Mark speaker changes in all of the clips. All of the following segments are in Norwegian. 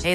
Speaker 1: Hey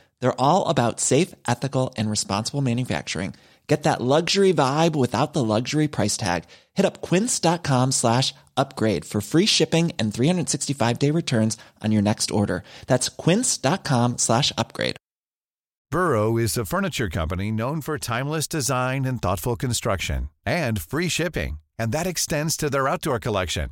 Speaker 2: They're all about safe, ethical, and responsible manufacturing. Get that luxury vibe without the luxury price tag. Hit up quince.com slash upgrade for free shipping and 365-day returns on your next order. That's quince.com slash upgrade.
Speaker 3: Burrow is a furniture company known for timeless design and thoughtful construction and free shipping, and that extends to their outdoor collection.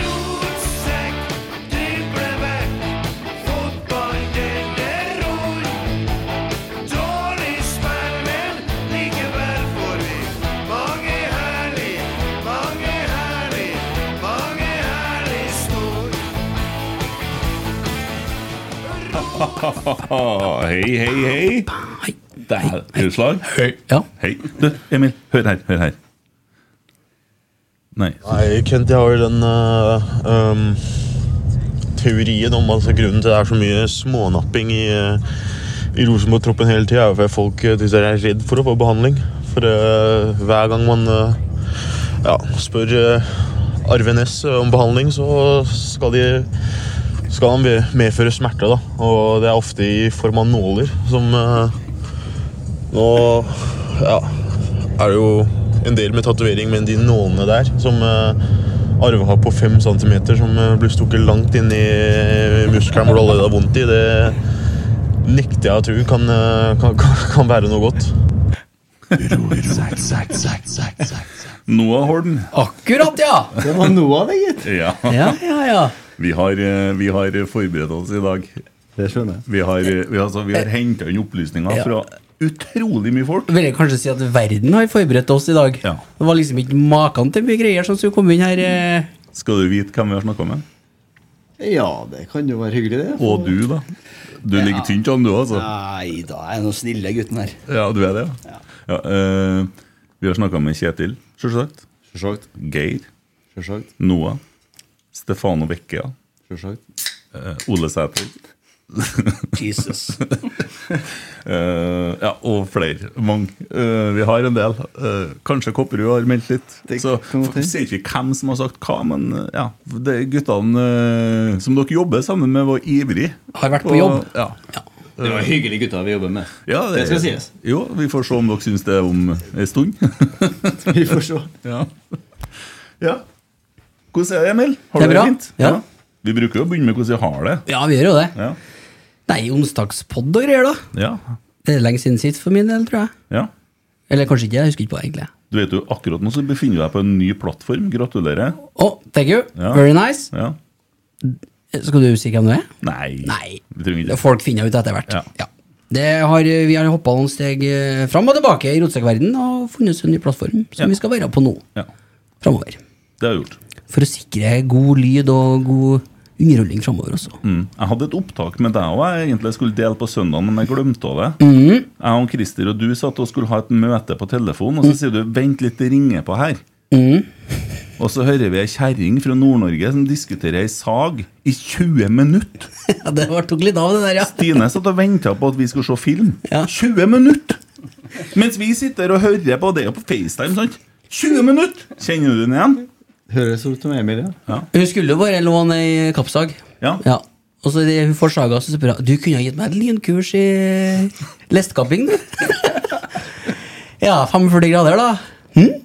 Speaker 4: Rotsekk, driblevekk, fotball den er rund. Dårlig spill, men likevel får vi mange herlig, mange herlig, mange herlig snor.
Speaker 5: Ah, hei, hei, hei. Det er er du slag?
Speaker 6: Høy. Ja.
Speaker 5: Hei. Du, Emil, hør her. Hør her. Nei.
Speaker 7: Nei, Kent, jeg har jo den eh, ehm, teorien om altså, grunnen til det er så mye smånapping i, eh, i Rosenborg-troppen hele tida, er jo fordi folk eh, synes jeg er redd for å få behandling. For eh, hver gang man eh, ja, spør uh, Arve Næss eh, om behandling, så skal de skal han ve- medføre smerte, da. Og det er ofte i form av nåler som eh, Nå ja, er det jo en del med tatovering, men de nålene der som eh, Arve har på fem centimeter, som eh, blir stukket langt inn i eh, muskelen hvor det allerede har vondt i, det nekter jeg å tro kan, eh, kan, kan, kan være noe godt.
Speaker 5: Noah Holm.
Speaker 6: Akkurat, ja!
Speaker 8: Det var noe av det, gitt.
Speaker 5: Ja.
Speaker 6: Ja, ja, ja.
Speaker 5: Vi har, eh, vi har forberedt oss i dag.
Speaker 8: Det skjønner jeg.
Speaker 5: Vi har, eh, vi, altså, vi har henta inn opplysninger fra utrolig mye folk.
Speaker 6: Vil jeg kanskje si at verden har forberedt oss i dag.
Speaker 5: Ja.
Speaker 6: Det var liksom ikke maken til mye greier som skulle komme inn her. eh.
Speaker 5: Skal du vite hvem vi har snakka med?
Speaker 8: Ja, det kan jo være hyggelig, det.
Speaker 5: Og du, da. Du ligger tynt an, du, altså.
Speaker 9: Nei da, jeg er noen snille gutten her.
Speaker 5: Ja, du er det, ja. ja eh, vi har snakka med Kjetil, sjølsagt.
Speaker 8: Sjølsagt.
Speaker 5: Geir.
Speaker 8: Sjølsagt.
Speaker 5: Noah. Stefano Vecchia.
Speaker 8: Sjølsagt.
Speaker 5: eh, Ole Sæter.
Speaker 9: Jesus.
Speaker 5: Eh, ja, og flere. Mange. Eh, vi har en del. Eh, kanskje Kopperud har meldt litt.
Speaker 8: Det
Speaker 5: Så
Speaker 8: kan godt hende.
Speaker 5: sier ikke vi hvem som har sagt hva, men eh, ja, det er guttene eh, som dere jobber sammen med, var ivrig.
Speaker 6: Har vært på
Speaker 5: Og-
Speaker 6: jobb.
Speaker 5: Ja.
Speaker 9: Det var hyggelige gutter vi jobber med.
Speaker 5: Ja, det,
Speaker 9: skal sies.
Speaker 5: Jo, vi får se om dere syns det om en stund.
Speaker 8: Vi får se.
Speaker 5: ja. ja. Hvordan er det, Emil? Har
Speaker 6: Det er
Speaker 5: du
Speaker 6: bra.
Speaker 5: fint?
Speaker 6: Ja.
Speaker 5: Vi bruker jo å begynne med hvordan vi har det.
Speaker 6: Ja, vi gjør jo det.
Speaker 5: Ja.
Speaker 6: Nei, onsdagspod og greier, da.
Speaker 5: ja.
Speaker 6: Det er lenge siden sist for min del, tror jeg.
Speaker 5: ja.
Speaker 6: Eller kanskje ikke, jeg husker ikke på det, egentlig.
Speaker 5: Du vet jo, akkurat nå så befinner du deg på en ny plattform. Gratulerer.
Speaker 6: Å, thank you.
Speaker 5: Ja.
Speaker 6: Very nice. Eh,
Speaker 5: Ja.
Speaker 6: Skal du si hvem du er?
Speaker 5: Nei.
Speaker 6: Nei.
Speaker 5: Vi trenger ikke
Speaker 6: Folk finner ut etter hvert.
Speaker 5: Ja.
Speaker 6: Det har, vi har hoppa noen steg eh, fram og tilbake i rotsekkverdenen og funnet oss en ny plattform som
Speaker 5: Ja.
Speaker 6: vi skal være på nå
Speaker 5: Ja,
Speaker 6: framover.
Speaker 5: det har jeg gjort.
Speaker 6: For å sikre god lyd og god underholdning framover også.
Speaker 5: Mm. Jeg hadde et opptak med deg òg, jeg egentlig skulle dele på søndag, men jeg glemte av det.
Speaker 6: Mm.
Speaker 5: Jeg og Christer og du satt og skulle ha et møte på telefon, og
Speaker 6: Mm.
Speaker 5: så sier du 'vent litt, det ringer på her'. Og så hører vi ei kjerring fra Nord-Norge som diskuterer ei sag i 20 minutter!
Speaker 6: Ja, det var tok litt av, det der, ja.
Speaker 5: Stine satt og venta på at vi skulle se film.
Speaker 6: Ja.
Speaker 5: 20 minutter! Mens vi sitter og hører på det er jo på FaceTime, sant? 20 minutter! Kjenner du den igjen?
Speaker 8: Høres ut som Emil, ja.
Speaker 6: Hun skulle jo bare låne ei kappsag.
Speaker 5: Ja.
Speaker 6: Og så det hun får saga, så spør hun Du kunne ha gitt meg et lynkurs i lestekapping, du. ja, 45 grader, da. Hm?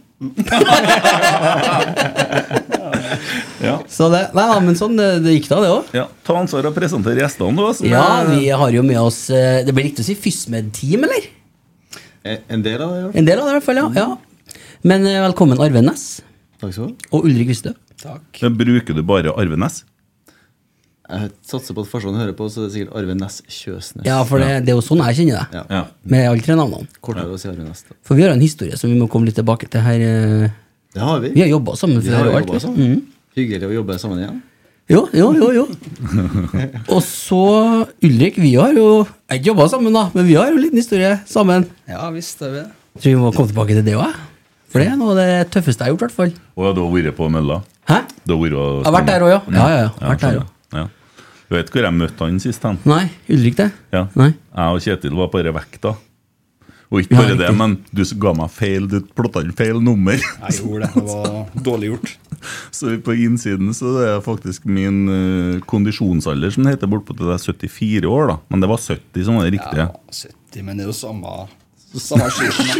Speaker 5: Ja.
Speaker 6: Så det, nei, da, men sånn, det, det gikk da, det òg.
Speaker 5: Ja, Ta ansvar og presentere gjestene, du. altså.
Speaker 6: Ja, vi har jo med oss eh, Det blir riktig å si Fysmed-team, eller?
Speaker 8: En- Eh, En del av det, i hvert fall.
Speaker 6: En del av det, i hvert fall. ja, ja. Men eh, velkommen Arve Næss
Speaker 8: Takk skal du ha.
Speaker 6: og Ulrik Vistø.
Speaker 5: Da Bruker du bare Arve Næss?
Speaker 8: Jeg satser på at farsan hører på, så det er sikkert Arve Næss Kjøsnes.
Speaker 6: Ja, for det, det er jo sånn jeg kjenner deg.
Speaker 8: Ja.
Speaker 5: Ja.
Speaker 6: Med alle tre navnene.
Speaker 8: Kortere å si Arve Næss. da.
Speaker 6: For vi har en historie som vi må komme litt tilbake til her. eh.
Speaker 8: Det har vi.
Speaker 6: Vi har jobba sammen
Speaker 8: Vi
Speaker 6: før.
Speaker 8: har
Speaker 6: og alt,
Speaker 8: jobbet
Speaker 6: liksom.
Speaker 8: sammen.
Speaker 6: Mhm.
Speaker 8: Hyggelig å jobbe sammen igjen.
Speaker 6: Jo, jo, jo, jo. Og så Ulrik, vi har jo jeg har ikke jobba sammen, da, men vi har jo en liten historie sammen.
Speaker 9: Ja visst, det er vi.
Speaker 6: Tror vi må komme tilbake til det òg, for det er noe av det tøffeste jeg har gjort, i hvert fall.
Speaker 5: Og du har vært på mølla?
Speaker 6: Hæ?
Speaker 5: Du har vært og
Speaker 6: Jeg har vært der også, ja. Ja, ja, ja. Vært der
Speaker 5: skjønner. Ja. Du vet hvor jeg møtte han sist? han?
Speaker 6: Nei, Ulrik det?
Speaker 5: Ja.
Speaker 6: Nei.
Speaker 5: Jeg og Kjetil var på denne vekta. Og ikke
Speaker 6: Ja,
Speaker 5: bare det,
Speaker 6: riktig.
Speaker 5: men du ga meg feil, du plotta inn feil nummer.
Speaker 10: Jeg gjorde det. Det var dårlig gjort.
Speaker 5: Så på innsiden så er det faktisk min eh, kondisjonsalder som det heter bortpå til det er 74 år, da. Men det var 70 som var det riktige.
Speaker 10: Ja, 70, men det er jo samme Samme skiten.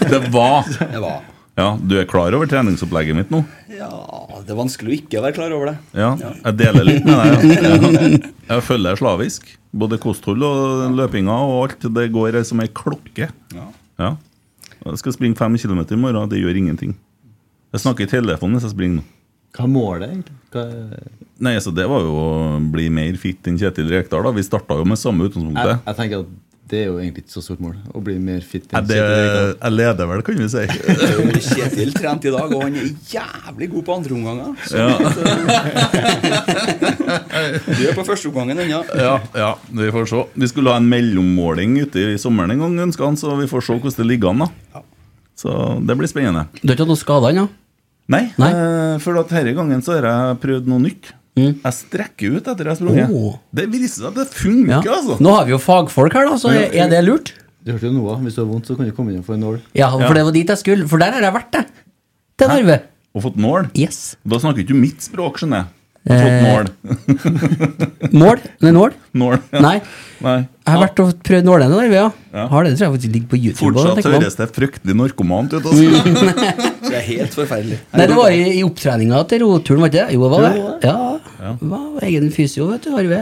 Speaker 5: Det var!
Speaker 10: Det var
Speaker 5: Ja, du er klar over treningsopplegget mitt nå?
Speaker 10: Ja, det er vanskelig å ikke være klar over det.
Speaker 5: Ja, jeg deler litt med deg. ja. Ja. Jeg følger slavisk. Både kosthold og løpinga og alt. Det går som ei klokke.
Speaker 10: Ja.
Speaker 5: Ja. Jeg skal springe fem kilometer i morgen, det gjør ingenting. Jeg snakker i telefonen hvis jeg springer nå.
Speaker 8: Hva er målet, egentlig? Hva er...
Speaker 5: Nei, så Det var jo å bli mer fit enn Kjetil Rekdal. da. Vi starta jo med samme
Speaker 8: Jeg,
Speaker 5: utgangspunktet.
Speaker 8: jeg tenker at det er jo egentlig ikke så stort mål. Å bli mer fit.
Speaker 5: Jeg,
Speaker 8: enn
Speaker 5: det,
Speaker 8: Kjetil Rekdal.
Speaker 5: jeg leder vel, kan vi si.
Speaker 10: Kjetil trente i dag, og han er jævlig god på andreomganger. Så du er på førsteomgangen ennå.
Speaker 5: Ja, ja, vi får se. Vi skulle ha en mellommåling ute i sommeren en gang, ønska han, så vi får se hvordan det ligger an. da. Så det blir spennende.
Speaker 6: Du har ikke hatt noen skader ennå?
Speaker 5: Nei,
Speaker 6: Nei.
Speaker 5: eh, for at denne gangen så har jeg prøvd noe nytt.
Speaker 6: Mm.
Speaker 5: Jeg strekker ut etter jeg har sprunget.
Speaker 8: Oh.
Speaker 6: Åh.
Speaker 5: Det viser seg at det funker,
Speaker 6: Ja.
Speaker 5: altså.
Speaker 6: Nå har vi jo fagfolk her, da, så er er det lurt?
Speaker 8: Du hørte jo noe. Hvis du har vondt, så kan du komme inn og få en nål.
Speaker 6: Ja, for det var dit jeg skulle. For der har jeg vært, jeg. Til Narve.
Speaker 5: Og fått nål.
Speaker 6: Yes.
Speaker 5: Da snakker ikke du mitt språk, skjønner jeg.
Speaker 6: Eh,
Speaker 5: Fått nål.
Speaker 6: Mål? Nei, nål?
Speaker 5: nål. ja.
Speaker 6: Nei.
Speaker 5: Nei.
Speaker 6: Jeg har vært og prøvd nålene i Narve, ja.
Speaker 5: Ja.
Speaker 6: Har det, det tror jeg faktisk ligger på Mm. YouTube. og
Speaker 5: Fortsatt
Speaker 6: tenker man.
Speaker 5: høres det fryktelig narkomant ut. Altså.
Speaker 10: Det er helt forferdelig.
Speaker 6: Nei, det var i, i opptreninga til roturen, var det ikke det? Jo, det var det. Ja. Var egen fysio, vet du. Arve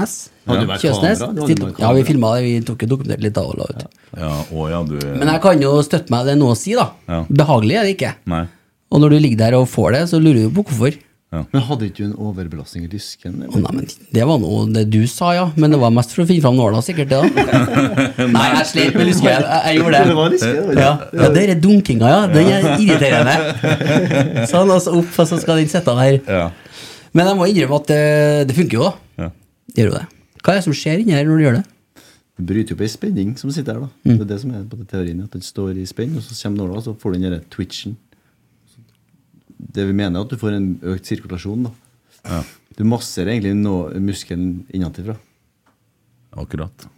Speaker 6: Næss.
Speaker 8: Hadde du vært
Speaker 6: Kjøsnes.
Speaker 8: kamera? Du hadde
Speaker 6: Stilte
Speaker 8: vært
Speaker 6: opp. Ja, vi
Speaker 8: kamera.
Speaker 6: filma det. Vi tok jo dokumentert litt da og la ut.
Speaker 5: Ja, å ja, du
Speaker 6: Men jeg kan jo støtte meg det nå å si, da.
Speaker 5: Ja.
Speaker 6: Behagelig er det ikke.
Speaker 5: Nei.
Speaker 6: Og når du ligger der og får det, så lurer du på hvorfor.
Speaker 8: Men hadde ikke du en overbelastning i lysken? eller?
Speaker 6: Å, nei, men det var noe det du sa, ja. Men det var mest for å finne fram nåla, sikkert. det da. Nei, jeg slet med lysken. Jeg, jeg gjorde det.
Speaker 8: Det var lysken, det var det.
Speaker 6: Ja, ja det er dunkinga, ja. Den er irriterende. Sånn, og så opp, og så skal den sitte der.
Speaker 5: Ja.
Speaker 6: Men jeg må innrømme at eh, det, det funker jo, da.
Speaker 5: Ja.
Speaker 6: Gjør jo det. Hva er det som skjer inni her når du gjør det?
Speaker 8: Du bryter jo på ei spenning som sitter her. da. Det er det som er på den teorien, at den står i spenn, og så kommer nåla, og så får du den derre twitchen. Det vi mener, er at du får en økt sirkulasjon. da. Du masserer egentlig nå muskelen innenfra.
Speaker 5: Akkurat.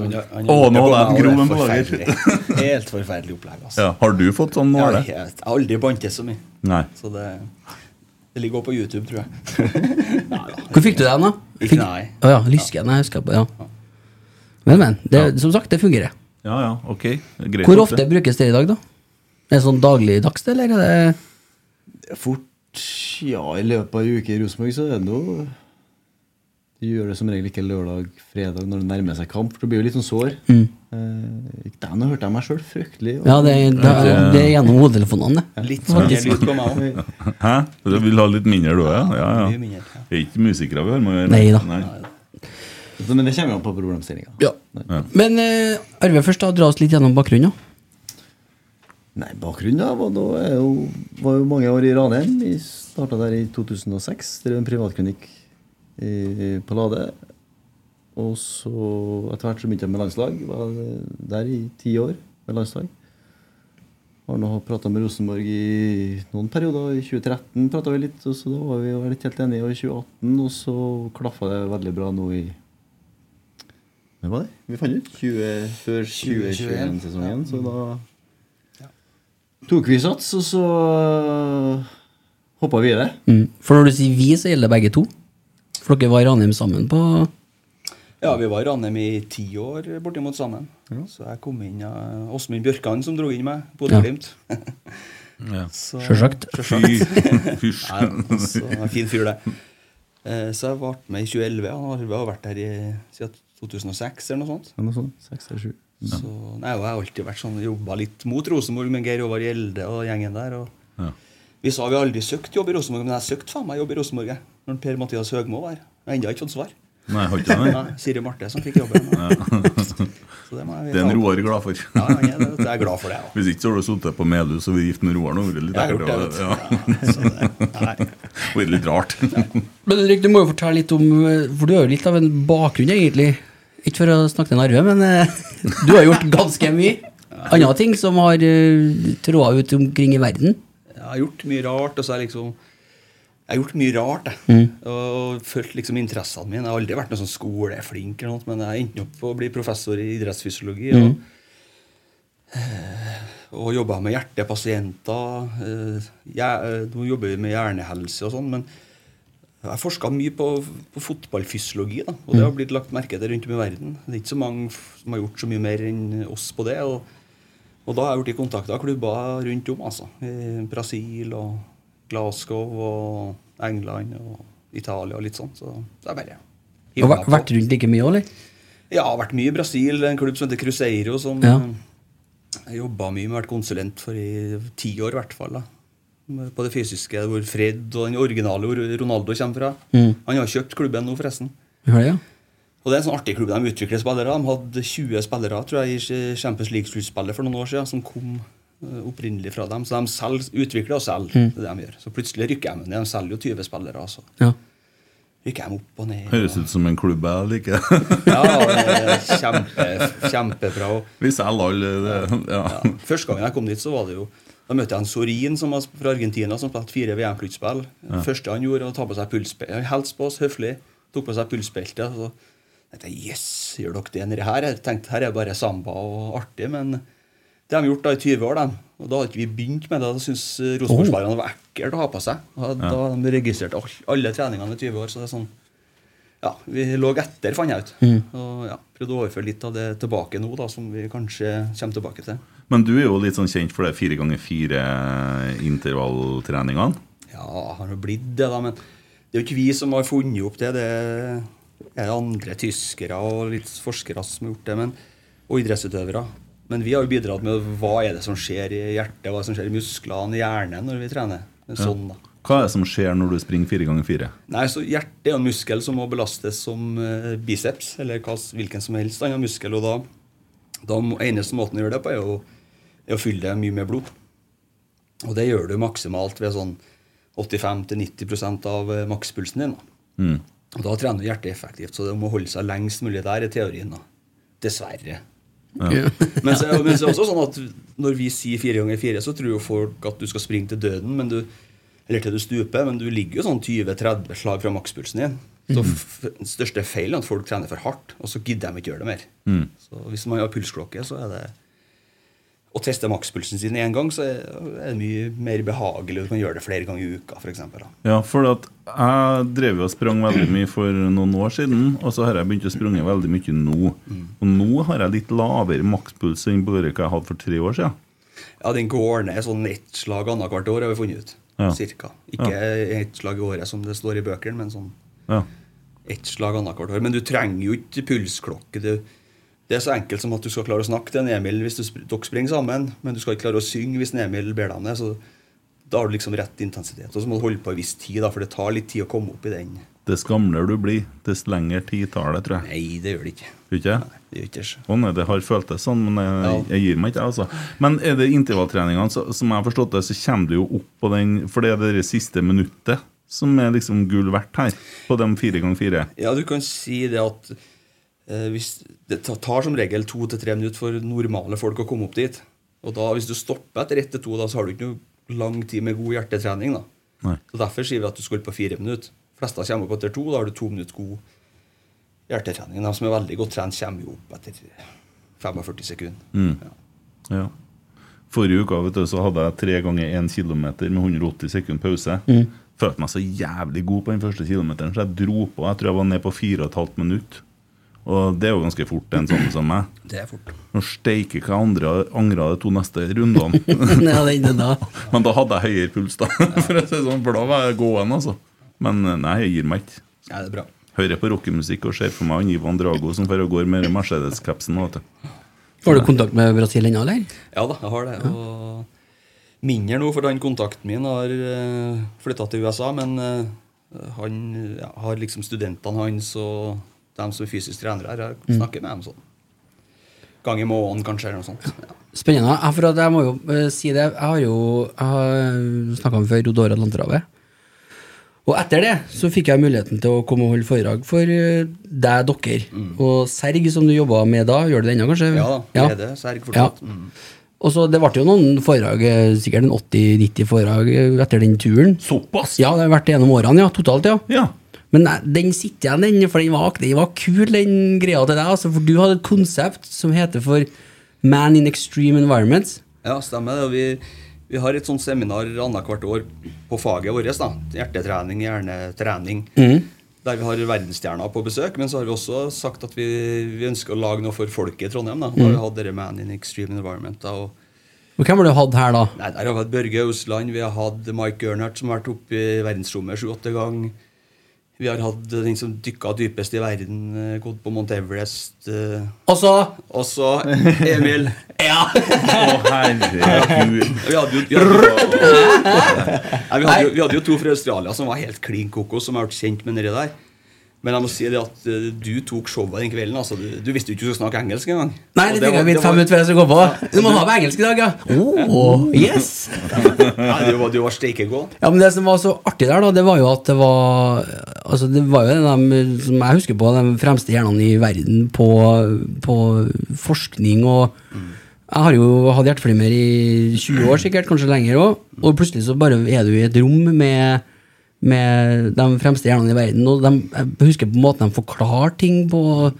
Speaker 10: Han- han-
Speaker 5: Å, nå
Speaker 10: det
Speaker 5: hadde jeg en grov en på
Speaker 10: forferdelig. Helt forferdelig opplegg, altså.
Speaker 5: Ja. Har du fått sånn
Speaker 10: Jeg har
Speaker 5: nåle?
Speaker 10: helt- jeg har aldri bantet så mye.
Speaker 5: Nei.
Speaker 10: Så det, det ligger også på YouTube, tror jeg.
Speaker 6: Hvor fikk du den, da?
Speaker 10: I
Speaker 6: Fikk-
Speaker 10: kneet.
Speaker 6: Å ja, lysken. Jeg husker på, ja. Men, men. Det, Som sagt, det fungerer.
Speaker 5: Ja ja, ok. Greit.
Speaker 6: Hvor
Speaker 5: nok
Speaker 6: ofte
Speaker 5: det.
Speaker 6: brukes det i dag, da? Er det sånn dagligdags, det, eller er det
Speaker 8: Fort ja, i løpet av ei uke i Rosenborg, så er det noe Du gjør det som regel ikke lørdag-fredag når det nærmer seg kamp, for du blir jo litt sånn sår. Eh, ikke den hørte jeg meg sjøl fryktelig. og-
Speaker 6: Mm. Ja, det, det, det er gjennom hodetelefonene, det.
Speaker 10: Litt sånn lyd på meg også.
Speaker 5: Hæ? Du vil ha litt mindre, du? Ja, ja.
Speaker 10: Mye
Speaker 5: ja.
Speaker 10: mindre, ja.
Speaker 5: Det er ikke musikere vi har med å gjøre.
Speaker 6: Nei da.
Speaker 8: Så, men det kommer jo an på problemstillinga.
Speaker 6: Men eh, Arve, først da, dra oss litt gjennom bakgrunnen. da.
Speaker 8: Nei, bakgrunnen da var, da er jo, var jo mange år i Ranheim. Vi starta der i 2006. Drev en privatklinikk i, på Lade. Og så etter hvert så begynte jeg med landslag. Var der i ti år med landslag. Har nå prata med Rosenborg i noen perioder. I 2013 prata vi litt, og så da var vi jo litt helt enige. Og i 2018, og så klaffa det veldig bra nå i Hva var det? Vi fant ut 20, før 2021-sesongen, så da tok vi sats, og så hoppa vi i det.
Speaker 6: Mm. For når du sier vi, så gjelder det begge to. For dere var i Ranheim sammen på
Speaker 10: Ja, vi var i Ranheim i ti år bortimot sammen. Så jeg kom inn av Åsmund Bjørkan som dro inn meg.
Speaker 6: Ja.
Speaker 10: Bodø Glimt.
Speaker 5: Ja.
Speaker 10: Så-
Speaker 6: Sjølsagt.
Speaker 5: Fy,
Speaker 10: Sjølsagt.
Speaker 5: fysj.
Speaker 10: Nei, altså, han er en fin fyr, det. Eh, Så jeg ble med i 2011. Han har- Arve har vært her i, siden 2006 eller noe sånt.
Speaker 8: Eller noe sånt. Seks eller sju.
Speaker 10: Så, nei, og jeg har alltid vært sånn, jobba litt mot Rosenborg med Geir Håvard Gjelde og gjengen der. Og
Speaker 5: Ja.
Speaker 10: Vi sa vi har aldri søkt jobb i Rosenborg, men jeg søkte faen meg jobb i Rosenborg. jeg, Når Per Mathias Høgmo var her. Jeg har ennå ikke fått svar.
Speaker 5: Nei, har ikke det?
Speaker 10: Nei, Siri Marte som fikk jobben. Så det må jeg
Speaker 5: Det er en
Speaker 10: ta opp.
Speaker 5: Roar glad for.
Speaker 10: Ja, han er det, vet du. jeg er glad for det. Ja.
Speaker 5: Hvis ikke så har du sittet på Melhus og vært gift med Roar nå. vært litt
Speaker 10: Jeg har
Speaker 5: ekkelt,
Speaker 10: gjort det, vet du.
Speaker 5: ja.
Speaker 10: Ja, så det- nei.
Speaker 5: Vært litt rart.
Speaker 6: Men Henrik, du må jo fortelle litt om eh, For du har jo litt av en bakgrunn, egentlig. Ikke for å snakke til Narve, men eh, du har gjort ganske mye andre ting som har eh, tråda ut omkring i verden.
Speaker 10: Jeg har gjort mye rart, og så har jeg liksom Jeg har gjort mye rart, jeg. Og følt liksom interessene mine. Jeg har aldri vært noen sånn skoleflink, eller noe, men jeg endte opp på å bli professor i idrettsfysiologi. Og, og jobba med hjertepasienter. eh, jeg- eh, Nå jobber vi med hjernehelse og sånn, men jeg forska mye på, på fotballfysiologi, da, og det
Speaker 6: Mm.
Speaker 10: har blitt lagt merke til rundt om i verden. Det er ikke så mange f- som har gjort så mye mer enn oss på det. og og da har jeg blitt kontakta av klubber rundt om. altså. I Brasil og Glasgow og England og Italia og litt sånn. Så det er bare
Speaker 6: Og væ- vært rundt like mye òg, eller?
Speaker 10: Ja, vært mye i Brasil. En klubb som heter Cruzeiro, som
Speaker 6: Ja.
Speaker 10: eh, jobba mye med å vært konsulent for i ti år, i hvert fall. da. På det fysiske, hvor Fred og den originale hvor Ronaldo kommer fra.
Speaker 6: Mm.
Speaker 10: Han har kjøpt klubben nå, forresten.
Speaker 6: Vi har det, ja.
Speaker 10: Og det er en sånn artig klubb de utvikler spillere. De hadde 20 spillere tror jeg, i Champions League-sluttspillet for noen år siden som kom eh, opprinnelig fra dem. Så de selv utvikler og selger. det er det de gjør. Så plutselig rykker de ned. De selger jo 20 spillere. Altså.
Speaker 6: Mm. ja.
Speaker 10: Rykker de opp og ned.
Speaker 5: Høres ut som en klubb jeg liker.
Speaker 10: Ja, og det er kjempe, kjempebra. Og
Speaker 5: Vi selger alle det. Ja.
Speaker 10: Ja. Første gangen jeg kom dit, så var det jo da møtte jeg en Sorin som var fra Argentina som spilte fire VM-sluttspill. Det første han gjorde, var å ta på seg pulsbelte. Han hilste på oss høflig, tok på seg pulsbelte. og Så tenkte jeg yes, gjør dere det nedi her? Jeg tenkte her er bare samba og artig, men det har de gjort da i 20 år, de. Og da hadde ikke vi begynt med det. Da syntes eh, Rosenborg-spillerne det var ekkelt å ha på seg. Og da hadde de registrerte all- alle treningene i 20 år, så det er sånn ja, vi lå etter, fant jeg ut. Og ja, Prøvde å overføre litt av det tilbake nå, da, som vi kanskje kommer tilbake til.
Speaker 5: Men du er jo litt sånn kjent for det fire ganger fire intervalltreningene.
Speaker 10: Ja, har det blitt det, da, men det er jo ikke vi som har funnet opp det. Det er andre tyskere og litt forskere som har gjort det, men, og idrettsutøvere. Men vi har jo bidratt med hva er det som skjer i hjertet, hva er det som skjer i musklene, i hjernen når vi trener. Sånn, da.
Speaker 5: Hva er det som skjer når du springer fire ganger fire?
Speaker 10: Nei, så Hjertet er jo en muskel som må belastes som eh, biceps, eller hva, s- hvilken som helst annen muskel. og da, da må, Eneste måten å gjøre det på, er å, er å fylle det mye med blod. Og det gjør du maksimalt ved sånn 85-90 av eh, makspulsen din. da. Og da trener du hjertet effektivt, så det må holde seg lengst mulig der, i teorien. da. Dessverre. Men så, men så er det også sånn at når vi sier fire ganger fire, så tror jo folk at du skal springe til døden, men du, eller til du stuper, men du ligger jo sånn 20-30 slag fra makspulsen din. Så f- den største feilen er at folk trener for hardt, og så gidder de ikke gjøre det mer. Så hvis man har pulsklokke, så er det å teste makspulsen sin én gang, så er er det mye mer behagelig. Du kan gjøre det flere ganger i uka, f.eks.
Speaker 5: Ja, for at jeg drev jo og sprang veldig mye for noen år siden, og så har jeg begynt å sprunge veldig mye nå.
Speaker 10: Mm.
Speaker 5: Og nå har jeg litt lavere makspuls enn bare hva jeg hadde for tre år siden.
Speaker 10: Ja, den går ned sånn ett slag annethvert år, har vi funnet ut.
Speaker 5: Ja.
Speaker 10: Cirka. Ikke ett slag i året, som det står i bøkene, men sånn
Speaker 5: Ja.
Speaker 10: ett slag annethvert år. Men du trenger jo ikke pulsklokke. Det, det er så enkelt som at du skal klare å snakke til en Emil hvis du, sp- dere springer sammen, men du skal ikke klare å synge hvis en Emil ber deg om det. Så da har du liksom rett intensitet. Og så må du holde på en viss tid, da, for det tar litt tid å komme opp i den.
Speaker 5: Dess gamlere du blir, dess lengre tid tar det, tror jeg.
Speaker 10: Nei, det gjør det ikke.
Speaker 5: Tror du ikke det?
Speaker 10: Nei, det gjør ikke det.
Speaker 5: Å nei, det har føltes sånn, men jeg, jeg gir meg ikke, jeg, altså. Men er det intervalltreningene, så, som jeg har forstått det, så kommer du jo opp på den For det er det siste minuttet som er liksom gull verdt her, på de fire ganger fire.
Speaker 10: Ja, du kan si det at eh, hvis, det ta- tar som regel to til tre minutter for normale folk å komme opp dit. Og da, hvis du stopper etter ett til to, da, så har du ikke noe lang tid med god hjertetrening. da.
Speaker 5: Nei.
Speaker 10: Så Derfor sier vi at du skal holde på fire minutter. fleste kommer opp etter to, da har du to minutter god hjertetrening. De som er veldig godt trent, kommer jo opp etter 45 sekunder. Ja.
Speaker 5: Ja. Forrige uka vet du, så hadde jeg tre ganger én kilometer med 180 sekund pause. Følte meg så jævlig god på den første kilometeren, så jeg dro på. Jeg tror jeg var ned på 4,5 minutt. Og det er jo ganske fort, en sånn som meg.
Speaker 10: Det er fort.
Speaker 5: Nå steike hva andre angra de to neste rundene.
Speaker 6: Ja, det er det da.
Speaker 5: Men da hadde jeg høyere puls, da. For, å si det sånn, for da var jeg gåen, altså. Men eh, nei, jeg gir meg ikke.
Speaker 10: Ja, det er bra.
Speaker 5: Hører på rockemusikk og ser for meg han Ivan Drago som drar og går med den Mercedes-capsen. vet du.
Speaker 6: Har du kontakt med Brasil ennå, eller?
Speaker 10: Ja da, jeg har det. Og mindre nå, for den kontakten min har uh, flytta til USA. Men eh, han ja, har liksom studentene hans og dem som er fysisk trenere her, jeg snakker med dem sånn. Gang i måneden, kanskje, eller noe sånt. Ja.
Speaker 6: Spennende. Jeg, for at jeg må jo eh, si det, jeg har jo jeg har snakka med før Rodor Atlanterhavet. Og etter det så fikk jeg muligheten til å komme og holde foredrag for eh, deg, dere. Og Serg, som du jobba med da, gjør du det ennå, kanskje?
Speaker 10: Mm. Ja da, jeg er det, Serg fortsatt. Mm.
Speaker 6: Og så Det ble jo noen foredrag, eh, sikkert en 80-90 foredrag eh, etter den turen.
Speaker 5: Såpass?
Speaker 6: Ja, det har vært gjennom årene, ja. Totalt, ja.
Speaker 5: Ja.
Speaker 6: Men nei, den sitter igjen, den, for den var, den var kul, den greia til deg. Altså, for du hadde et konsept som heter for Man in Extreme Environments.
Speaker 10: Ja, stemmer det. og Vi, vi har et sånt seminar annethvert år på faget vårt. da. Hjertetrening, hjernetrening. Der vi har verdensstjerner på besøk. Men så har vi også sagt at vi, vi ønsker å lage noe for folket i Trondheim. da. Da har vi hatt dere Man in Extreme Environment. da, og
Speaker 6: Og hvem har du hatt her, da?
Speaker 10: Nei, Der har vi hatt Børge Ausland, vi har hatt Mike Gernhardt, som har vært oppe i verdensrommet sju-åtte ganger. Vi har hatt den som dykka dypest i verden, eh, gått på Mount Everest. eh,
Speaker 6: Altså
Speaker 10: Og så Emil.
Speaker 6: Ja!
Speaker 5: Å, herregud.
Speaker 10: Vi hadde jo, vi hadde jo, Nei, vi hadde jo, vi hadde jo to fra Australia som var helt klin kokos, som har vært kjent med det der. Men jeg må si det at eh, du tok showet den kvelden. altså. Du, du visste jo ikke du skulle snakke engelsk engang.
Speaker 6: Nei,
Speaker 10: Og
Speaker 6: det fikk
Speaker 10: var-
Speaker 6: jeg vite fem
Speaker 10: var-
Speaker 6: minutter før jeg skulle gå på. Du må ha på engelsk i dag, ja. Oh, yes!
Speaker 10: Nei, du var, du var steikegod.
Speaker 6: Ja, men Det som var så artig der, da, det var jo at det var Altså, det var jo en av dem som jeg husker på, de fremste hjernene i verden på, på forskning og Jeg har jo hatt hjerteflimmer i 20 år, sikkert, kanskje lenger òg, og plutselig så bare er du i et rom med med de fremste hjernene i verden. Og de, jeg husker på måten de forklarer ting på.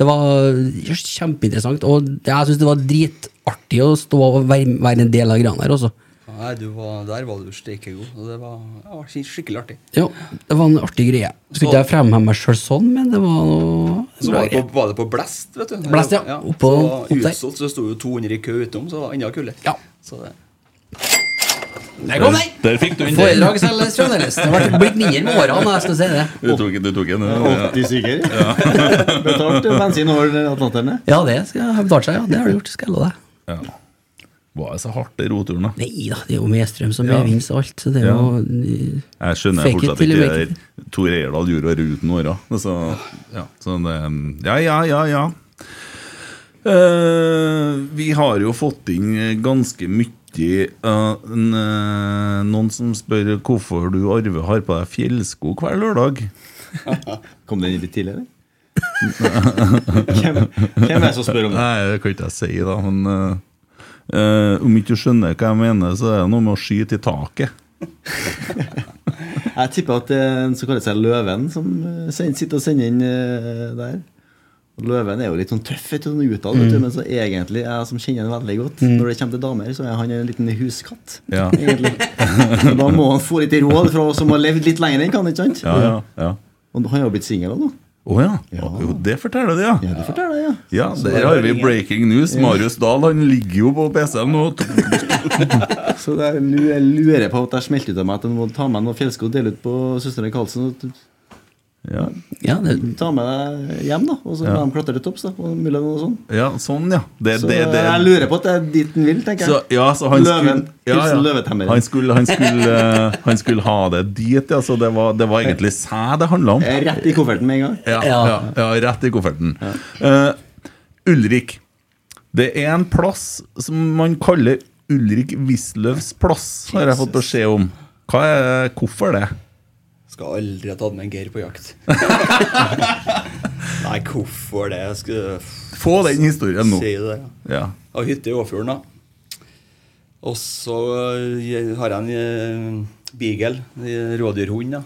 Speaker 6: Det var kjempeinteressant, og jeg syns det var dritartig å stå og være, være en del av greia der. Også.
Speaker 10: Nei, du var, Der var du steikegod. og Det var, det var skik- skikkelig artig.
Speaker 6: Ja, det var en artig greie. Skulle ikke jeg fremheve meg sjøl sånn, men det var noe
Speaker 10: Så
Speaker 6: bra
Speaker 10: var det,
Speaker 6: greie.
Speaker 10: på, var det på Blast, vet du.
Speaker 6: Blast, ja. Oppå-
Speaker 10: så
Speaker 6: opp der.
Speaker 10: utsolgt, så det sto jo 200 i kø utenom, så det var enda kulere.
Speaker 6: Ja.
Speaker 10: Så det-
Speaker 6: Der kom den!
Speaker 5: Der fikk du den.
Speaker 6: Foredrag selges fremdeles. Det har vært- blitt mindre med årene, jeg skal si det.
Speaker 5: Du tok den. du tok den, ja.
Speaker 8: 80 stykker. Betalt bensin over Atlanterne.
Speaker 6: Ja, det skal jeg ha betalt seg, ja. Det har du gjort, skal jeg love deg.
Speaker 5: Ja. Var det så hardt, det roturen, da?
Speaker 6: Nei da, det er jo med strøm som er vins og alt, så det er
Speaker 5: Ja.
Speaker 6: jo
Speaker 5: Jeg skjønner
Speaker 6: Fake it
Speaker 5: fortsatt
Speaker 6: till you
Speaker 5: ikke
Speaker 6: make
Speaker 5: det
Speaker 6: it.
Speaker 5: der Tor Eierdal gjorde av Ruten åra. Så, ja. så det, ja, ja, ja, ja. Eh, vi har jo fått inn ganske mye eh, n- eh, Noen som spør hvorfor du, Arve, har på deg fjellsko hver lørdag.
Speaker 8: Kom den litt tidligere? hvem, hvem er det som spør om det?
Speaker 5: Nei, det kan ikke jeg si, da, men eh, eh, Om ikke du skjønner hva jeg mener, så er det noe med å skyte i taket.
Speaker 8: Jeg tipper at det er en som kaller seg Løven, som eh, send- sitter og sender inn eh, der. Og Løven er jo litt sånn tøff vet du, sånn utad,
Speaker 6: Mm.
Speaker 8: vet du, men så egentlig, jeg som kjenner han veldig godt, når det kommer til damer, så er han en liten huskatt.
Speaker 5: Ja.
Speaker 8: egentlig. Og da må han få litt råd fra oss som har levd litt lenger enn han, ikke sant?
Speaker 5: Ja, ja, ja.
Speaker 8: Og han har jo blitt singel òg, nå.
Speaker 5: Å ja. Jo, det forteller det, ja.
Speaker 8: Ja, det forteller jeg, ja.
Speaker 5: Ja, der har vi breaking news. Marius Dahl han ligger jo på PC-en nå.
Speaker 8: Så det er, lu- jeg lurer på at jeg smelte ut av meg at jeg må ta med noen fjellsko og dele ut på søstrene Karlsen. og t-
Speaker 5: Ja,
Speaker 6: Ja, det,
Speaker 8: Ta med deg hjem, da. Og så la dem klatre til topps. da, og mulig noe sånn.
Speaker 5: ja sånn, ja. Det,
Speaker 8: Så
Speaker 5: det, det.
Speaker 8: jeg lurer på at det er dit den vil, tenker
Speaker 5: Så,
Speaker 8: jeg.
Speaker 5: ja, så han
Speaker 8: Løven.
Speaker 5: skulle, ja, ja.
Speaker 8: Hilsen løvetemmeren.
Speaker 5: Han skulle, han, skulle, eh, han skulle ha det dit, ja. Så det var, det var egentlig sæd det handla om.
Speaker 8: Jeg er Rett i kofferten med en gang.
Speaker 5: Ja,
Speaker 6: Ja.
Speaker 5: ja, ja rett i kofferten. Eh, Ulrik. Det er en plass som man kaller Ulrik Wisløws plass, har jeg fått beskjed om. Hva er, hvorfor det?
Speaker 10: Skal aldri ha tatt med en Geir på jakt. Nei, hvorfor det? Jeg skulle
Speaker 5: Få den historien nå.
Speaker 10: si det. ja.
Speaker 5: Ja.
Speaker 10: Jeg har hytte i Åfjorden, da. Og så eh, har jeg en eh, beagle, en rådyrhund. da.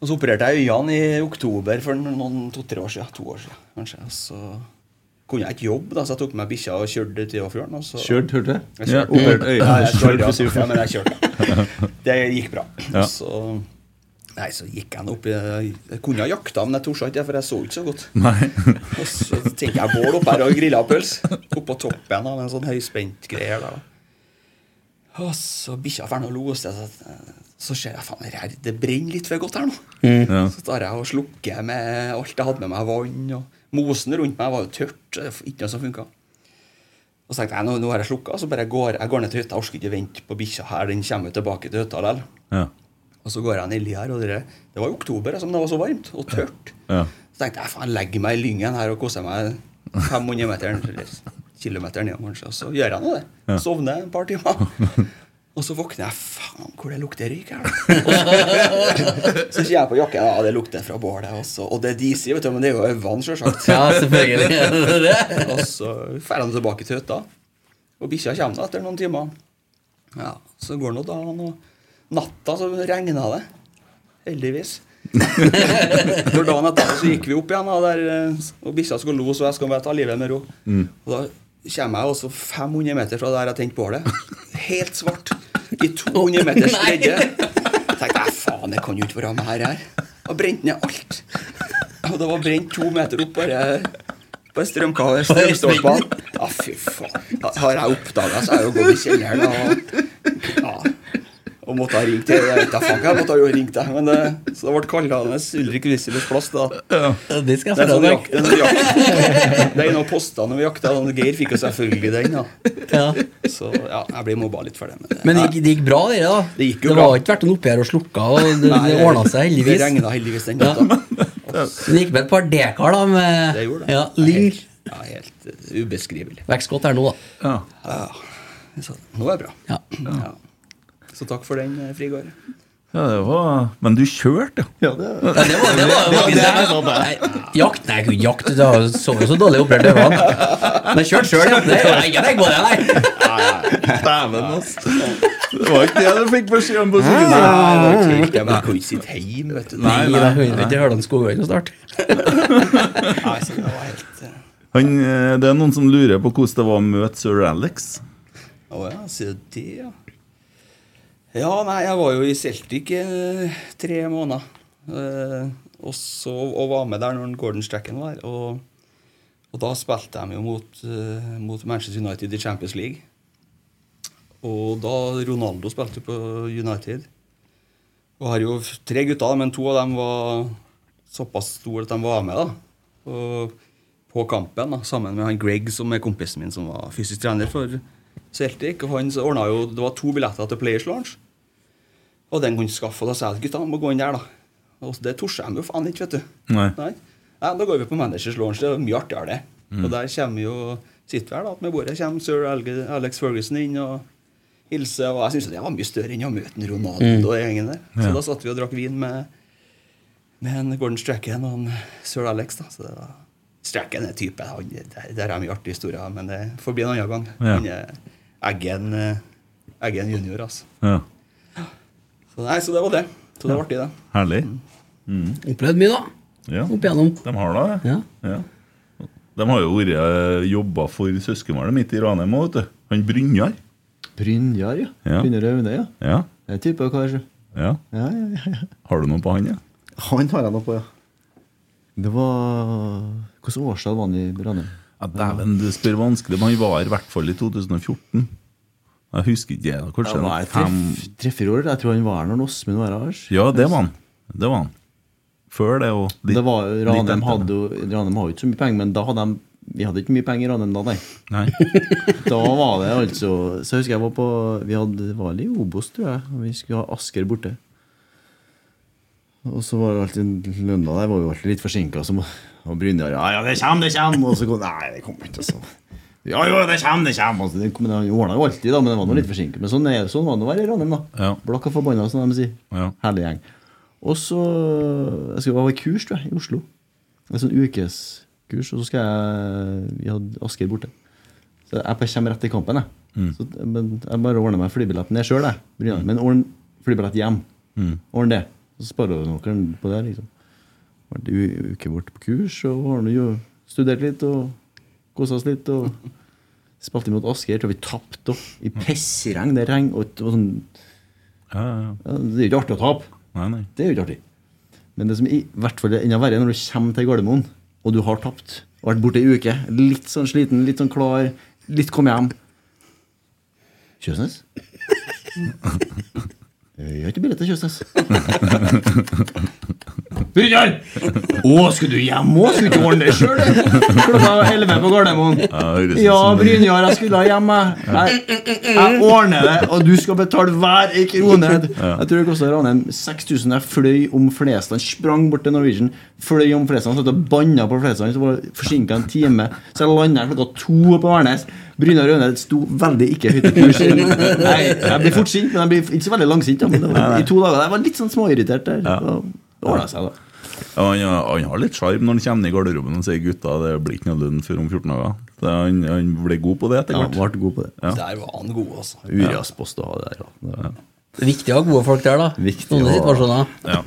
Speaker 10: Og så opererte jeg øynene i oktober for noen to-tre år siden. To år siden, kanskje. Og så kunne jeg ikke jobbe, da, så jeg tok med bikkja og kjørte til Åfjorden. og så-
Speaker 11: Kjørt, hørte
Speaker 10: Jeg
Speaker 11: du? Ja.
Speaker 10: kjørte.
Speaker 11: Operert øye.
Speaker 10: Ja, jeg
Speaker 11: Kjørt for
Speaker 10: kjørte, ja.
Speaker 11: syv.
Speaker 10: ja, men jeg kjørte. Det gikk bra.
Speaker 11: Ja.
Speaker 10: Og Så, nei, så gikk jeg nå opp i Jeg kunne ha jakta, men jeg torde ikke, for jeg så ikke så godt.
Speaker 5: Nei.
Speaker 10: Og så tenker jeg bål opp her og grilla pølse. Oppå toppen av en sånn høyspent greie her, da. Og så bikkja ferdig og lo, og så, så ser jeg faen, det her- det brenner litt for godt her nå.
Speaker 5: Mm. Ja.
Speaker 10: Så tar jeg og slukker med alt jeg hadde med meg, vann og Mosen rundt meg var jo tørt. eh, Ikke noe som funka. Og så tenkte jeg, nå, nå har jeg slukka, så bare går jeg går ned til hytta. Jeg orker ikke vente på bikkja her, den kommer jo tilbake til hytta likevel.
Speaker 5: Ja.
Speaker 10: Og så går jeg ned i li her, og det, det var i oktober, altså, men det var så varmt og tørt.
Speaker 5: Ja.
Speaker 10: Så tenkte jeg, faen, legger meg i lyngen her og koser meg 500 meter, eller kilometer ned, kanskje. Og så gjør jeg nå det.
Speaker 5: Ja.
Speaker 10: Sovner et par timer. Og så våkner jeg, faen, hvor det lukter røyk her. Og så, så kjenner jeg på jakken, ja, det lukter fra bålet også. Og det er disig, vet du, men det er jo øynene, selvsagt.
Speaker 6: Ja, selvfølgelig er det det.
Speaker 10: Og så drar han tilbake til hytta. Og bikkja kommer da etter noen timer. Ja, Så går nå dagen, og natta så regna det. Heldigvis. For dagen etter så gikk vi opp igjen, da, der, eh, og bikkja skulle los, og jeg skulle bare ta livet med ro.
Speaker 5: Mm.
Speaker 10: Og da kommer jeg også 500 meter fra der jeg tente bålet. Helt svart. I 200 meters
Speaker 4: Nei.
Speaker 10: bredde. tenkte jeg faen, det kan jo ikke være meg her. her. Og brente ned alt. Og det var brent to meter opp bare på strømkabel. Strømstolpene. Ja, fy faen. Da Har jeg oppdaga, så er jeg jo gått i kjelleren og ja. Og måtte ha ringt til Jeg vet da faen hva jeg måtte ha jo ringt deg. Men det, så det ble kallende Ulrik Wieselers plass, da.
Speaker 6: Ja, det skal jeg
Speaker 10: Det er
Speaker 6: fortelle
Speaker 10: sånn
Speaker 6: deg.
Speaker 10: jakt- det er sånn jakt- det er en av postene vi jakta. og Geir fikk jo selvfølgelig den. da Så ja, jeg blir mobba litt for det. Men, eh,
Speaker 6: Men det gikk, det gikk bra, det da? Det,
Speaker 10: jo
Speaker 6: var ikke vært noe oppgjør og slukka, og det,
Speaker 10: Nei,
Speaker 6: det ordna seg heldigvis.
Speaker 10: det regnet heldigvis den
Speaker 6: Ja. Men det gikk med et par dekar, da, med
Speaker 10: Det gjorde det.
Speaker 6: Ja, lyng.
Speaker 10: ja, helt eh, ubeskrivelig.
Speaker 6: Vekstgodt her nå, da.
Speaker 5: Ja.
Speaker 10: Så nå er det bra.
Speaker 6: Ja.
Speaker 10: Ja. Så takk for den, eh, Frigård.
Speaker 5: ja, det var Men du kjørte, ja.
Speaker 6: Ja, det var det. var, det var, Nei, jakt? Nei, jeg kunne ikke jakte. Det var så, så dårlig operert øyne. Men jeg kjørte sjøl, ja. Det er ikke tenk på det, nei.
Speaker 11: Dæven, altså.
Speaker 5: Det var ikke det du fikk beskjed om på skolen.
Speaker 10: Nei, det var ikke helt det, men jeg kunne ikke sitte hjemme, vet du.
Speaker 5: Nei,
Speaker 6: Nei,
Speaker 5: nei,
Speaker 6: da hører vi ikke Hørland Skogøyne snart.
Speaker 10: Nei, så det var helt eh,
Speaker 5: Han, eh, det er noen som lurer på hvordan det var å møte sir Alex.
Speaker 10: Å ja, sier du det, ja. Ja, nei, jeg var jo i Celtic eh, tre måneder. Eh, og, så, og var med der når Gordon Strecken var. Og, og da spilte de jo mot, eh, mot Manchester United i Champions League. Og da Ronaldo spilte på United. Og har jo f- tre gutter, men to av dem var såpass store at de var med. da. Og på kampen, da, sammen med han Greg, som er kompisen min, som var fysisk trener for Celtic. og han ordnet jo, Det var to billetter til Players Lounge. Og den kunne han skaffe. Og da sa jeg at gutta må gå inn der, da. Og det torde de jo faen ikke, vet du.
Speaker 5: Nei.
Speaker 10: Nei, Da går vi på Managers Lounge. Det er mye artigere, det.
Speaker 5: Mm.
Speaker 10: Og der kommer jo sitter vi her, da, med bordet kommer sir Alge- Alex Ferguson inn og hilser. Og jeg syns det var mye større enn å møte en Ronaldo
Speaker 6: Mm.
Speaker 10: og gjengen der. Så
Speaker 6: Ja.
Speaker 10: da satt vi og drakk vin med, med en Gordon Strachan og en sir Alex. da, så det var Strachan er type. Han, der, der er mye artige historier, men det får bli en annen gang.
Speaker 5: Ja.
Speaker 10: Han er Eggen, eh, Eggen junior, altså.
Speaker 5: Ja.
Speaker 10: Så, nei, så det var det. Så det var artig, det.
Speaker 5: Herlig. Mm.
Speaker 6: Opplevd mye, da.
Speaker 5: Ja.
Speaker 6: Opp igjennom.
Speaker 5: De har da det.
Speaker 6: Ja.
Speaker 5: Ja. De har jo vært eh, jobba for søskenbarnet mitt i Ranheim òg, vet du. Han Brynjar.
Speaker 8: Brynjar, ja.
Speaker 5: Ja.
Speaker 8: Brynjar Aune, ja.
Speaker 5: Ja.
Speaker 8: Det er en type, kanskje.
Speaker 5: ja.
Speaker 8: Ja, ja, ja, ja.
Speaker 5: Har du noe på han, ja?
Speaker 8: Han har jeg noe på, ja. Det var Hvilket årstid var han i Ranheim?
Speaker 5: Ja, Dæven, du spør vanskelig. Men han var her i hvert fall i 2014. Jeg husker ikke. det, Kanskje det var fem
Speaker 8: Tre-fire år. Jeg tror han var her når Åsmund var her. Lars.
Speaker 5: Ja, det var han. Det var han. Før det og litt-
Speaker 8: Det var, jo-
Speaker 5: litt
Speaker 8: Ranheim
Speaker 5: etter.
Speaker 8: hadde jo Ranheim har jo ikke så mye penger, men da hadde de vi hadde ikke mye penger i Ranheim da, nei.
Speaker 5: Nei.
Speaker 8: Da var det altså Så jeg husker jeg var på Vi hadde, det var i Obos, tror jeg. og Vi skulle ha Asker borte. Og så var det alltid lønna der var jo alltid litt forsinka. Og Brynjar ja, ja, det kommer, det kommer! Og så kom Nei, det kommer ikke. Så. Ja, jo, det kommer, det kommer! Altså, det kom, det ordna jo alltid, da, men det var nå litt forsinket. Men sånn, er, sånn var det å være i Ranheim, da.
Speaker 5: Ja.
Speaker 8: Blakk og forbanna, som de sier.
Speaker 5: Ja.
Speaker 8: Herlig gjeng. Og så Jeg skulle være i kurs, tror jeg, i Oslo. En sånn ukeskurs, og så skal jeg Vi hadde Asker borte. Så jeg bare kommer rett i kampen, jeg.
Speaker 5: Mm.
Speaker 8: Så, men jeg bare ordner meg flybilletten ned sjøl, jeg. Brynjar. Men ordn flybillett hjem.
Speaker 5: Mm.
Speaker 8: Ordn det. Så sparer du noen på det, liksom. Vært ei u- uke bort på kurs, og har nå jo studert litt og kosa oss litt. og Spilte mot Asker, tror jeg vi tapte òg. I pissregn. Det regn, og det var sånn Ja, Det er jo ikke artig å tape. Det er jo ikke artig. Men det som i hvert fall er enda verre, er når du kommer til Gardermoen, og du har tapt, og vært borte ei uke, litt sånn sliten, litt sånn klar, litt kom hjem Kjøsnes? Jeg har ikke billett til Kjøsnes. Brynjar! Å, skulle du hjem òg? Skulle du ikke ordne det sjøl? Klokka elleve på Gardermoen. Ja, Brynjar, jeg skulle ha hjem, jeg. Jeg- Jeg ordner det, og du skal betale hver ei krone.
Speaker 12: Ja.
Speaker 8: Jeg tror det kosta Ranheim 6000. Jeg fløy om Flesland, sprang bort til Norwegian, fløy om Flesland, satt og banna på Flesland, så var forsinka en time. Så jeg landa klokka to på Værnes. Brynar Rønne sto veldig ikke høyt på kurs. Jeg, jeg blir fort sint, men jeg blir ikke så veldig langsint. da, Men det var, I to dager Jeg var litt sånn småirritert der. så Det ordna seg, da.
Speaker 5: Ja, han, han har litt sjarm når han kommer ned i garderoben og sier gutta, det blir ikke noe lønn før om 14 dager. Det, han, han ble god på det etter
Speaker 8: Ja,
Speaker 5: hvert.
Speaker 8: han ble god på det.
Speaker 10: Der var han god, altså.
Speaker 8: post å ha det der. Ja.
Speaker 6: Det er viktig å ha gode folk der, da. Noen situasjoner.
Speaker 5: Ja.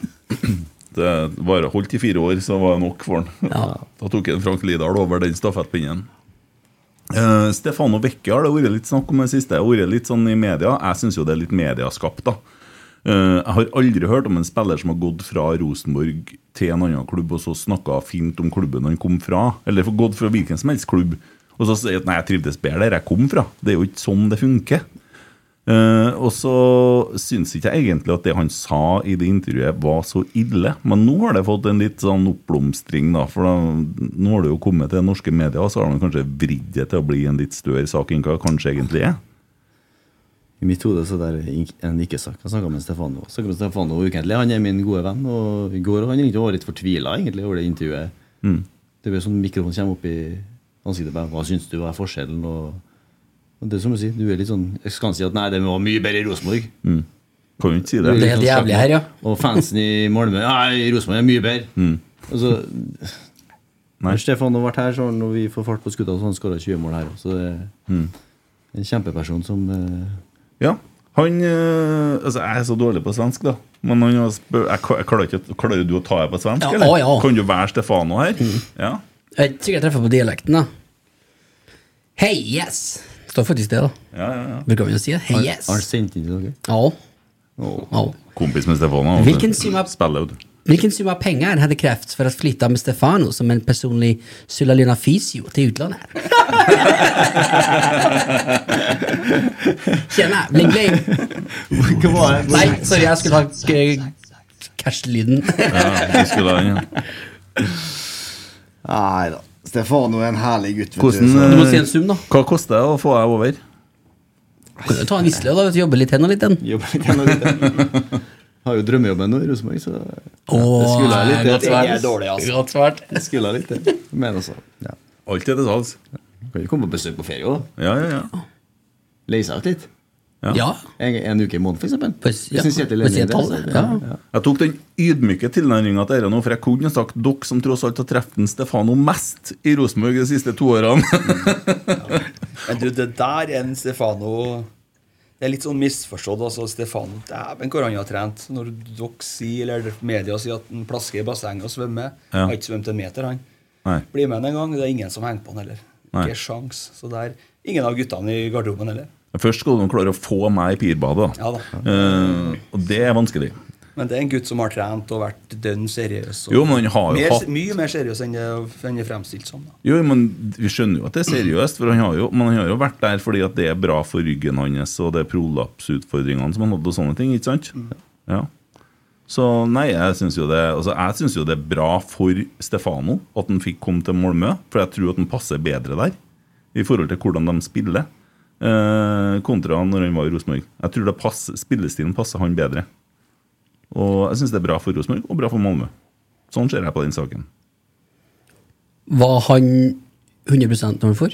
Speaker 5: Det var holdt i fire år, så var det nok for han. Da tok han Frank Lidahl over den stafettpinnen. Eh, Stefano Vecchia har det vært litt snakk om det siste. Det har vært litt sånn i media. Jeg syns jo det er litt medieskapt, da. Eh, jeg har aldri hørt om en spiller som har gått fra Rosenborg til en annen klubb og så snakka fint om klubben han kom fra, eller for- gått fra hvilken som helst klubb og så sier at 'nei, jeg trivdes bedre der jeg kom fra'. Det er jo ikke sånn det funker. Eh, og så syns ikke jeg egentlig at det han sa i det intervjuet, var så ille. Men nå har det fått en litt sånn oppblomstring, da. For da, nå har det jo kommet til norske medier, og så har de kanskje vridd det til å bli en litt større sak enn hva det kanskje egentlig er.
Speaker 8: I mitt hode så der er ik- en ikke-sak. Jeg snakka med Stefano Jeg snakket med Stefano ukentlig. Han er min gode venn. Og i går og han egentlig var litt fortvila egentlig, over det intervjuet.
Speaker 5: Mm.
Speaker 8: Det blir sånn mikrofonen kommer opp i ansiktet på deg. Hva syns du? Hva er forskjellen? Og, og det er som du sier, du er litt sånn Jeg skal ikke si at nei, det var mye bedre i Rosenborg.
Speaker 5: Mm. Kan jo ikke si
Speaker 8: Du
Speaker 5: det.
Speaker 8: litt sånn slapp. Og fansen i Malmö Nei, Rosenborg er mye bedre.
Speaker 5: Mm.
Speaker 8: Altså, Når Stefano ble her, så har han og vi får fart på skuta, så han skåra 20 mål her. Så det er
Speaker 5: Mm.
Speaker 8: en kjempeperson som eh,
Speaker 5: Ja. Han eh, Altså, jeg er så dårlig på svensk, da. Men han har spør, jeg, jeg klarer, ikke, å- klarer du å ta det på svensk,
Speaker 6: Ja,
Speaker 5: eller?
Speaker 6: å, ja. Mm.
Speaker 5: Kan du være Stefano her? Ja.
Speaker 6: Jeg er ikke sikkert jeg treffer på dialekten, da. Hei, yes! Det står faktisk det, da.
Speaker 5: Ja, ja, ja.
Speaker 6: Bruker vi å si det? Hei,
Speaker 8: Har-
Speaker 6: yes!
Speaker 8: Har han sendt inn til dere?
Speaker 6: Ja.
Speaker 5: Kompis med Stefano.
Speaker 6: Hvilken sum av-
Speaker 5: Spiller ut.
Speaker 6: Vilken summa pengar hade krävts för att flytta med Stefano som en personlig Sulalina Fisio till utlandet? Tjena, bling bling! Nei, sorry, jeg skulle ha k- cash-lyden.
Speaker 5: Ja, du skulle ha den, ja.
Speaker 13: Nei da. Stefano er en herlig gutt. vet
Speaker 5: Hvordan,
Speaker 13: så-
Speaker 6: Du må si en sum, da.
Speaker 5: Hva koster det å få deg over?
Speaker 6: Kan du Ta en visle og da, vet du, jobbe litt hen og litt den.
Speaker 8: Jobbe litt hen og litt den. Har jo drømmejobben nå i Rosenborg, så det
Speaker 6: Åh,
Speaker 8: skulle jeg litt.
Speaker 6: godt svart. Det er dårlig, altså. Godt svart.
Speaker 8: Det skulle jeg litt, det. Men altså, ja.
Speaker 5: Alt er til salgs.
Speaker 8: Kan jo komme på besøk på ferie òg.
Speaker 5: Ja, ja, ja.
Speaker 8: Leie seg ut litt.
Speaker 5: Ja. Ja.
Speaker 8: En, en uke i måneden, for eksempel. Hvis en sitter lenge
Speaker 5: Hvis jeg
Speaker 8: i det, altså.
Speaker 5: tar
Speaker 8: så-
Speaker 5: det,
Speaker 8: ja.
Speaker 5: altså. ja. Jeg tok den ydmyke tilnærminga til dette nå, for jeg kunne sagt dere som tross alt har truffet en Stefano mest i Rosenborg de siste to årene.
Speaker 10: Men du, det der er en Stefano Det er litt sånn misforstått. altså Stefano, Dæven, hvor han har trent. Når dere sier, eller media sier at han plasker i bassenget og svømmer
Speaker 5: Ja.
Speaker 10: Han har ikke svømt en meter, han.
Speaker 5: Nei.
Speaker 10: Bli med han en gang. Det er ingen som henger på han heller.
Speaker 5: Nei.
Speaker 10: Ikke sjans. Så det er ingen av guttene i garderoben heller.
Speaker 5: Først skal de klare å få meg i pirbadet, da.
Speaker 10: Ja da.
Speaker 5: Eh, og det er vanskelig.
Speaker 10: Men det er en gutt som har trent og vært dønn seriøs. og-
Speaker 5: Jo, men han har jo
Speaker 10: mer,
Speaker 5: hatt-
Speaker 10: Mye mer seriøs enn det enn det er fremstilt som. da.
Speaker 5: Jo, men Vi skjønner jo at det er seriøst, for han har jo, men han har jo vært der fordi at det er bra for ryggen hans, og det er prolapsutfordringene som han hadde, og sånne ting. ikke sant? Ja. Så nei, jeg syns jo, det- altså, jeg synes jo det er bra for Stefano at han fikk komme til Malmö, for jeg tror at han passer bedre der i forhold til hvordan de spiller, eh, kontra når han var i Rosenborg. Jeg tror det passer, spillestilen passer han bedre. Og jeg syns det er bra for Rosenborg og bra for Malmö. Sånn ser jeg på den saken.
Speaker 6: Var han 100 når han for?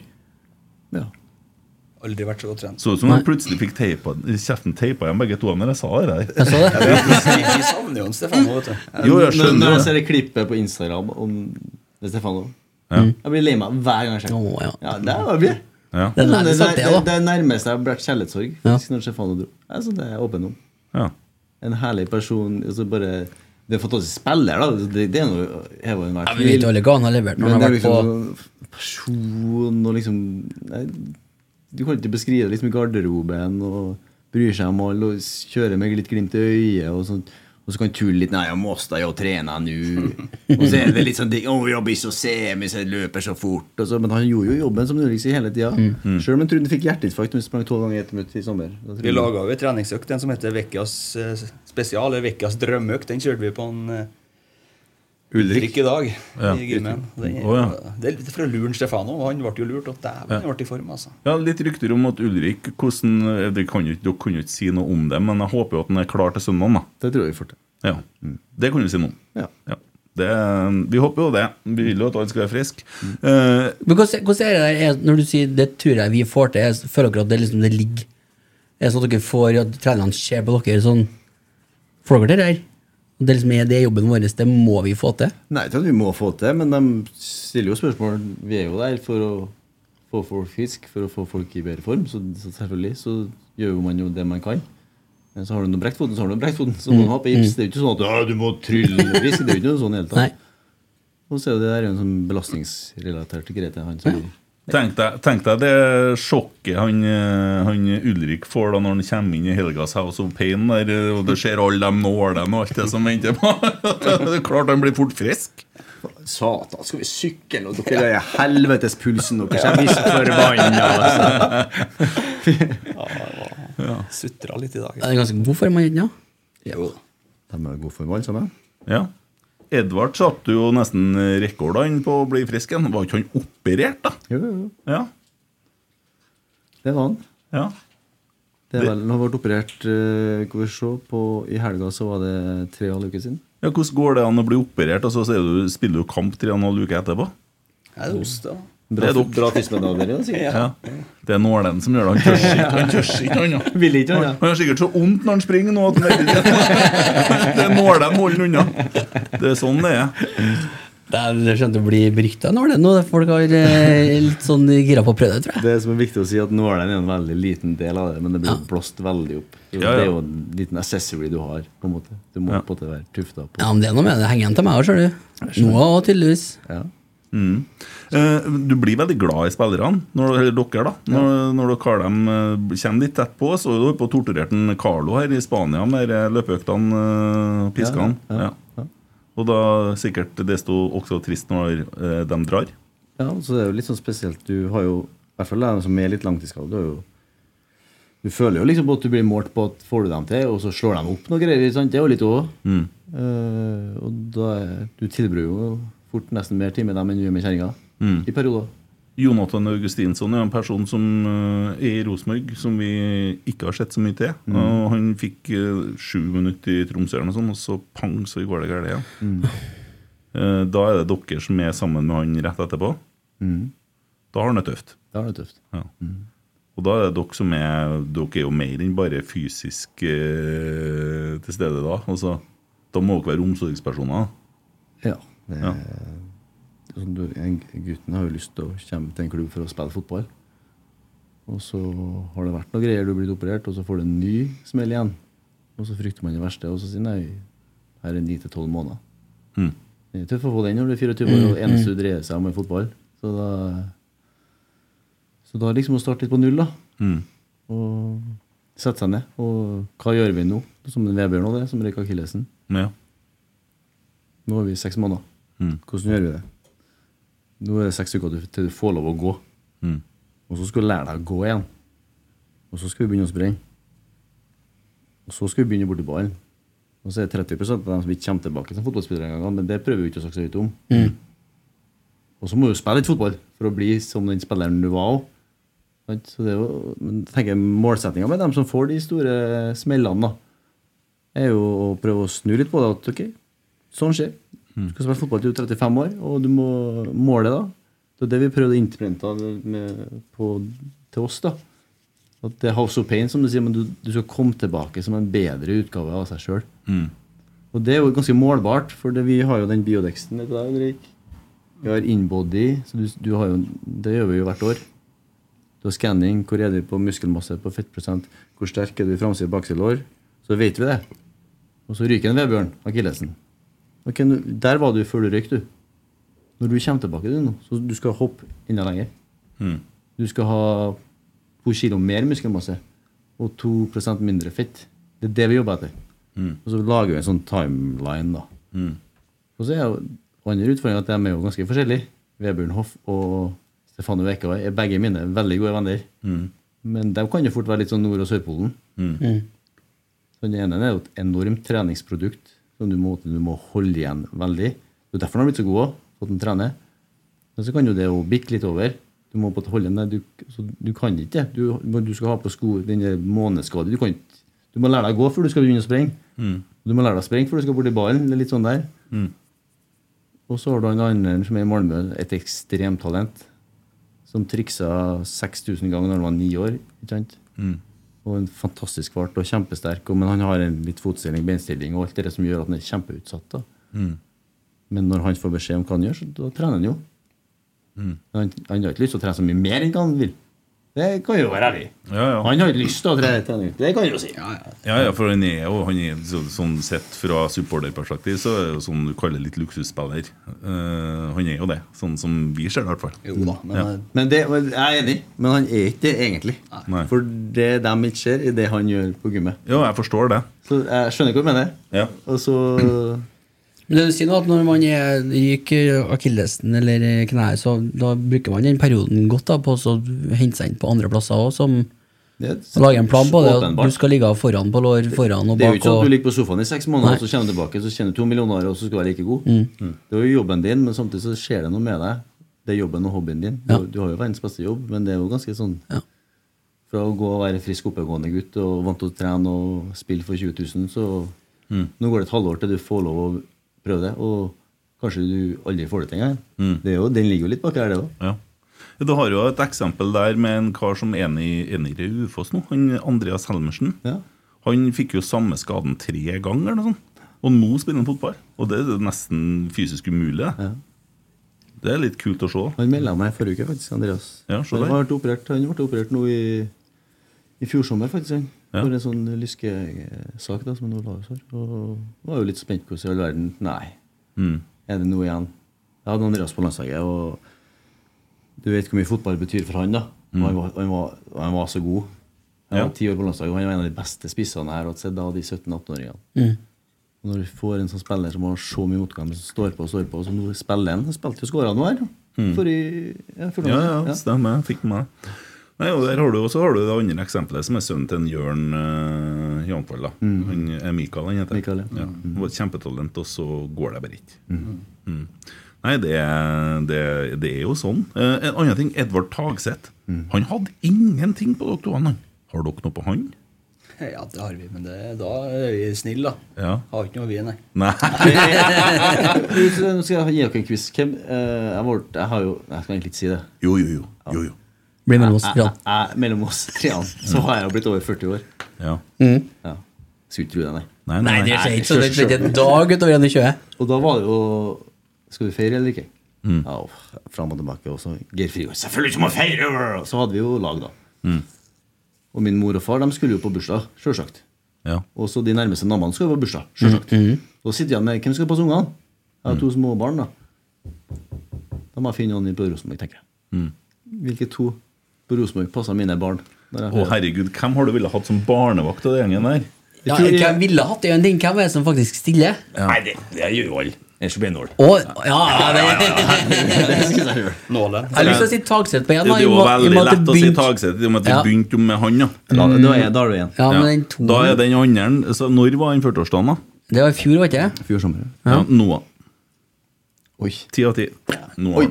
Speaker 10: Aldri vært så godt trent.
Speaker 5: Så ut som han plutselig fikk teipa, kjeften teipa igjen begge to når jeg sa det der.
Speaker 6: Jeg så det.
Speaker 10: Vi savner jo en Stefano, vet du.
Speaker 5: Jo, jeg skjønner
Speaker 8: Når
Speaker 5: det.
Speaker 8: eh, jeg ser det klippet på Instagram om det Stefano
Speaker 5: Ja.
Speaker 8: Jeg blir lei meg hver gang jeg ser det.
Speaker 6: ja.
Speaker 8: det er jo bra.
Speaker 5: Ja.
Speaker 8: Det,
Speaker 6: Det er
Speaker 8: det,
Speaker 6: nærmest
Speaker 8: det,
Speaker 6: at det,
Speaker 8: det,
Speaker 6: da.
Speaker 8: det er nærmest jeg har vært kjærlighetssorg faktisk, når Stefano dro. Altså, det er jeg åpen om.
Speaker 5: Ja.
Speaker 8: En herlig person. Altså bare Det er en fantastisk spiller, da. Det, det er noe heva enhver
Speaker 6: Ja, vi vet jo alle hva han har levert når
Speaker 8: Men
Speaker 6: han har
Speaker 8: det er
Speaker 6: vært
Speaker 8: liksom sånn Person og liksom nei, Du kan ikke beskrive det liksom i garderoben og bryr seg om alle og s- kjører med litt glimt i øyet og sånt. Og så kan tulle litt 'Nei, jeg måste jo trene nå'. Og så er det litt sånn ting 'Å, jeg blir så semis, jeg løper så fort'. Og så, men han gjorde jo jobben som Nordlik sier hele tida.
Speaker 10: Mm. Mm.
Speaker 8: Sjøl om han trodde han fikk hjerteinfarkt når han sprang tolv ganger i ett minutt i sommer. Da trodde
Speaker 10: Vi
Speaker 8: han-
Speaker 10: laga jo en treningsøkt, en som heter Vekkas eh, spesial, eller Vekkas drømmeøkt. Den kjørte vi på en eh,
Speaker 8: Ulrik.
Speaker 10: i dag.
Speaker 5: Ja.
Speaker 10: i gymmen. Den,
Speaker 5: Å, ja.
Speaker 10: Det er litt fra Luren Stefano, og han ble jo lurt. Og dæven,
Speaker 5: Ja.
Speaker 10: han ble i form, altså.
Speaker 5: Ja, Litt rykter om at Ulrik hvordan, eh, det kan jo, ikke- Dere kan jo ikke si noe om det, men jeg håper jo at han er klar til søndagen. da.
Speaker 8: Det tror jeg fort.
Speaker 5: Ja, Det kan vi si noe om.
Speaker 8: Ja.
Speaker 5: Det, vi håper jo det. Vi vil jo at alle skal være Eh, friske.
Speaker 6: Men hvordan, hvordan er det der, er, når du sier det tror jeg vi får til, jeg føler dere at det, liksom, det ligger Er det sånn at dere får at trenerne ser på dere sånn Får dere det der? Det er liksom er det jobben vår, det må vi få til.
Speaker 8: Nei, ikke at vi må få til, men de stiller jo spørsmål. Vi er jo der for å få folk frisk, for å få folk i bedre form. Så, så selvfølgelig så gjør jo man jo det man kan. Men så har du noe brekt foten, så har du noe brekt foten. Så må
Speaker 6: Mm.
Speaker 8: du ha på gips.
Speaker 6: Mm.
Speaker 8: Det er jo ikke sånn at «Ja, du må trylle deg frisk. Det er jo ikke noe sånn i det hele
Speaker 6: Nei.
Speaker 8: tatt. Og så er jo det der en sånn belastningsrelatert greie til han som blir
Speaker 5: Tenk deg, tenk deg det sjokket han, eh, han Ulrik får da når han kommer inn i Helgas House of Pain, der, eh, og du ser alle de nålene og alt det som venter på Det er Klart han blir fort frisk.
Speaker 13: Satan, skal vi sykle nå?
Speaker 8: Dere er helvetes pulsen deres. Jeg blir så forbanna, altså.
Speaker 10: Ja. Sutra litt i dag.
Speaker 6: Er det ganske god form av jentene?
Speaker 10: Jo da.
Speaker 8: De er gode formål, sammen.
Speaker 5: Ja. Edvard satte jo nesten rekordene på å bli frisk igjen. Var ikke han operert, da?
Speaker 8: Jo, jo, jo.
Speaker 5: Ja.
Speaker 8: Det var han.
Speaker 5: Ja.
Speaker 8: Det er
Speaker 5: Det-
Speaker 8: vel, han ble operert eh, skal vi se, på, i helga, så var det tre og en halv uke siden.
Speaker 5: ja hvordan går det an å bli operert, og så sier du, spiller du kamp tre og en halv uke etterpå?
Speaker 10: Nei, det er ost, da.
Speaker 5: Det er dere.
Speaker 8: Bra tidsmedaljer, da, sikkert.
Speaker 5: Ja. Det er nålen som gjør det. Han tør ikke, han tør ikke, han. ja.
Speaker 8: Vil ikke, han, ja.
Speaker 5: Han har sikkert så vondt når han springer nå at han vet ikke. Det er nålen holder han unna. Det er sånn det er.
Speaker 6: Det er det skjønt å bli berykta nå, det, nå folk har eh, litt sånn gira på å prøve det, tror jeg.
Speaker 8: Det som er viktig å si, at nålen er en veldig liten del av det, men det blir jo blåst veldig opp. Så
Speaker 6: Ja, ja.
Speaker 8: Det er jo en liten accessory du har, på en måte. Du må på en måte være tufta på.
Speaker 6: Ja, men det er noe med det. Det henger igjen til meg òg, ser du. Noah òg, tydeligvis.
Speaker 5: Mm. Eh, Du blir veldig glad i spillerne, når, eller dere, da. Når, når dere har dem eh, kommer litt tett på. Så er du på og torturerte en Carlo her i Spania med de løpeøktene eh, og piskene.
Speaker 8: Ja, ja, ja,
Speaker 5: Ja. Og da sikkert desto også trist når eh, de drar.
Speaker 8: Ja, så det er jo litt sånn spesielt. Du har jo, i hvert fall de som er litt langtidsskadet, du har jo Du føler jo liksom på at du blir målt på at får du dem til, og så slår de opp noe greier. Sant? Det er jo litt òg.
Speaker 5: Mm.
Speaker 8: og da er, du tilbringer jo fort nesten mer tid med dem enn du gjør med kjerringa.
Speaker 5: Mm.
Speaker 8: I perioder.
Speaker 5: Jonathan Augustinsson er en person som eh, er i Rosenborg, som vi ikke har sett så mye til.
Speaker 8: Mm.
Speaker 5: Og han fikk eh, sju minutter i Tromsø, eller noe sånt, og så pang, så går det galt igjen.
Speaker 8: Mm.
Speaker 5: Eh, Da er det dere som er sammen med han rett etterpå.
Speaker 8: Mm.
Speaker 5: Da har han det tøft.
Speaker 8: Da har han det tøft.
Speaker 5: Ja. Og da er det dere som er Dere er jo mer enn bare fysisk eh, til stede da. Altså, da må dere være omsorgspersoner.
Speaker 8: Ja. Det,
Speaker 5: Ja.
Speaker 8: det er sånn du, en- gutten har jo lyst til å komme til en klubb for å spille fotball. Og så har det vært noe greier, du er blitt operert, og så får du en ny smell igjen. Og så frykter man det verste, og så sier nei, her er ni til tolv måneder.
Speaker 5: Mm.
Speaker 8: Det er tøft å få den når du er 24 år, og det
Speaker 13: Mm,
Speaker 8: eneste du dreier seg om, er fotball. Så da, så da er det liksom å starte litt på null, da.
Speaker 5: Mm.
Speaker 8: Og sette seg ned. Og hva gjør vi nå? Som en Vebjørn og det, som røyk akillesen.
Speaker 5: Ja.
Speaker 8: Nå er vi seks måneder.
Speaker 5: Mm.
Speaker 8: Hvordan gjør vi det? Nå er det seks uker til- til du får lov å gå.
Speaker 5: Mm.
Speaker 8: Og så skal du lære deg å gå igjen. Og så skal vi begynne å sprenge. Og så skal vi begynne borti ballen. Og så er det 30 av dem som ikke kommer tilbake som fotballspillere engang. Men det prøver vi ikke å snakke så høyt om. Og så må du spille litt fotball for å bli som den spilleren du var òg. Så det er jo, men jeg tenker Målsettinga med dem som får de store smellene, da, er jo å prøve å snu litt på det. At ok, sånn skjer. Du skal spille fotball til du er 35 år, og du må måle, da. Det er det vi prøvde å innprente med- på- til oss. da. At det er House of Pain, som du sier, men du, du skal komme tilbake som en bedre utgave av seg sjøl.
Speaker 5: Mm.
Speaker 8: Og det er jo ganske målbart, for det, vi har jo den biodexen vet du det, Ulrik. Vi har inbody, så du, du har jo, det gjør vi jo hvert år. Du har skanning, hvor er du på muskelmasse, på fettprosent, hvor sterk er du i framside og bakside lår. Så vet vi det. Og så ryker en Vebjørn, akillesen. Ok, nå- Der var du før du røyk, du. Når du kommer tilbake, du nå, så du skal hoppe enda lenger.
Speaker 5: Mm.
Speaker 8: Du skal ha to kilo mer muskelmasse og 2 mindre fett. Det er det vi jobber etter.
Speaker 5: Mm.
Speaker 8: Og så lager vi en sånn timeline, da.
Speaker 5: Mm.
Speaker 8: Og så er jo andre utfordringer at de er jo ganske forskjellige. Vebjørn Hoff og Stefano Eka er begge mine veldig gode venner.
Speaker 5: Mm.
Speaker 8: Men de kan jo fort være litt sånn Nord- og Sørpolen.
Speaker 5: Mm.
Speaker 6: Mm.
Speaker 8: Så Den ene er jo et enormt treningsprodukt som du må, du må holde igjen veldig. Det er derfor han har blitt så god òg, at han trener. Men så kan jo det å bikke litt over. Du må på et holde igjen. Du, så du kan ikke det. Du, men du skal ha på sko den der måneskaden. Du, kan ikke- du må lære deg å gå før du skal begynne å sprenge.
Speaker 5: Mm.
Speaker 8: Du må lære deg å sprenge før du skal bort i ballen. Det er litt sånn der.
Speaker 5: Mm.
Speaker 8: Og så har du han andre som er i Malmö, et ekstremt talent. Som triksa 6000 ganger når han var ni år. ikke sant?
Speaker 5: Mm.
Speaker 8: Og en fantastisk fart og kjempesterk. og- Men han har en litt fotstilling, beinstilling og alt det der som gjør at han er kjempeutsatt. da.
Speaker 5: Mm.
Speaker 8: Men når han får beskjed om hva han gjør, så da trener han jo.
Speaker 5: Mm.
Speaker 8: Men Han, han har ikke lyst til å trene så mye mer enn hva han vil. Det kan jo være ærlig.
Speaker 5: Ja, ja.
Speaker 8: Han har ikke lyst til å trene. trening. Det kan jeg jo si.
Speaker 5: Ja, ja, for han er jo han er så, sånn sett fra supporterperspektiv så er det jo sånn du kaller litt luksusspiller. Eh, han er jo det, sånn som vi ser det i hvert fall.
Speaker 8: Jo da, men-
Speaker 5: ja.
Speaker 8: Men det, men jeg er enig, men han er ikke det egentlig.
Speaker 5: Nei.
Speaker 8: For det de ikke ser, er det han gjør på gymmet.
Speaker 5: Jo, jeg forstår det.
Speaker 8: Så jeg skjønner hva du mener.
Speaker 5: Ja.
Speaker 8: Og så
Speaker 6: Men det du sier nå, at når man er ryk akillesen eller kneet, så da bruker man den perioden godt da, på å så hente seg inn på andre plasser òg, som
Speaker 8: det,
Speaker 6: Lage en plan på det. at
Speaker 8: åpenbart.
Speaker 6: Du skal ligge foran på lår, foran og
Speaker 8: Det er jo
Speaker 6: bak.
Speaker 8: ikke sånn at
Speaker 6: og-
Speaker 8: du ligger på sofaen i seks måneder,
Speaker 6: Nei.
Speaker 8: og så kommer du tilbake så tjener du to millioner og så skal du være like god.
Speaker 6: Mm.
Speaker 8: Det er jo jobben din, men samtidig så skjer det noe med deg. Det er jobben og hobbyen din. Du, du har jo verdens beste jobb, men det er jo ganske sånn Fra å gå og være frisk, oppegående gutt og vant til å trene og spille for 20 000, så
Speaker 5: Mm.
Speaker 8: Nå går det et halvår til du får lov å prøve det, og kanskje du aldri får det til engang.
Speaker 5: Mm.
Speaker 8: Det er jo- Den ligger jo litt bak her, det òg.
Speaker 5: Ja. Du har jo et eksempel der med en kar som er i, er nede i Ufoss nå, han Andreas Helmersen. Han fikk jo samme skaden tre ganger, eller noe sånt. og nå spiller han fotball. Og det er jo nesten fysisk umulig. det. Det er litt kult å se.
Speaker 8: Han melda meg forrige uke, faktisk, Andreas.
Speaker 5: Ja, se
Speaker 8: han,
Speaker 5: der.
Speaker 8: har vært operert, han ble operert nå i, i fjor sommer, faktisk. Han.
Speaker 5: Ja.
Speaker 8: For en sånn lyskesak da, som han nå la ut for. Og var jo litt spent på hvordan i all verden Nei,
Speaker 5: Mm.
Speaker 8: er det noe igjen? Jeg hadde Andreas på landslaget, og du vet hvor mye fotball betyr for han, da. Og
Speaker 5: Mm.
Speaker 8: Han, var, han, var, og han var så god. Han
Speaker 5: Ja.
Speaker 8: var ti år på landslaget, og han var en av de beste spissene jeg har hatt sett av de 17-18-åringene.
Speaker 6: Mm.
Speaker 8: Og Når du får en sånn spiller som har så mye motgang, men som står på og står på og som nå spiller han, han spilte jo skåra nå her.
Speaker 5: Mm.
Speaker 8: For i, ja, for
Speaker 5: Ja,
Speaker 8: noen-
Speaker 5: ja, stemmer. Jeg Fikk med det. Nei, og der har du også har du det andre eksempelet, som er sønnen til en Jørn uh, Janfold. da. Han er Mikael, han heter.
Speaker 8: Mikael,
Speaker 5: ja. Var et kjempetalent, og så går det bare ikke. Mm. Nei, det, er- det, er- det er jo sånn. Eh, en annen ting, Edvard Tagseth. Han hadde ingenting på dere to. han. Har dere noe på han?
Speaker 9: Ja, det har vi, men det, da er vi snille, da.
Speaker 5: Ja.
Speaker 9: Har ikke noe vi, nei.
Speaker 5: Nei.
Speaker 8: Du, så Nå skal jeg gi dere en quiz. Hvem, eh, jeg, var, jeg har jo Jeg skal egentlig ikke si det.
Speaker 5: Jo, jo, jo. jo, jo.
Speaker 6: Blir mellom oss
Speaker 8: Jeg-
Speaker 6: tre.
Speaker 8: jeg- jeg- Mellom oss treene. Så har jeg jo blitt over 40 år.
Speaker 5: Ja.
Speaker 6: Mm.
Speaker 8: Ja. Skulle ikke tro det, nei.
Speaker 5: Nei,
Speaker 6: Nei, det skjer ikke. Så det
Speaker 8: Sjøl-
Speaker 6: skjer ikke en dag utover 21.
Speaker 8: Og da var det jo Skal du feire eller ikke?
Speaker 5: Mm.
Speaker 8: Ja, og fram og tilbake. Og så Geir Frigård. Selvfølgelig ikke må feire! Og Så hadde vi jo lag, da.
Speaker 5: Mm.
Speaker 8: Og min mor og far de skulle jo på bursdag, sjølsagt.
Speaker 5: Ja.
Speaker 8: Og så de nærmeste naboene skulle jo på bursdag, sjølsagt.
Speaker 6: Mhm.
Speaker 8: Da sitter jeg med Hvem skal passe ungene? Jeg har to små barn, da. Da må jeg finne noen på Rosenborg, tenker jeg.
Speaker 5: Mm.
Speaker 8: Hvilke to på Rosenborg passer mine barn? Når jeg
Speaker 5: Å, herregud, hvem har du ville hatt som barnevakt av den gjengen der?
Speaker 6: Ja, hvem ville hatt det? er jo en ting. Hvem er det som faktisk stiller?
Speaker 5: Nei, det, gjør jo alle. Ellers blir det nål.
Speaker 6: Å, ja, det
Speaker 9: Nålen.
Speaker 6: Jeg har lyst til å si Tagseth på
Speaker 5: Det
Speaker 6: én.
Speaker 5: det er jo veldig lett å si Tagseth i og med at vi
Speaker 6: Ja.
Speaker 5: begynte jo med han. Da,
Speaker 8: Da- da er jeg- da er du igjen.
Speaker 6: Ja, men den tonen-
Speaker 5: Da er den andre så Når var den 40-årsdagen, da?
Speaker 6: Det var i fjor, var ikke det?
Speaker 8: Fjor sommer.
Speaker 5: Ja. Noah.
Speaker 8: Oi.
Speaker 5: Ti av ti. Noah.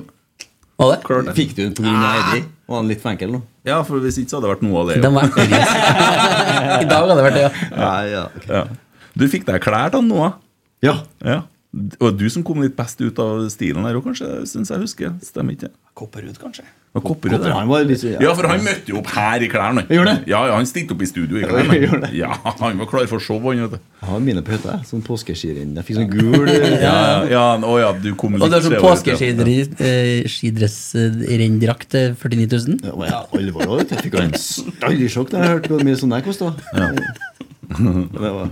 Speaker 6: Var det?
Speaker 5: Klart det.
Speaker 8: Fikk du den på grunn av Eidi? Var han litt for enkel nå?
Speaker 5: Ja, for hvis ikke så hadde det vært Noah det.
Speaker 6: Den var I dag hadde det vært det, ja.
Speaker 8: Nei, ja.
Speaker 5: Ja. Du fikk deg klær da, Noah.
Speaker 8: Ja.
Speaker 5: ja. Og du som kom litt best ut av stilen her òg, kanskje? Syns jeg husker. Stemmer ikke det?
Speaker 9: Kopperud, kanskje.
Speaker 5: Og Kopperud,
Speaker 8: Kopperud,
Speaker 5: ja.
Speaker 8: han var litt-
Speaker 5: Ja, for han møtte jo opp her i klærne.
Speaker 8: Gjorde det?
Speaker 5: Ja, ja, han stilte opp i studio i
Speaker 8: han gjorde
Speaker 5: klærne.
Speaker 8: det.
Speaker 5: Ja, Han var klar for show, han. vet du.
Speaker 8: Jeg har mine på hytta, jeg. Sånn påskeskirenn. Jeg fikk sånn gul
Speaker 5: Ja, ja, å ja, du kom
Speaker 6: Og det er
Speaker 5: litt
Speaker 6: sånn eh,
Speaker 5: sleivere til.
Speaker 6: påskeskidressrenndrakt til 49 000.
Speaker 8: Og jeg alvor også, vet du. Jeg fikk jo en stall i sjokk da jeg hørte hvor mye sånn jeg kosta. Det var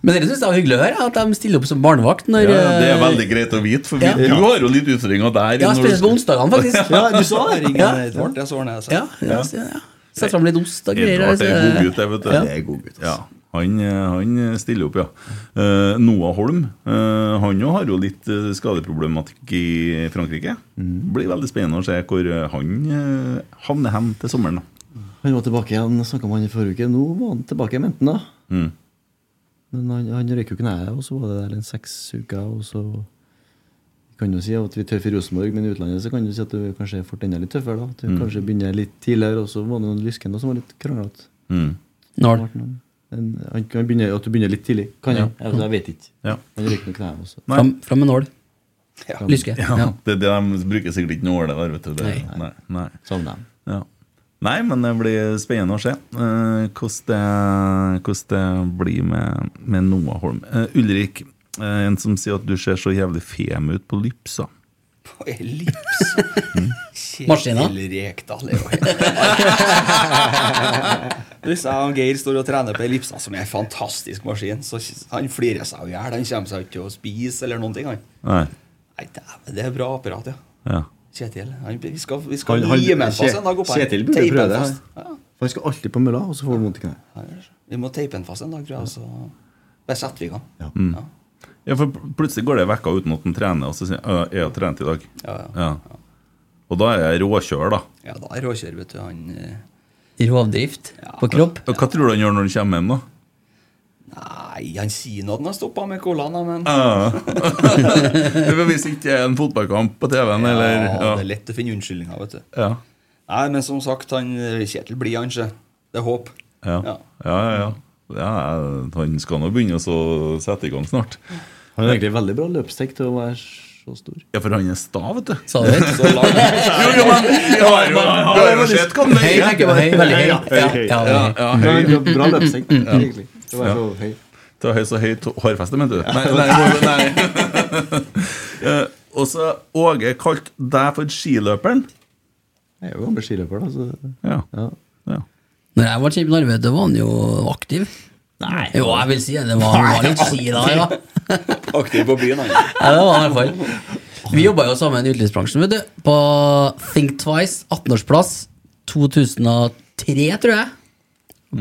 Speaker 6: Men dere syns det var hyggelig å høre at de stiller opp som barnevakt når
Speaker 5: Ja, det er
Speaker 6: eh,
Speaker 5: veldig greit å vite, for vi,
Speaker 6: Ja.
Speaker 5: du har jo litt utfordringer der.
Speaker 6: Ja,
Speaker 5: når
Speaker 6: spilles
Speaker 5: du-
Speaker 6: på onsdagene, faktisk.
Speaker 5: Ja, du sa det.
Speaker 6: Ja.
Speaker 5: Ringen Edvard,
Speaker 10: det så ordner jeg seg.
Speaker 6: Ja, ja, så- ja. Sett fram litt ost og greier.
Speaker 5: Edvard er en
Speaker 6: altså.
Speaker 5: god gutt, altså. jeg vet du.
Speaker 6: Ja.
Speaker 5: Ja, han, eh, han stiller opp, ja. Eh, Noah Holm eh, han jo har jo litt eh, skadeproblematikk i Frankrike. Blir veldig spennende å se hvor eh, han eh, havner hen til sommeren. da.
Speaker 8: Han var tilbake igjen, snakka med han i forrige uke. Nå var han tilbake i menten, da.
Speaker 5: Mm.
Speaker 8: Men han, han røyk jo kneet, og så var det der en seks uker, og så Vi kan jo si at vi er tøffe i Rosenborg, men i utlandet så kan du si at du kanskje fort enda litt tøffere, da. At du
Speaker 5: Mm.
Speaker 8: kanskje begynner litt tidligere, og så var det noen lysken da som var litt kranglete.
Speaker 5: Mm.
Speaker 6: Nål.
Speaker 8: Men Han kan begynne, at du begynner litt tidlig, kan jeg.
Speaker 5: Ja.
Speaker 8: Jeg, jeg vet ikke.
Speaker 5: Ja.
Speaker 8: Han røyk noe kneet også.
Speaker 5: Nei. Fram-
Speaker 6: fram med nål. Lyske.
Speaker 5: Ja,
Speaker 6: Ja.
Speaker 5: det, det, de bruker sikkert ikke nåle der, vet du. Det,
Speaker 6: Nei.
Speaker 5: nei. Nei.
Speaker 8: Som dem.
Speaker 5: Ja. Nei, men det blir spennende å se eh, hvordan, det, hvordan det blir med, med Noah Holm. Eh, Ulrik, eh, en som sier at du ser så jævlig fem ut på lypsa.
Speaker 10: På ellips.
Speaker 6: Maskina.
Speaker 10: Kjetil Rekdal er jo helt Hvis jeg og Geir står og trener på ellipsa, som er en fantastisk maskin, så han flirer seg jo i hjel. Han kommer seg ikke til å spise eller noen ting. Han.
Speaker 5: Nei.
Speaker 10: Nei, dæven, det er bra apparat, ja.
Speaker 5: Ja.
Speaker 10: Kjetil. Han, vi skal, vi skal
Speaker 8: Han- han-
Speaker 10: lime han fast
Speaker 8: Kje-
Speaker 10: en dag opp her.
Speaker 8: Kjetil burde
Speaker 10: Teipe
Speaker 8: prøve
Speaker 10: han
Speaker 8: det.
Speaker 10: fast.
Speaker 8: han. For Han skal alltid på mølla, og så får han vondt i kneet.
Speaker 10: Vi må teipe han fast en dag, tror jeg. Så bare setter vi i gang.
Speaker 5: Mm. Ja, for pl- plutselig går det ei uke uten at han trener, og så sier han «Øh, jeg har trent i dag. Ja. Og da er jeg råkjør, da.
Speaker 10: Ja, da er råkjør, vet du. Han eh,
Speaker 6: Rovdrift på kropp.
Speaker 5: Og Hva tror du han gjør når han kommer hjem, da?
Speaker 10: Nei, han sier nå at han har stoppa med colaen, da, men
Speaker 5: Ja. Det er Hvis ikke er en fotballkamp på TV-en, eller
Speaker 10: Ja,
Speaker 5: ja.
Speaker 10: det er lett å finne unnskyldninger, vet du.
Speaker 5: Ja.
Speaker 10: Nei, men som sagt, han eh, Kjetil blir han ikke. Det er håp.
Speaker 5: Ja, ja, ja. ja. han skal nå begynne å så sette i gang snart.
Speaker 8: Han har egentlig veldig bra løpstek til å være så stor.
Speaker 5: Ja, for han er sta, vet du.
Speaker 6: Sa du det?
Speaker 8: Så lang.
Speaker 5: jo, jo, men vi har jo- vi har jo sett hva han
Speaker 6: Hei,
Speaker 5: veier.
Speaker 6: tenker jeg på hei, veldig hei.
Speaker 5: Ja,
Speaker 6: Ja,
Speaker 5: ja,
Speaker 6: ja, hei.
Speaker 5: ja,
Speaker 6: Det var
Speaker 5: hei.
Speaker 6: bra løpsing,
Speaker 5: Ja.
Speaker 6: egentlig. Det var
Speaker 5: Ja.
Speaker 6: så hei.
Speaker 5: Det var høy så høyt hårfeste, mente du? Nei, nei, må- nei. Eh, Og så Åge kalt deg for skiløperen.
Speaker 8: Jeg er jo gammel skiløper, da. Så.
Speaker 5: Ja.
Speaker 6: Når jeg var kjent med Narve, da var han jo aktiv. Nei. Jo, jeg vil si det. det var, han var litt si da, ja.
Speaker 10: Aktiv på byen, han.
Speaker 6: ja, det var han i hvert fall. Vi jobba jo sammen i utelivsbransjen, vet du. På Think Twice, 18-årsplass. 2003, tror jeg.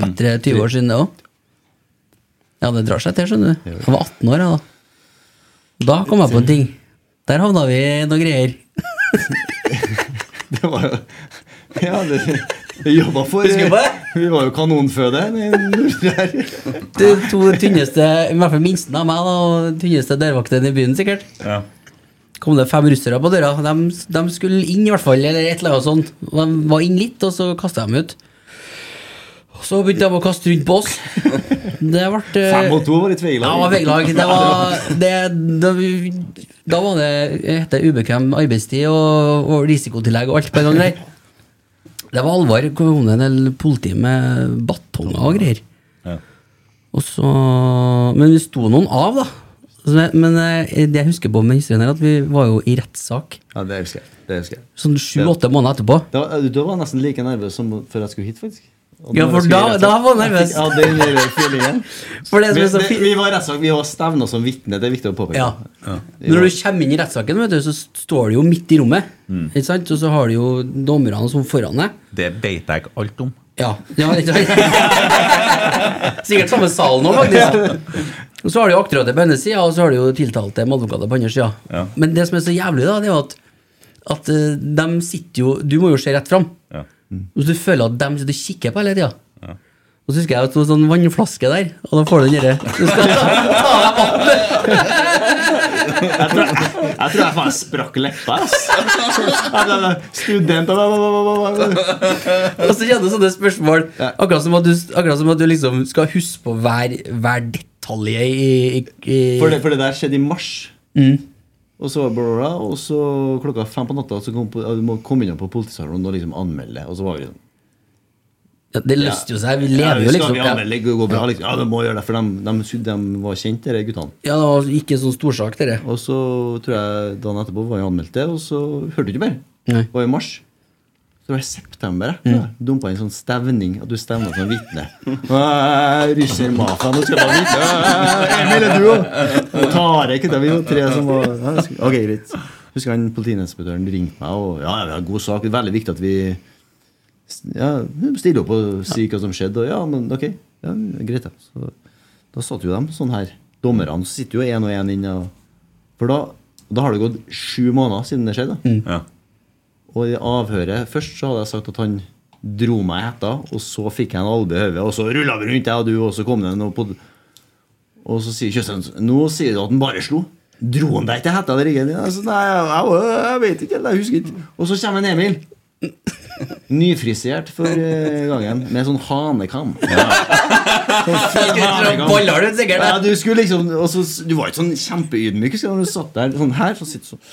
Speaker 6: Bedre 20 år siden det òg. Ja, det drar seg til, skjønner du. Jeg var 18 år, jeg, da. Da kom jeg på en ting. Der havna vi i noen greier.
Speaker 8: Det var jo Ja, det vi jobba for
Speaker 6: Husker du på det?
Speaker 8: Vi var jo kanonføde.
Speaker 6: De to tynneste, i hvert fall minsten av meg, da, og tynneste dørvaktene i byen, sikkert.
Speaker 5: Ja.
Speaker 6: kom det fem russere på døra. De, de skulle inn, i hvert fall, eller et eller annet sånt. Og De var inn litt, og så kasta jeg dem ut. Og så begynte de å kaste rundt på oss. Det ble eh,
Speaker 8: Fem mot to var litt veilag.
Speaker 6: Ja, det var veilag. Det var, det, det, da var det jeg heter ubekvem arbeidstid og, og risikotillegg og alt på en gang der. Det var alvor. Det kom en del politi med batonger og greier.
Speaker 5: Ja.
Speaker 6: Og så, men vi sto noen av, da. Så det- Men eh, det jeg husker på med historien her, at vi var jo i rettssak
Speaker 8: Ja, det husker jeg. Det husker jeg.
Speaker 6: sånn sju-åtte måneder etterpå.
Speaker 8: Da, da var jeg nesten like nervøs som før jeg skulle hit, faktisk. Og
Speaker 6: Ja,
Speaker 8: når
Speaker 6: for
Speaker 8: jeg skulle i
Speaker 6: da-
Speaker 8: rettssak-
Speaker 6: da var jeg nervøs.
Speaker 8: Ja, den der feelingen.
Speaker 6: For det som er så
Speaker 8: Men
Speaker 6: fint-
Speaker 8: vi var i rettssak, vi var stevna som vitne, det er viktig å påpeke.
Speaker 6: Ja. Når du kommer inn i rettssaken, vet du, så står du jo midt i rommet. Ikke sant? Og så har du jo dommerne som foran deg.
Speaker 5: Det vet jeg ikke alt om.
Speaker 6: Ja, ja ikke sant? Sikkert samme salen òg, faktisk. Og så har du jo aktoratet på ene sida, og så har du jo tiltalte med advokater på andre sida. Men det som er så jævlig, da, det er jo at, at eh, de sitter jo Du må jo se rett fram.
Speaker 5: Ja.
Speaker 6: Og så Mm. du føler at de sitter og kikker på hele tida.
Speaker 5: Ja.
Speaker 6: Og så husker jeg at det var sånn vannflaske der, og da får du den
Speaker 8: Jeg tror jeg, jeg, tror jeg faen sprakk leppa, ass. Jeg ble Student og
Speaker 6: Og så kjenner du sånne spørsmål. Akkurat som at du, akkurat som at du liksom skal huske på hver, hver detalj i, i, i
Speaker 8: For det, for det der skjedde i mars.
Speaker 6: Mm.
Speaker 8: Og så var det bla, bla, bla, og så klokka fem på natta så kom, po- ja, du må komme innom på politistasjonen og liksom anmelde. Og så var vi sånn
Speaker 6: Ja, det løste jo seg. Vi lever jo
Speaker 8: skal
Speaker 6: liksom.
Speaker 8: vi
Speaker 6: Ja.
Speaker 8: anmelde, det går bra, liksom. Ja, du må gjøre det, for de, de, de var kjent, de guttene.
Speaker 6: Ja, det var ikke en sånn storsak, dere.
Speaker 8: Og så tror jeg dagen etterpå var jeg anmeldt det, og så hørte du ikke mer.
Speaker 6: Nei.
Speaker 8: Det var i mars. Det var i september. jeg. Dumpa inn sånn stevning. At du stevna som vitne. «Æ, Russermafia, nå skal jeg være vitne! «Æ, Emil, er du òg? Tarek det var jo tre som var ja, det skulle- Ok, greit. Husker han politiinspektøren ringte meg og ja, vi har en god sak. Det er veldig viktig at vi ja, stiller opp og sier hva som skjedde. Og ja, men ok, ja, greit. Ja. Så, da satt jo de sånn her. Dommerne så sitter jo én og én inne. og- For da, da har det gått sju måneder siden det skjedde. da. Og i avhøret først så hadde jeg sagt at han dro meg i hetta, og så fikk jeg en albue i hodet, og så rulla vi rundt, jeg og du, og så kom det noe på Og så sier Kjøstheim Nå sier du at han bare slo. Dro han deg til hetta eller ikke? Jeg, sa, nei, jeg, jeg, jeg vet ikke, jeg husker ikke. Og så kommer en Emil. Nyfrisert for eh, gangen, med sånn hanekam. Sånn
Speaker 6: Baller du sikkert,
Speaker 8: Ja, du skulle liksom og så- Du var ikke sånn kjempeydmyk. husker jeg, når Du satt der sånn her så sitter du sånn.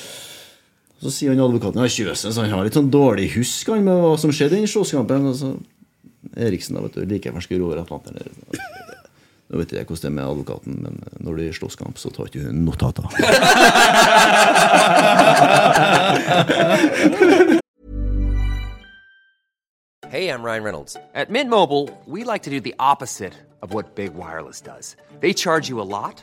Speaker 8: Så sier han advokaten ja, Kjøsen, så han har litt sånn dårlig husk han med hva som skjedde i den slåsskampen. Og så Eriksen, da, vet du. Like fersk over Atlanten. Nå vet jeg hvordan det er med advokaten, men eh, når det er slåsskamp, så tar ikke hun notater.
Speaker 12: Hey, I'm Ryan Reynolds. At Mint Mobile, we like to do the opposite of what Big Wireless does. They charge you a lot,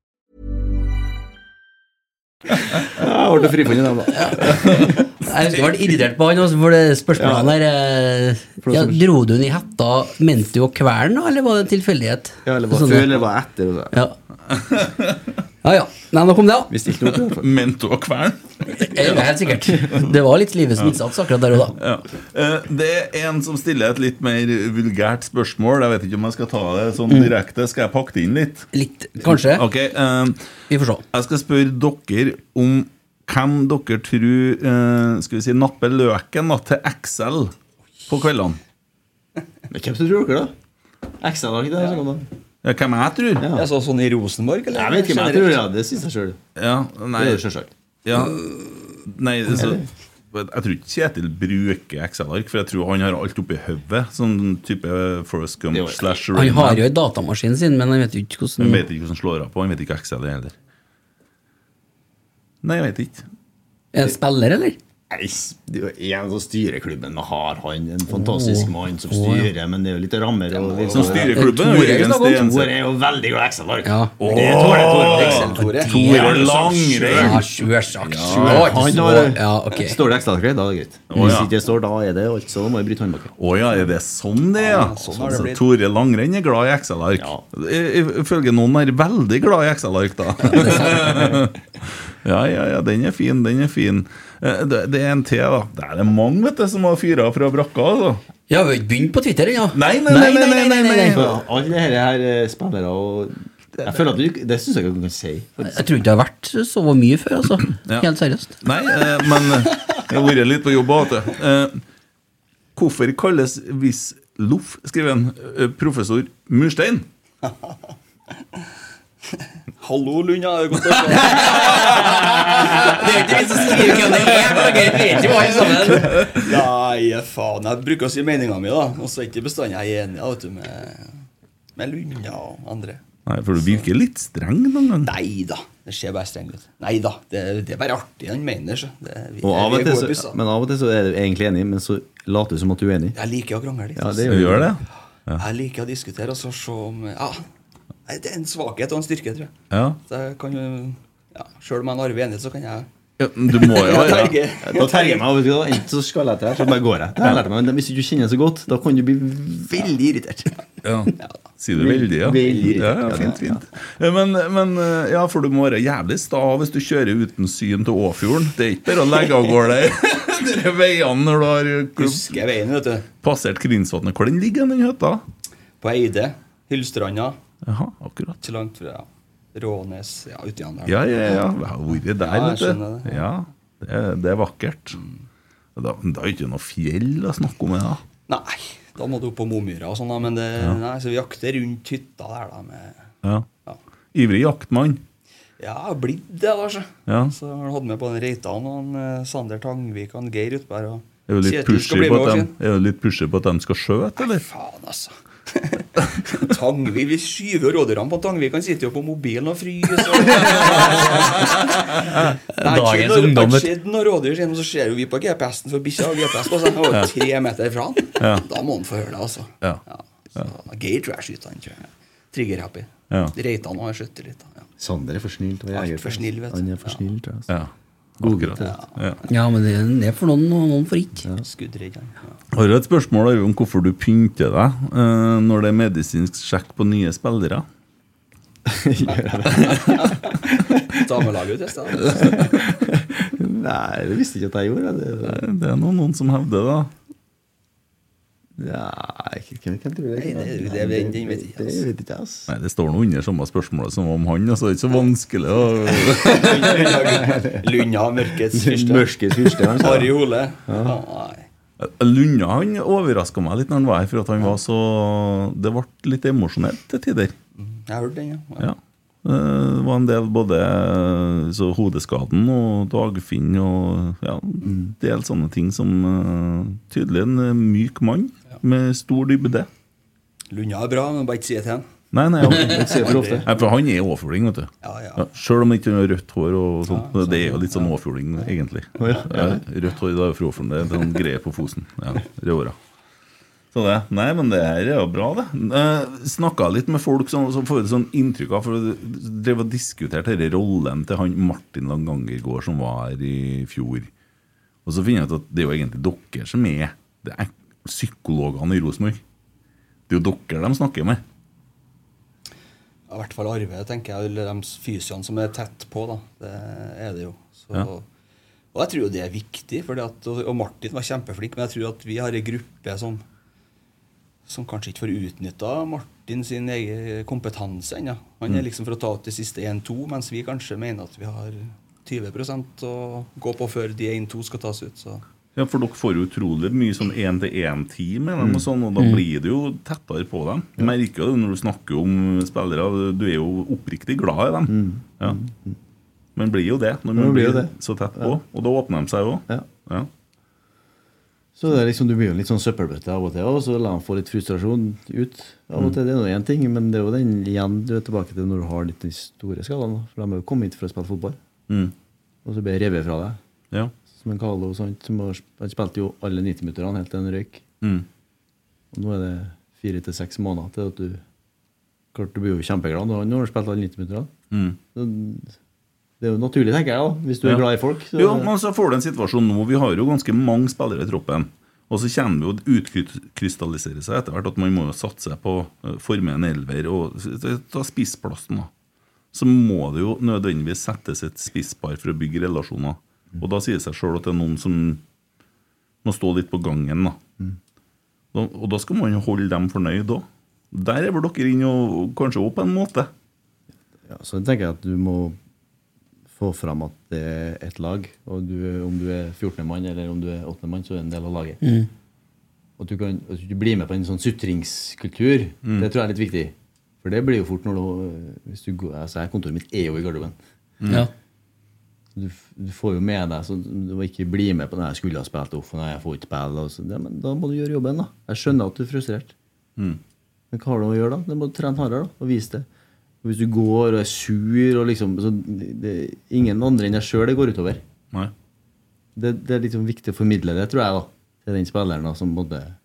Speaker 8: Jeg ble frifunnet, dem, da.
Speaker 6: Jeg husker jeg ble irritert på han også, for det spørsmålet her eh, ja, Dro du den i hetta mente du å kvele den, eller var det en tilfeldighet?
Speaker 8: Ja, eller var
Speaker 6: Sånn,
Speaker 8: før, eller var etter. og så-
Speaker 6: Ja. ja, ja. Nei, nok om det, da.
Speaker 8: Vi stilte noe til
Speaker 5: Mente du å kvele
Speaker 6: Ja, helt sikkert. Det var litt livets innsats akkurat der og da.
Speaker 5: Ja. Eh, Det er en som stiller et litt mer vulgært spørsmål. Jeg vet ikke om jeg skal ta det sånn
Speaker 6: Mm.
Speaker 5: direkte. Skal jeg pakke det inn litt? eh,
Speaker 6: Litt, kanskje.
Speaker 5: Vi
Speaker 6: får se.
Speaker 5: Jeg skal spørre dere om hvem dere tror eh, skal vi si, napper løken da, til Excel på kveldene.
Speaker 8: Men hvem tror dere, da? Excel har ikke det? sånn, da.
Speaker 5: Ja, hvem jeg tror?
Speaker 10: Jeg så sånn i Rosenborg, eller?
Speaker 8: Jeg vet ikke hvem jeg tror, ja, det synes jeg selv.
Speaker 5: Ja, nei
Speaker 8: Det er jo selvsagt.
Speaker 5: Ja, nei, så, jeg tror ikke Kjetil bruker Excel-ark, for jeg tror han har alt oppi hodet. Sånn type Forest Gump slash
Speaker 6: Han
Speaker 5: Rain Man.
Speaker 6: har jo en datamaskin sin, men han vet jo ikke hvordan
Speaker 5: Han vet ikke hvordan slår av på, han vet ikke Excel heller. Nei, jeg vet ikke.
Speaker 6: Er det spiller, eller?
Speaker 8: Nei, s- det er jo en som styrer klubben. men Har han en fantastisk
Speaker 6: Åh.
Speaker 8: mann som
Speaker 6: Åh, ja.
Speaker 8: styrer, men det er jo litt rammer og
Speaker 5: Som styrer klubben, er jo Tore Jørgen Stensen.
Speaker 8: Tore er jo veldig glad i Excel-ark.
Speaker 6: Ja.
Speaker 8: Det er Tore, Tore.
Speaker 6: Tore.
Speaker 8: Tore
Speaker 6: Ja,
Speaker 8: Langrein.
Speaker 6: Ja, sjølsagt.
Speaker 8: Ja, han har-
Speaker 6: Ja, ok.
Speaker 8: Står det Excel-ark, da er det greit.
Speaker 5: Åh,
Speaker 8: Hvis
Speaker 5: ja.
Speaker 8: ikke det står, da er det altså Da må jeg bryte håndbaken.
Speaker 5: Å ja, er det sånn det er? Ja,
Speaker 8: sånn har det
Speaker 5: Altså,
Speaker 8: blitt.
Speaker 5: Tore Langrenn er glad i Excel-ark. I- i- Ifølge noen er veldig glad i Excel-ark, da. ja, ja, ja, den er fin, den er fin. Eh, Det, det er en til, da. Det er det mange vet du, som har fyra fra brakka. altså.
Speaker 6: Ja, vi har ikke begynt på Twitter ennå.
Speaker 5: Nei, nei, nei, nei, nei, nei, nei,
Speaker 8: For Alle disse her eh, spillere og Jeg føler at du Det syns jeg ikke du kan si.
Speaker 6: Jeg tror ikke det har vært så mye før, altså.
Speaker 5: Ja.
Speaker 6: Helt seriøst.
Speaker 5: Nei, eh, men eh, jeg har vært litt på jobb òg, vet du. Eh, Hvorfor kalles viss loff, skriver en eh, professor murstein?
Speaker 10: Hallo, Lund, ja, det er godt å se deg.
Speaker 6: Det er ikke vi som skriver hvem det er, for dere vet jo alle sammen.
Speaker 10: Nei, faen. Jeg bruker å si meninga mi, da. Og så er ikke bestandig jeg er enig ja, vet du, med, med Lund ja, og andre.
Speaker 5: Nei, For du virker litt streng noen gang.
Speaker 10: Nei da, det ser bare strengt ut. Nei da, det, det er bare artig han mener. Så. Det, vi,
Speaker 8: Og av
Speaker 10: vi
Speaker 8: og
Speaker 10: er
Speaker 8: til
Speaker 10: gode
Speaker 8: så,
Speaker 10: busser.
Speaker 8: men av og til så er du egentlig enig, men så later du som at du er uenig.
Speaker 10: Jeg liker å krangle litt.
Speaker 8: Ja,
Speaker 10: altså.
Speaker 8: det gjør du.
Speaker 10: Jeg liker å diskutere altså, og så se om ja, nei, Det er en svakhet og en styrke, tror jeg.
Speaker 5: Ja.
Speaker 10: Så jeg kan jo, ja, Sjøl om jeg har arvet enighet, så kan jeg
Speaker 5: Du må jo
Speaker 8: Ja,
Speaker 5: være
Speaker 8: ja. Da terger jeg meg. vet du hva, Enten så skal jeg etter her, så bare går jeg. Det har jeg lært meg, men Hvis du ikke kjenner det så godt, da kan du bli veldig irritert.
Speaker 5: Ja. Sier du veldig, ja.
Speaker 8: Veldig.
Speaker 5: ja, ja fint, fint. Eh, Men, men eh, ja, for du må være jævlig sta hvis du kjører uten syn til Åfjorden. Det er ikke bare å legge av gårde de veiene når du har eh,
Speaker 10: Husker veien, vet du.
Speaker 5: passert Krinsvatnet. Hvor den ligger den hytta?
Speaker 10: På Eide. Hyllstranda.
Speaker 5: Jaha, akkurat.
Speaker 10: Ikke langt fra ja. Rånes. Ja, uti han der.
Speaker 5: Ja, ja, ja. Jeg har vært der,
Speaker 10: Ja, jeg
Speaker 5: vet du.
Speaker 10: skjønner det.
Speaker 5: Ja, det Mm. er, det er vakkert. Da, da er det ikke noe fjell å snakke om. Ja.
Speaker 10: Nei, da må du opp på Momyra og sånn, da. Men det,
Speaker 5: Ja.
Speaker 10: nei, så vi jakter rundt hytta der, da. Med,
Speaker 5: Ja. Ivrig jaktmann.
Speaker 10: ja, jeg har blitt det, da. Så
Speaker 5: Ja.
Speaker 10: Så har han hatt med på den Reitan og han, eh, Sander Tangvik og han Geir Utberg. Og
Speaker 5: Er du litt
Speaker 10: Kjetil skal bli
Speaker 5: pushy på, at
Speaker 10: med også,
Speaker 5: dem-
Speaker 10: Finn.
Speaker 5: er du litt pushy på at de skal skjøte, eller?
Speaker 10: Faen, altså. Tangvik, Vi skyver jo rådyrene på Tangvik. Han sitter jo på mobilen og fryser. og- Nei, ikke
Speaker 6: Dagens
Speaker 10: når- Det
Speaker 6: ungdom, vet
Speaker 10: har skjedd noen rådyr siden, så ser jo vi på GPS-en, for bikkja har GPS på seg. Han var jo tre meter fra han.
Speaker 5: Ja.
Speaker 10: Da må han få høre det, altså.
Speaker 5: Ja.
Speaker 10: Ja, Geir tror jeg skyter han. tror jeg. Trigger-happy.
Speaker 5: Ja.
Speaker 10: Reitan har jeg skjøtt litt. da. Ja.
Speaker 8: Sander er for snill til å være
Speaker 10: Alt
Speaker 8: jeger.
Speaker 10: for snill, vet du.
Speaker 8: Han er for snill, tror jeg.
Speaker 5: Ja.
Speaker 8: Godgutt,
Speaker 5: Akkurat.
Speaker 8: vet
Speaker 5: Ja.
Speaker 6: Ja, men det det er for noen, og noen for ikke.
Speaker 10: Skuddredd, han. Ja.
Speaker 5: Har du et spørsmål Arve, om hvorfor du pynter deg eh, når det er medisinsk sjekk på nye spillere?
Speaker 10: Damelaget ut i stedet.
Speaker 8: Nei, det visste jeg ikke at jeg gjorde. Det,
Speaker 5: Eh, Det er noen, noen som hevder det.
Speaker 8: Nei, hvem, hvem tror jeg?
Speaker 10: Nei, det- det- det- den vet jeg ikke,
Speaker 8: Det
Speaker 10: altså.
Speaker 8: vet jeg ikke, ass.
Speaker 5: Nei, Det står noe under samme spørsmålet som om han, altså. Det er ikke så vanskelig å
Speaker 10: Lunda, mørkets fyrste.
Speaker 5: Mørkets fyrste, han sa.
Speaker 10: Harry Hole.
Speaker 5: Ja.
Speaker 10: Ja, nei.
Speaker 5: Lunda han overraska meg litt når han var her, for at han var så Det ble litt emosjonelt til tider.
Speaker 10: Jeg hørte den, ja.
Speaker 5: Ja. Eh, Det var en del både eh, så hodeskaden og dagfinn og ja, en del sånne ting som eh, Tydelig en eh, myk mann med stor dybde.
Speaker 10: Lunda er bra, men bare ikke si det til han.
Speaker 5: Nei, nei, han,
Speaker 10: Det sier for ofte.
Speaker 5: Nei, for han er åfjording, vet du. Ja, Selv om han ikke har rødt hår. og sånt, Det er jo litt sånn åfjording, egentlig.
Speaker 8: Å, ja.
Speaker 5: Ja, Rødt hår da er jo fra Åfjorden. Det er en sånn greie på Fosen. Ja, rødhåra. Så det, Nei, men det her er jo bra, det. Eh, Snakka litt med folk som, som får et sånn inntrykk av For vi drev og diskuterte denne rollen til han Martin Langangergård som var her i fjor. Og så finner jeg ut at det er jo egentlig dere som er Det er psykologene i Rosenborg. Det er jo dere de snakker med.
Speaker 10: Ja, I hvert fall arve, tenker jeg. Eller de fysioene som er tett på, da. Det er det jo. Så,
Speaker 5: Ja.
Speaker 10: Og jeg tror jo det er viktig. Fordi at, og og Martin var kjempeflink, men jeg tror at vi har ei gruppe som, som kanskje ikke får utnytta Martin sin egen kompetanse ennå. Han
Speaker 5: Mm.
Speaker 10: er liksom for å ta ut de siste 1-2, mens vi kanskje mener at vi har 20 å gå på før de 1-2 skal tas ut. Så.
Speaker 5: Ja, for dere får jo utrolig mye sånn én-til-én-tid med dem, og sånn, og da
Speaker 10: Mm.
Speaker 5: blir det jo tettere på dem. Jeg merker jo det når du snakker om spillere, du er jo oppriktig glad i dem. Ja. Men blir jo det når
Speaker 8: Mm. Men
Speaker 5: man
Speaker 8: blir
Speaker 5: blir
Speaker 8: jo det.
Speaker 5: så tett på,
Speaker 8: Ja.
Speaker 5: og da åpner de seg jo. Ja.
Speaker 8: Så det er liksom, Du blir jo en litt sånn søppelbøtte av og til, og så lar han få litt frustrasjon ut. av og til, Det er nå én ting, men det er jo den igjen du er tilbake til når du har litt de store skadene. For de har jo kommet hit for å spille fotball,
Speaker 5: Mm.
Speaker 8: og så blir det revet fra deg.
Speaker 5: Ja.
Speaker 8: Som en Carlo, sant, som har, sp- han spilte jo alle 90-minutterne helt til han røyk.
Speaker 5: Mm.
Speaker 8: Og nå er det fire til seks måneder til at du Klart du blir jo kjempeglad når han har spilt alle 90-minutterne.
Speaker 5: Mm.
Speaker 8: Så Det er jo naturlig, tenker jeg, da, hvis du er
Speaker 5: Ja.
Speaker 8: glad i folk. så-
Speaker 5: Jo, men så får du en situasjon nå. Vi har jo ganske mange spillere i troppen. Og så kommer det jo å utkrystallisere seg etter hvert at man må jo satse på eh, forme en elver og s- s- ta spissplassen. da. Så må det jo nødvendigvis settes et spisspar for å bygge relasjoner. Og da sier det seg sjøl at det er noen som må stå litt på gangen. da.
Speaker 8: Mm.
Speaker 5: Da- Og da skal man jo holde dem fornøyd òg. Der er vel dere inne og og kanskje òg på en måte.
Speaker 8: Ja, så jeg tenker at du må få fram at det er et lag. og du, Om du er 14. mann eller om du er 8. mann, så er du en del av laget.
Speaker 6: Mm.
Speaker 8: At du, kan, at du blir med på en sånn sutringskultur, det tror jeg er litt viktig. For det blir jo fort når du, hvis du går, altså her Kontoret mitt er jo i garderoben.
Speaker 6: Mm. Ja.
Speaker 8: Du, f- du får jo med deg så du må ikke bli med på Nei, jeg skulle ha spilt off, nei, jeg får ikke spille. Og så, ja, men da må du gjøre jobben, da. Jeg skjønner at du er frustrert.
Speaker 5: Mm.
Speaker 8: Men hva har du å gjøre da? Du må trene hardere da, og vise det. Hvis du går og er sur og liksom så det, Ingen andre enn deg sjøl det går utover.
Speaker 5: Nei.
Speaker 8: Det, det er liksom viktig å formidle det, tror jeg, da til den spilleren. da som både,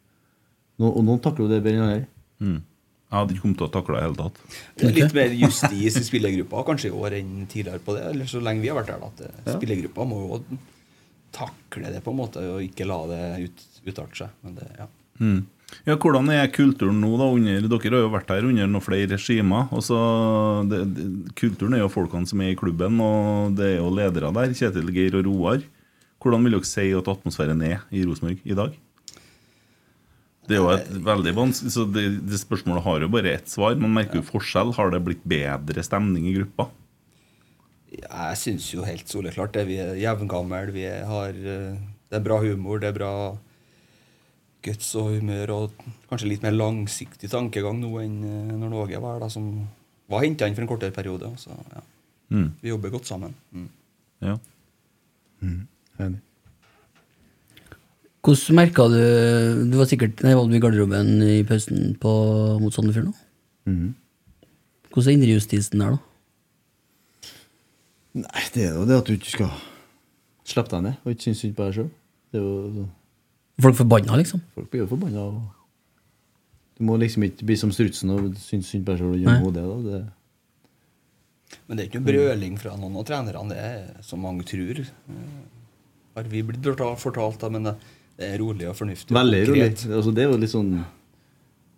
Speaker 8: no, Og noen takler jo det bedre enn andre.
Speaker 5: Mm. Jeg hadde ikke kommet til å takle det i det hele tatt.
Speaker 10: Det er litt mer justis i spillergruppa kanskje i år enn tidligere på det. Eller så lenge vi har vært der, da. At eh,
Speaker 5: Ja.
Speaker 10: spillergruppa må jo takle det på en måte og ikke la det ut, utarte seg. Men det, ja.
Speaker 5: Mm. Ja, Hvordan er kulturen nå? da under, Dere har jo vært her under noen flere regimer. og så- det, det, kulturen er jo folkene som er i klubben, og det er jo ledere der. Kjetil Geir og Roar. Hvordan vil dere si at atmosfæren er i Rosenborg i dag? Det er jo et veldig vanskelig, så det, det Spørsmålet har jo bare ett svar. Man merker jo forskjell. Har det blitt bedre stemning i gruppa?
Speaker 10: Jeg syns jo helt soleklart det. Vi er jevngamle. Vi er- har eh, Det er bra humor, det er bra guts og humør og kanskje litt mer langsiktig tankegang nå enn eh, når Åge var her, da, som var henta inn for en kortere periode. Så ja.
Speaker 5: Mm.
Speaker 10: Vi jobber godt sammen. Mm.
Speaker 5: Ja.
Speaker 6: Hvordan merka du Du var sikkert nei, var du i garderoben i pausen på, mot Sandefjord nå? Hvordan er indrejustisen der, da?
Speaker 8: Nei, det er jo det at du ikke skal slippe deg ned og ikke synes synd på deg sjøl. Det er jo altså,
Speaker 6: Folk forbanna, liksom?
Speaker 8: Folk blir jo forbanna. og Du må liksom ikke bli som strutsen og synes synd på deg sjøl og gjemme
Speaker 10: Nei.
Speaker 8: hodet. da. Det,
Speaker 10: Men det er ikke noe brøling fra noen av trenerne, det er som mange tror. Eh, Har vi blitt fortalt- fortalt, da, men det det er rolig og fornuftig. og
Speaker 8: Veldig rolig.
Speaker 10: konkret.
Speaker 8: Altså, det er jo litt sånn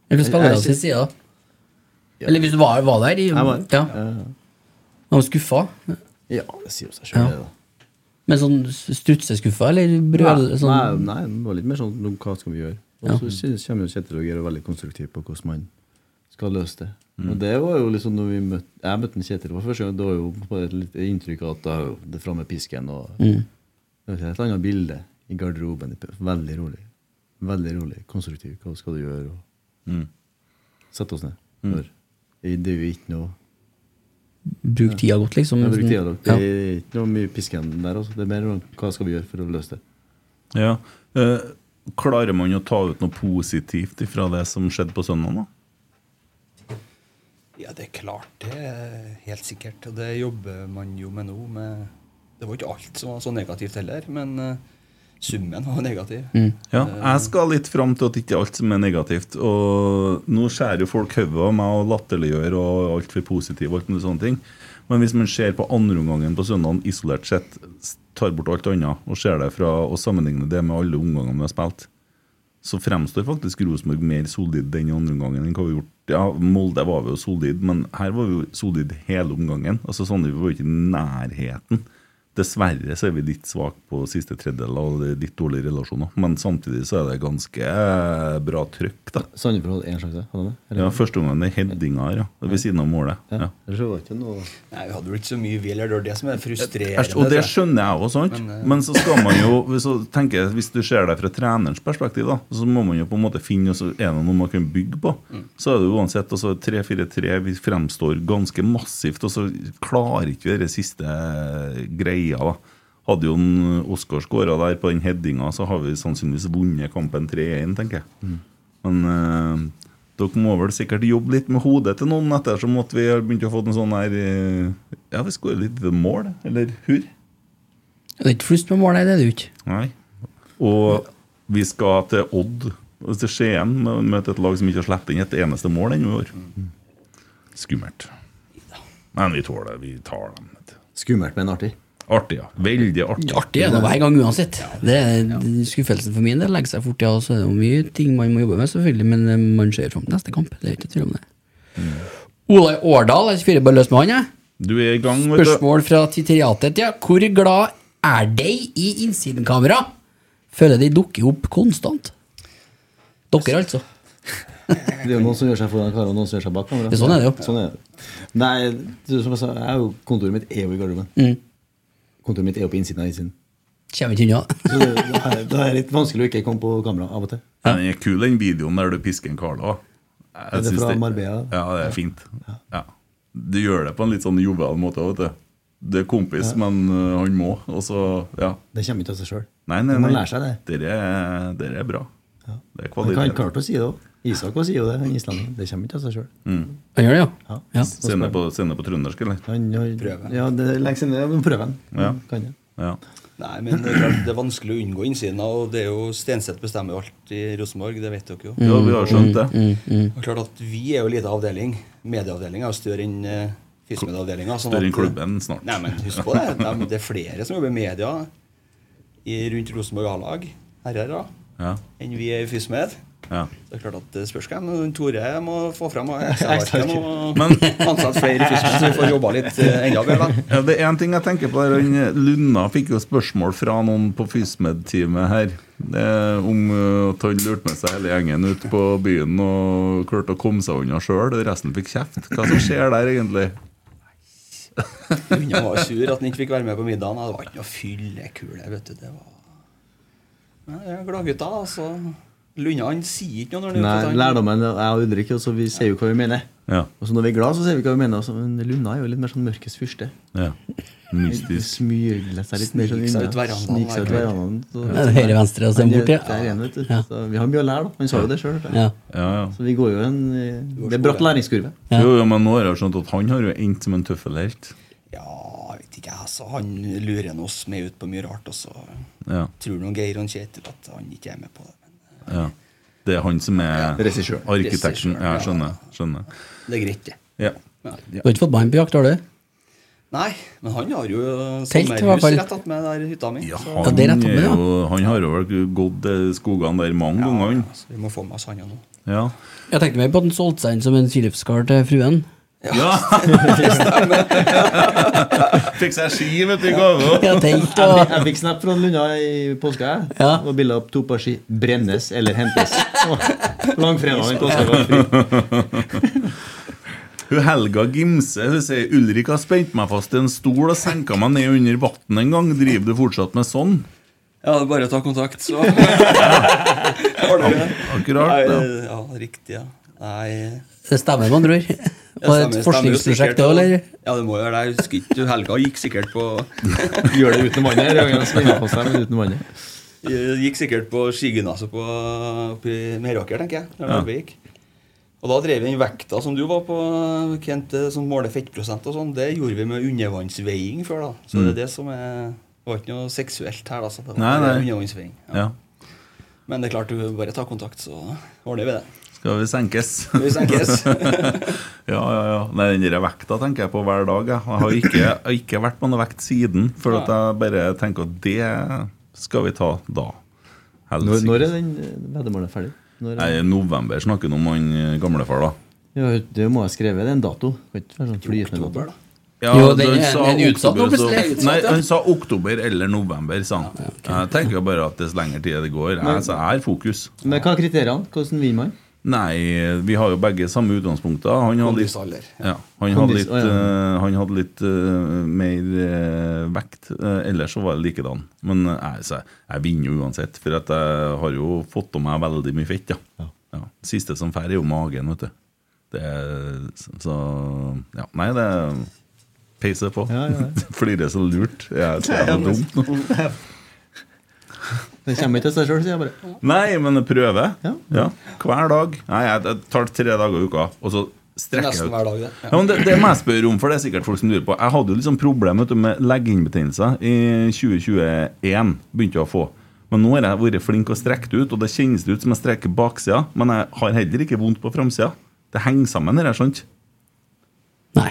Speaker 6: Eller
Speaker 8: Jeg-
Speaker 6: spillerne
Speaker 8: jeg-
Speaker 6: sin side, da? Eller hvis du var, var der? I,
Speaker 8: Jeg var
Speaker 6: ja. Han var skuffa?
Speaker 8: Ja, det sier jo seg sjøl, det. da.
Speaker 6: Men sånn strutseskuffa, eller brøl?
Speaker 8: Nei,
Speaker 6: sånn,
Speaker 8: nei, nei, det var litt mer sånn nå, hva skal vi gjøre? Og
Speaker 6: Ja.
Speaker 8: så synes- kommer jo Kjetil og Geir og er veldig konstruktiv på hvordan man skal løse det.
Speaker 6: Mm.
Speaker 8: Og det var jo liksom når vi møtte, Jeg møtte en Kjetil for første gang, det var jo bare et litt inntrykk av at det er jo det framme pisken og
Speaker 6: Mm.
Speaker 8: Det var et annet bilde i garderoben. Veldig rolig. Veldig rolig, konstruktiv. Hva skal du gjøre? Og
Speaker 5: Mm.
Speaker 8: Sette oss ned.
Speaker 6: Mm.
Speaker 8: Hør. Det er jo ikke noe
Speaker 6: Bruk tida godt, liksom.
Speaker 8: Ja, bruk tida
Speaker 6: Sånn-
Speaker 8: godt. Det
Speaker 6: ja.
Speaker 8: er ikke noe mye pisken der. Også. Det er mer om hva skal vi gjøre for å løse det.
Speaker 5: Ja. Eh, klarer man å ta ut noe positivt fra det som skjedde på søndag? da?
Speaker 10: Ja, det er klart. Det er helt sikkert. Og det jobber man jo med nå. Med det var ikke alt som var så negativt heller, men eh, summen var negativ.
Speaker 5: Ja, jeg skal litt fram til at ikke alt som er negativt. Og nå skjærer jo folk hodet av meg og latterliggjør og alt for positiv og alt mulig sånne ting. Men hvis man ser på andreomgangen på søndagen isolert sett, s- tar bort alt annet og ser det fra og sammenligner det med alle omgangene vi har spilt, så fremstår faktisk Rosenborg mer solid den andreomgangen enn hva vi har gjort. Ja, Molde var vi jo solid, men her var vi jo solid hele omgangen. Altså sånn Vi var jo ikke i nærheten. Dessverre så er vi litt svake på siste tredjedel og det er litt dårlige relasjoner. Men samtidig så er det ganske eh, bra trøkk, da.
Speaker 8: Sandefjord hadde én sjanse. Hadde han det? Eller-
Speaker 5: Ja, Første omgang er headinga her, ja. Ved siden av målet. Ja.
Speaker 8: Ellers var det ikke noe
Speaker 10: Nei, Vi hadde jo ikke så mye vi eller det er det som er frustrerende.
Speaker 5: Æsj, Eh, Og det
Speaker 10: tror jeg.
Speaker 5: skjønner jeg òg, sant?
Speaker 10: Men, eh,
Speaker 5: Men så skal man jo så tenker jeg, Hvis du ser det fra trenerens perspektiv, da, så må man jo på en måte finne og så er det noe man kan bygge på.
Speaker 10: Mm.
Speaker 5: Så er det jo uansett altså 3-4-3 vi fremstår ganske massivt, og så klarer ikke vi den siste greia. da. Hadde jo en Oskar skåra der på den headinga, så har vi sannsynligvis vunnet kampen 3-1, tenker jeg.
Speaker 4: Mm.
Speaker 5: Men eh, dere må vel sikkert jobbe litt med hodet til noen ettersom at vi har begynt å få en sånn her eh, Ja, vi skårer litt ved mål, eller hurr?
Speaker 6: Det er ikke flust med målet, det er det jo ikke.
Speaker 5: Nei. Og vi skal til Odd, til Skien, og møte et lag som ikke har sluppet inn et eneste mål ennå i år. Skummelt. Men vi tåler det. Vi tar dem.
Speaker 8: Skummelt, men artig.
Speaker 5: Artig, ja. Veldig artig.
Speaker 6: Artig er det hver gang uansett. Det er det- Skuffelsen for min del legger seg fort, ja. Og så er det jo mye ting man må jobbe med, selvfølgelig, men eh, man ser fram til neste kamp. Det er ikke tvil om det.
Speaker 8: Mm.
Speaker 6: Olai Årdal, jeg fyrer bare løs med han, jeg.
Speaker 5: Du er i gang, vet du.
Speaker 6: Spørsmål fra Titeriatet, ja. Hvor glad er de i innsidenkamera? Føler de dukker opp konstant. Dere, altså.
Speaker 8: Det er jo noen som gjør seg foran kamera, og noen som gjør seg bak kamera.
Speaker 6: Ja, sånn er det jo.
Speaker 8: Sånn er det. Nei, du, som jeg sa, jeg er jo, kontoret mitt er jo i garderoben.
Speaker 6: Mm.
Speaker 8: Kontoret mitt er jo på innsiden av innsiden.
Speaker 6: Kommer ikke unna.
Speaker 8: Så det, da er- da er det litt vanskelig å ikke komme på kamera av og til.
Speaker 5: Ja, Den er kul, den videoen der du pisker en karl òg.
Speaker 8: Er det fra Marbella?
Speaker 5: Ja, det er fint. Ja. Du gjør det på en litt sånn jovial måte òg, vet du. Du er kompis,
Speaker 8: Ja.
Speaker 5: men øh, han må. Og så, ja.
Speaker 8: Det kommer ikke av seg sjøl.
Speaker 5: Nei, nei,
Speaker 8: Du må
Speaker 5: nei.
Speaker 8: lære seg det.
Speaker 5: Dere, er- dere er bra. Det er
Speaker 8: Men Han
Speaker 5: kvalitet.
Speaker 8: klarte å si det òg. Isak også sier jo det, han islendingen. Det kommer ikke av seg sjøl.
Speaker 5: Mm.
Speaker 6: Han gjør det,
Speaker 8: ja?
Speaker 5: Sende det på, sende det på trøndersk, eller?
Speaker 8: Prøven. Ja, det er lenge siden. jeg må prøve den.
Speaker 5: Ja.
Speaker 8: Kan jeg.
Speaker 5: Ja.
Speaker 10: Nei, men det er, klart, det er vanskelig å unngå innsiden. Og det er jo Stenseth bestemmer jo alt i Rosenborg, det vet dere jo.
Speaker 5: Ja, vi har skjønt det.
Speaker 10: Og-
Speaker 5: Mm, mm, mm.
Speaker 10: og klart at Vi er jo en liten avdeling. Medieavdelinga er jo større enn eh, Fiskemedeavdelinga. sånn
Speaker 5: Større
Speaker 10: at-
Speaker 5: enn klubben snart.
Speaker 10: Nei, men husk på det. Nei, men det er flere som jobber i media i, rundt Rosenborg A-lag, herrer,
Speaker 5: Ja.
Speaker 10: enn vi er i Fismed.
Speaker 5: Ja.
Speaker 10: Det er klart at det spørs hvem. men Tore må få frem og
Speaker 5: Ekstra
Speaker 10: Excel-arken
Speaker 5: arken.
Speaker 10: og
Speaker 5: Men-
Speaker 10: ansette flere i Fismed, så vi får jobba litt eh, enda bedre. da.
Speaker 5: Ja, det er én ting jeg tenker på. der han, eh, Lunna fikk jo spørsmål fra noen på FysMed-teamet her eh, om eh, at han lurte med seg hele gjengen ut på byen og klarte å komme seg unna sjøl, og resten fikk kjeft. Hva som skjer der, egentlig?
Speaker 10: Lunna var jo sur at han ikke fikk være med på middagen. Det var ikke noe fyllekule. vet du. Det var Nei, det er Gladgutta, altså. Lunna han sier ikke noe når han er ute.
Speaker 8: Nei,
Speaker 10: han-
Speaker 8: lærdommen jeg og Ulrik, også, vi sier jo hva vi mener.
Speaker 5: Ja.
Speaker 8: Og så når vi er glad, så sier vi hva vi mener. og så- men Lunda er jo litt mer sånn mørkets fyrste.
Speaker 5: Ja. Mystisk.
Speaker 8: Smygler seg litt mer sånn
Speaker 10: Sniker seg
Speaker 8: unna.
Speaker 10: ut verandaen
Speaker 8: Sniker seg ut
Speaker 10: hver kveld.
Speaker 8: verandaen. så-
Speaker 6: Ja, det er høyre, venstre, og så er
Speaker 8: Han
Speaker 6: den
Speaker 8: er-
Speaker 6: borte, ja.
Speaker 8: der igjen, vet du.
Speaker 6: Ja.
Speaker 8: Så vi har mye å lære, da. Han sa jo det sjøl.
Speaker 6: Ja.
Speaker 8: Så vi går jo en eh, Det er bratt læringskurve.
Speaker 5: Jo, jo, men nå har jeg skjønt at han har jo endt som en tøffelhelt.
Speaker 10: Ja, jeg vet ikke, altså. Han lurer nå oss med ut på mye rart, og så
Speaker 5: Ja.
Speaker 10: tror nå Geir og Kjetil at han ikke er med på det.
Speaker 5: Ja. Det er han som er
Speaker 10: Regissør.
Speaker 5: arkitekten. Ja, jeg skjønner. skjønner.
Speaker 10: Det er greit, det.
Speaker 5: Ja.
Speaker 6: Du har ikke fått bein på jakt, har du?
Speaker 10: Nei, men han har jo
Speaker 6: Telt, i hvert
Speaker 10: sommerhus
Speaker 6: fall.
Speaker 10: rett attmed der hytta mi. så
Speaker 6: Ja, det er rett
Speaker 5: Han,
Speaker 6: oppe,
Speaker 5: er
Speaker 6: ja.
Speaker 5: jo, han har jo vel gått eh, skogene der mange ganger. han.
Speaker 10: så altså, vi må få med oss han nå.
Speaker 5: Ja.
Speaker 6: Jeg tenkte meg på at han solgte seg inn som en sirupskar til fruen.
Speaker 5: Ja. Fikk seg ski, vet du, i gave.
Speaker 8: Jeg,
Speaker 6: Jeg tenkte å-
Speaker 8: fikk- jeg fikk snap fra Lunda i påska. jeg. Det var bilde av to par ski. Brennes eller hentes. Langfredagen påska var fri.
Speaker 5: Hun Helga Gimse hun sier Ulrik har spent meg fast i en stol og senka meg ned under vann en gang. Driver du fortsatt med sånn?
Speaker 10: Ja, det er bare å ta kontakt, så Ordner vi det.
Speaker 5: Akkurat, ja.
Speaker 10: Nei, ja. Riktig, ja. Nei
Speaker 6: Det stemmer, man tror.
Speaker 10: Ja,
Speaker 6: Var det
Speaker 10: stemmer-
Speaker 6: et
Speaker 10: stemmer jo sikkert,
Speaker 6: forskningsprosjekt òg,
Speaker 10: og-
Speaker 6: eller?
Speaker 10: Ja, det må jo være det. Jeg husker ikke, du, Helga gikk sikkert på
Speaker 8: Gjør det uten vann her, jeg har spinnet på seg, men uten vann her.
Speaker 10: Gikk sikkert på skigymnaset på oppe i Meråker, tenker jeg. når
Speaker 5: Ja.
Speaker 10: Norge gikk. Og da drev vi inn vekta som du var på, Kent, eh, som måler fettprosent og sånn. Det gjorde vi med undervannsveiing før, da. Så det
Speaker 5: Mm.
Speaker 10: er det som er Det var ikke noe seksuelt her, altså. Det var
Speaker 5: Nei,
Speaker 10: bare
Speaker 5: nei.
Speaker 10: undervannsveiing.
Speaker 5: Ja.
Speaker 10: Men det er klart, du bare ta kontakt, så ordner vi det.
Speaker 5: Skal vi senkes?
Speaker 10: Vi senkes.
Speaker 5: ja, ja, ja. Nei, den der vekta tenker jeg på hver dag. Jeg, jeg har ikke, jeg har ikke vært på noe vekt siden. For at jeg bare tenker at det skal vi ta da.
Speaker 8: Når,
Speaker 5: Helst.
Speaker 8: når er den eh, veddemålet ferdig? Når er
Speaker 5: Sånn Nei, i november snakker han om han eh, gamlefar, da.
Speaker 8: Ja, det må jeg skrive. Det er en dato. Det kan ikke være sånn flytende dato.
Speaker 5: Ja,
Speaker 8: den
Speaker 5: han
Speaker 8: er-
Speaker 5: sa
Speaker 8: den er utsatt nå,
Speaker 5: oktober, så-
Speaker 8: plutselig. Utsatt,
Speaker 5: Nei,
Speaker 8: ja.
Speaker 5: han sa oktober eller november, sa han. Jeg tenker bare at dess lenger tid det går, altså,
Speaker 8: Men-
Speaker 5: jeg, så jeg har fokus.
Speaker 8: Men hva er kriteriene? Hvordan vinner man?
Speaker 5: Nei, vi har jo begge samme utgangspunkter. Han hadde
Speaker 10: Kondisalder.
Speaker 5: litt, ja, han hadde
Speaker 8: Kondis-
Speaker 5: litt,
Speaker 8: å, ja.
Speaker 5: eh, han hadde litt eh, mer eh, vekt. eh, ellers så var det likedan. Men eh, jeg- så jeg, jeg vinner jo uansett, for at jeg har jo fått av meg veldig mye fett. Ja. Ja. Siste som drar, er jo magen, vet du. Det, er- så ja, Nei, det er- peiser på.
Speaker 8: Ja, ja, ja.
Speaker 5: Flirer så lurt. Jeg er så jævla dum.
Speaker 8: Det kommer ikke til seg sjøl, sier jeg bare.
Speaker 5: Nei, men prøve. Ja. Hver dag. Nei, jeg, jeg tar tre dager i uka, og så strekker jeg
Speaker 10: Nesten
Speaker 5: ut.
Speaker 10: hver dag, det.
Speaker 5: Ja. men det, det må jeg spørre om, for det er sikkert folk som lurer på. Jeg hadde jo liksom problem vet du, med leggeinbetennelser i 2021. Begynte jeg å få. Men nå har jeg vært flink og strekt ut, og det kjennes det ut som jeg streker baksida. Men jeg har heller ikke vondt på framsida. Det henger sammen, dette, sant? Nei.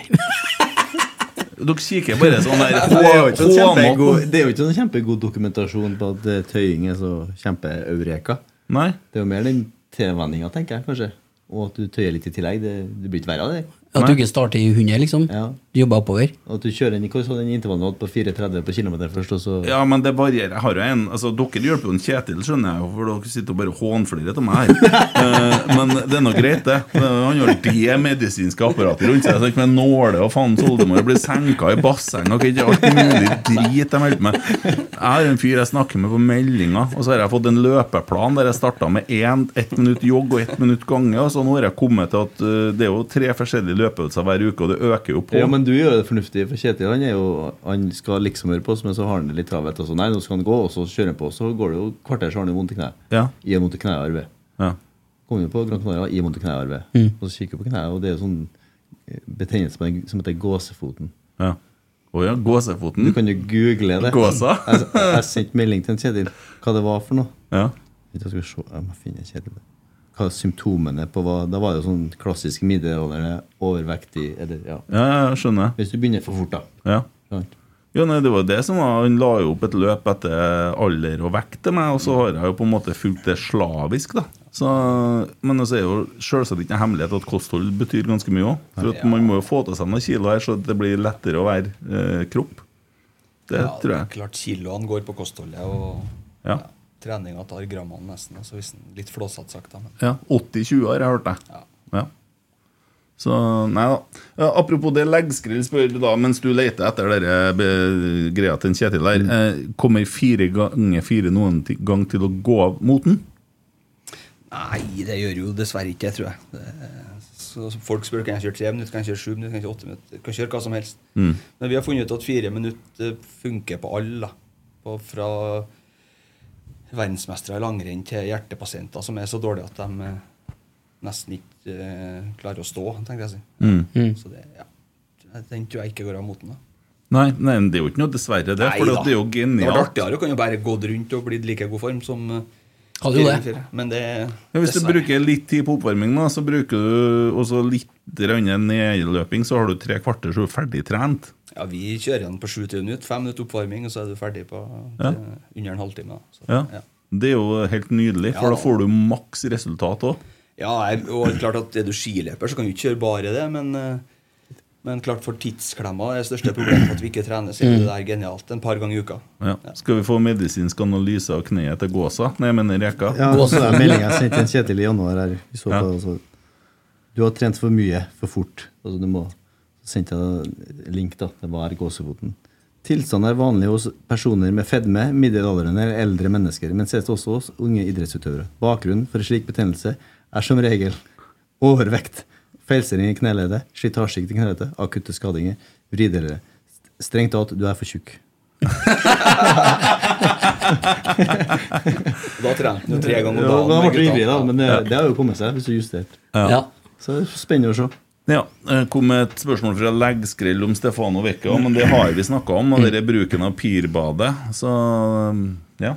Speaker 5: Dere kikker bare sånn der
Speaker 8: Det er jo ikke sånn
Speaker 5: hånmåten.
Speaker 8: kjempegod, det er jo ikke sånn kjempegod dokumentasjon på at eh, tøying er så kjempe-eureka.
Speaker 5: Nei.
Speaker 8: Det er jo mer den tilvenninga, tenker jeg, kanskje. Og at du tøyer litt i tillegg. Det, det blir ikke verre av det.
Speaker 6: At du ikke starter i hundre, liksom? Du jobber oppover?
Speaker 8: At du kjører inn i hvordan den intervallen du hadde på 4.30 på kilometeren først, og så
Speaker 5: Ja, men det varierer. Jeg har jo en altså, Dere hjelper jo en Kjetil, skjønner jeg, jo, for dere sitter og bare hånflirer av meg her. Eh, men det er nå greit, det. Eh, Han har det medisinske apparatet rundt seg. Tenk med nåle og faen soldemor blir senka i basseng og ikke alt mulig drit de holder på med. Jeg har en fyr jeg snakker med på meldinga, og så har jeg fått en løpeplan der jeg starta med én, ett minutt jogg og ett minutt gange, og så nå har jeg kommet til at eh, det er jo tre forskjellige nye løpeøvelser hver uke, og det øker jo på.
Speaker 8: Ja, men du gjør det fornuftig, for Kjetil han er jo Han skal liksom høre på oss, men så har han det litt travelt. Og så nei, nå skal han gå, og så kjører han på, så går det jo et kvarter, så har han jo vondt i kneet.
Speaker 5: Ja.
Speaker 8: I vondt i kneet og arve.
Speaker 5: Ja.
Speaker 8: Kommer jo på Gran Canaria i vondt i kneet og arve.
Speaker 5: Mm.
Speaker 8: Og så kikker vi på kneet, og det er jo sånn eh, betegnelse på den som heter gåsefoten.
Speaker 5: Ja. Å ja, gåsefoten.
Speaker 8: Du kan jo google det.
Speaker 5: Gåsa?
Speaker 8: jeg jeg sendte melding til en Kjetil hva det var for noe.
Speaker 5: Ja.
Speaker 8: Vet du, Jeg skal se, jeg må finne Kjetil. Hva er symptomene på hva Da var det jo sånn klassisk middelalder, overvektig eller ja.
Speaker 5: Ja, ja, skjønner.
Speaker 8: Hvis du begynner for fort, da. Sånn.
Speaker 5: Ja.
Speaker 8: Sant.
Speaker 5: Ja, nei, det var det som var Han la jo opp et løp etter alder og vekt til meg, og så har jeg jo på en måte fulgt det slavisk, da. Så, men så er jo selvsagt ikke noe hemmelighet at kosthold betyr ganske mye òg. For at man må jo få til seg noen kilo her, så det blir lettere å være eh, kropp. Det
Speaker 10: Ja,
Speaker 5: tror jeg.
Speaker 10: er Klart kiloene går på kostholdet, og
Speaker 5: Ja.
Speaker 10: ja. treninga tar grammene nesten. Altså hvis den- litt flåsete sagt, da. Men.
Speaker 5: Ja, 80-20 har jeg hørt det. Ja. Så nei da. Ja, apropos det, leggskrill spør da, mens du leter etter dere be- greia til en Kjetil der. Eh, kommer fire ganger fire noen ti- gang til å gå av mot den?
Speaker 10: Nei, det gjør jo dessverre ikke det, tror jeg. Det, så folk spør kan jeg kjøre tre minutter, kan jeg kjøre sju minutter, kan jeg kjøre åtte minutter. Kan kjøre hva som helst.
Speaker 5: Mm.
Speaker 10: Men vi har funnet ut at fire minutter funker på alle. da. På, fra verdensmestere i langrenn til hjertepasienter som er så dårlige at de eh, nesten ikke eh, klarer å stå, tenkte jeg å si.
Speaker 5: Mm. Mm.
Speaker 10: Så det, ja. Den tror jeg ikke går av moten. da.
Speaker 5: Nei, nei, men det er jo ikke noe dessverre, det. For
Speaker 10: Neida.
Speaker 5: det er jo
Speaker 10: Det var
Speaker 5: genialt.
Speaker 10: artigere å kunne bare gått rundt og blitt like god form som eh,
Speaker 5: Hadde jo det.
Speaker 10: fire- Men det
Speaker 5: Ja, hvis du
Speaker 10: dessverre.
Speaker 5: bruker litt tid på oppvarming, da, så bruker du også litt grann nedløping, så har du tre kvarter så er du ferdig trent.
Speaker 10: Ja, Vi kjører den på 7-10 minutter. Fem minutter oppvarming, og så er du ferdig på
Speaker 5: Ja.
Speaker 10: eh, under en halvtime. da. Så,
Speaker 5: Ja.
Speaker 10: ja.
Speaker 5: Det er jo helt nydelig, for
Speaker 10: Ja.
Speaker 5: da får du maks resultat òg.
Speaker 10: Ja, jeg- og det er klart at Er du skiløper, så kan du ikke kjøre bare det, men, eh, men klart for tidsklemma er det største problemet at vi ikke trener. Så
Speaker 8: Mm.
Speaker 10: er det der genialt en par ganger i uka.
Speaker 5: Ja. Skal vi få medisinsk analyse av kneet til gåsa? Nei, jeg mener reka.
Speaker 8: Ja, og så er meldingen jeg sendte en Kjetil i januar her. Vi så
Speaker 5: Ja.
Speaker 8: på, det, altså, du har trent for mye, for fort. Altså, du må, så sendte jeg link da, til hva er gåsefoten. Tilstanden er vanlig hos personer med fedme, middelaldrende eller eldre mennesker, men ses også hos unge idrettsutøvere. Bakgrunnen for en slik betennelse er som regel overvekt, feilstilling i kneleddet, slitasje i kneleddet, akutte skadinger, vridelere. Strengt tatt, du er for tjukk.
Speaker 10: Da trente han jo tre ganger om
Speaker 8: Ja,
Speaker 10: dagen.
Speaker 8: Da ble
Speaker 10: med
Speaker 8: det
Speaker 10: gutta.
Speaker 8: ivrig, da. Men det,
Speaker 5: Ja.
Speaker 8: det har jo kommet seg, hvis du justerte.
Speaker 5: Ja. Ja.
Speaker 8: Så det er spennende å se.
Speaker 5: Ja, eh, kom med et spørsmål fra Leggskrell om Stefano Vecchia, men det har vi snakka om, og det er bruken av pirbadet, så mm, ja.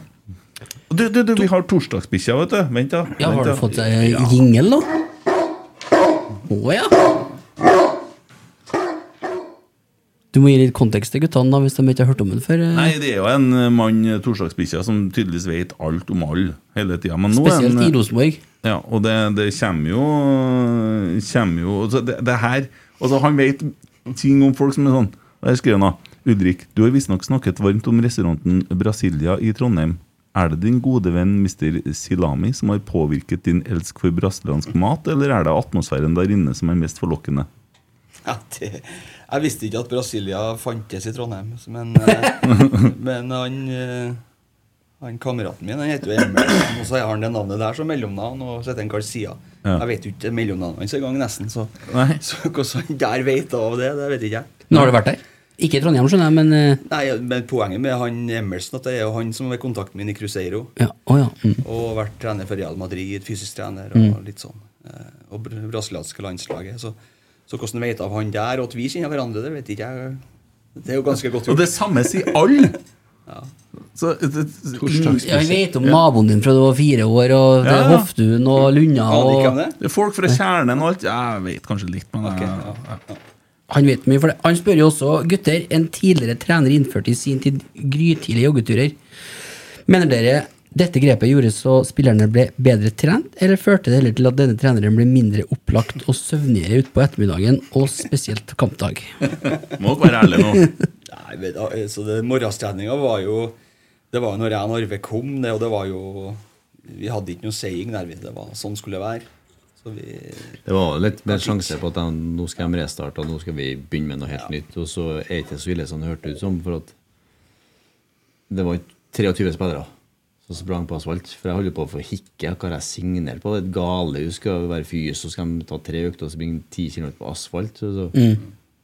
Speaker 5: Og Du, du, du, vi har torsdagsbikkja, vet du. Vent, da.
Speaker 6: Ja, har
Speaker 5: Vent
Speaker 6: du
Speaker 5: da.
Speaker 6: fått deg jingle, da? Å ja. Du må gi litt kontekst til guttene da, hvis de ikke har hørt om den før. eh.
Speaker 5: Nei, det er jo en eh, mann, eh, torsdagsbikkja, som tydeligvis vet alt om alle hele tida.
Speaker 6: Spesielt
Speaker 5: eh,
Speaker 6: i Rosenborg.
Speaker 5: Ja, og det, det kommer jo, kommer jo altså det, det her altså Han vet ting om folk som er sånn Der skriver han da Ulrik, du har visstnok snakket varmt om restauranten Brasilia i Trondheim. Er det din gode venn Mr. Silami som har påvirket din elsk for brasiliansk mat, eller er det atmosfæren der inne som er mest forlokkende?
Speaker 10: Ja, det, jeg visste ikke at Brasilia fantes i Trondheim, så- men, eh, men han, eh, han kameraten min han heter jo Emil, og så har han det navnet der som mellomnavn, og så heter han Garcia.
Speaker 5: Ja.
Speaker 10: Jeg vet jo ikke mellomnavnet hans engang, nesten, så,
Speaker 5: Nei.
Speaker 10: så hvordan han der vet av det, det vet ikke jeg.
Speaker 6: Nå har du vært der? Ikke i Trondheim, skjønner jeg, men eh,
Speaker 10: Nei, men Poenget med han Emerson at det er jo han som er kontakten min i Cruzeiro.
Speaker 6: Å ja. Mm.
Speaker 10: Og har vært trener for Real Madrid, fysisk trener og
Speaker 6: Mm.
Speaker 10: litt sånn. Eh, Og br- brasilianske landslaget. Så, så hvordan vet av han der, og at vi kjenner hverandre, det vet ikke jeg. Det er jo ganske godt
Speaker 5: Og det samme sier alle!
Speaker 10: Ja.
Speaker 5: Så, eh, det, det,
Speaker 6: Ja, Jeg vet om naboen din fra du var fire år, og det
Speaker 5: Ja,
Speaker 6: er
Speaker 5: ja.
Speaker 6: Hoftun og Lunna og
Speaker 5: Det er folk fra kjernen og alt. Jeg vet kanskje litt, men jeg,
Speaker 6: Han vet mye for det. Han spør jo også gutter, en tidligere trener innførte i sin tid grytidlige joggeturer. Mener dere dette grepet gjorde så spillerne ble bedre trent, eller førte det heller til at denne treneren ble mindre opplagt og søvnigere utpå ettermiddagen, og spesielt kampdag?
Speaker 5: Må dere være ærlige nå.
Speaker 10: Nei, men da, altså, det- Morgenstreninga var jo Det var jo når jeg og Arve kom, det, og det var jo Vi hadde ikke noe saying der. vi- Det var, sånn skulle det være. Så vi
Speaker 8: Det var litt mer sjanse på at de, nå skal de restarte, og nå skal vi begynne med noe helt nytt. Og så er det ikke så ille som det hørtes ut som, for at det var 23 spillere. og sprang på asfalt. For jeg holder på å få hikke. Hva har jeg signert på? Det er et gale. Du skal være fys, så skal de ta tre økter og springe ti kilometer på asfalt. Så, så.
Speaker 6: Mm.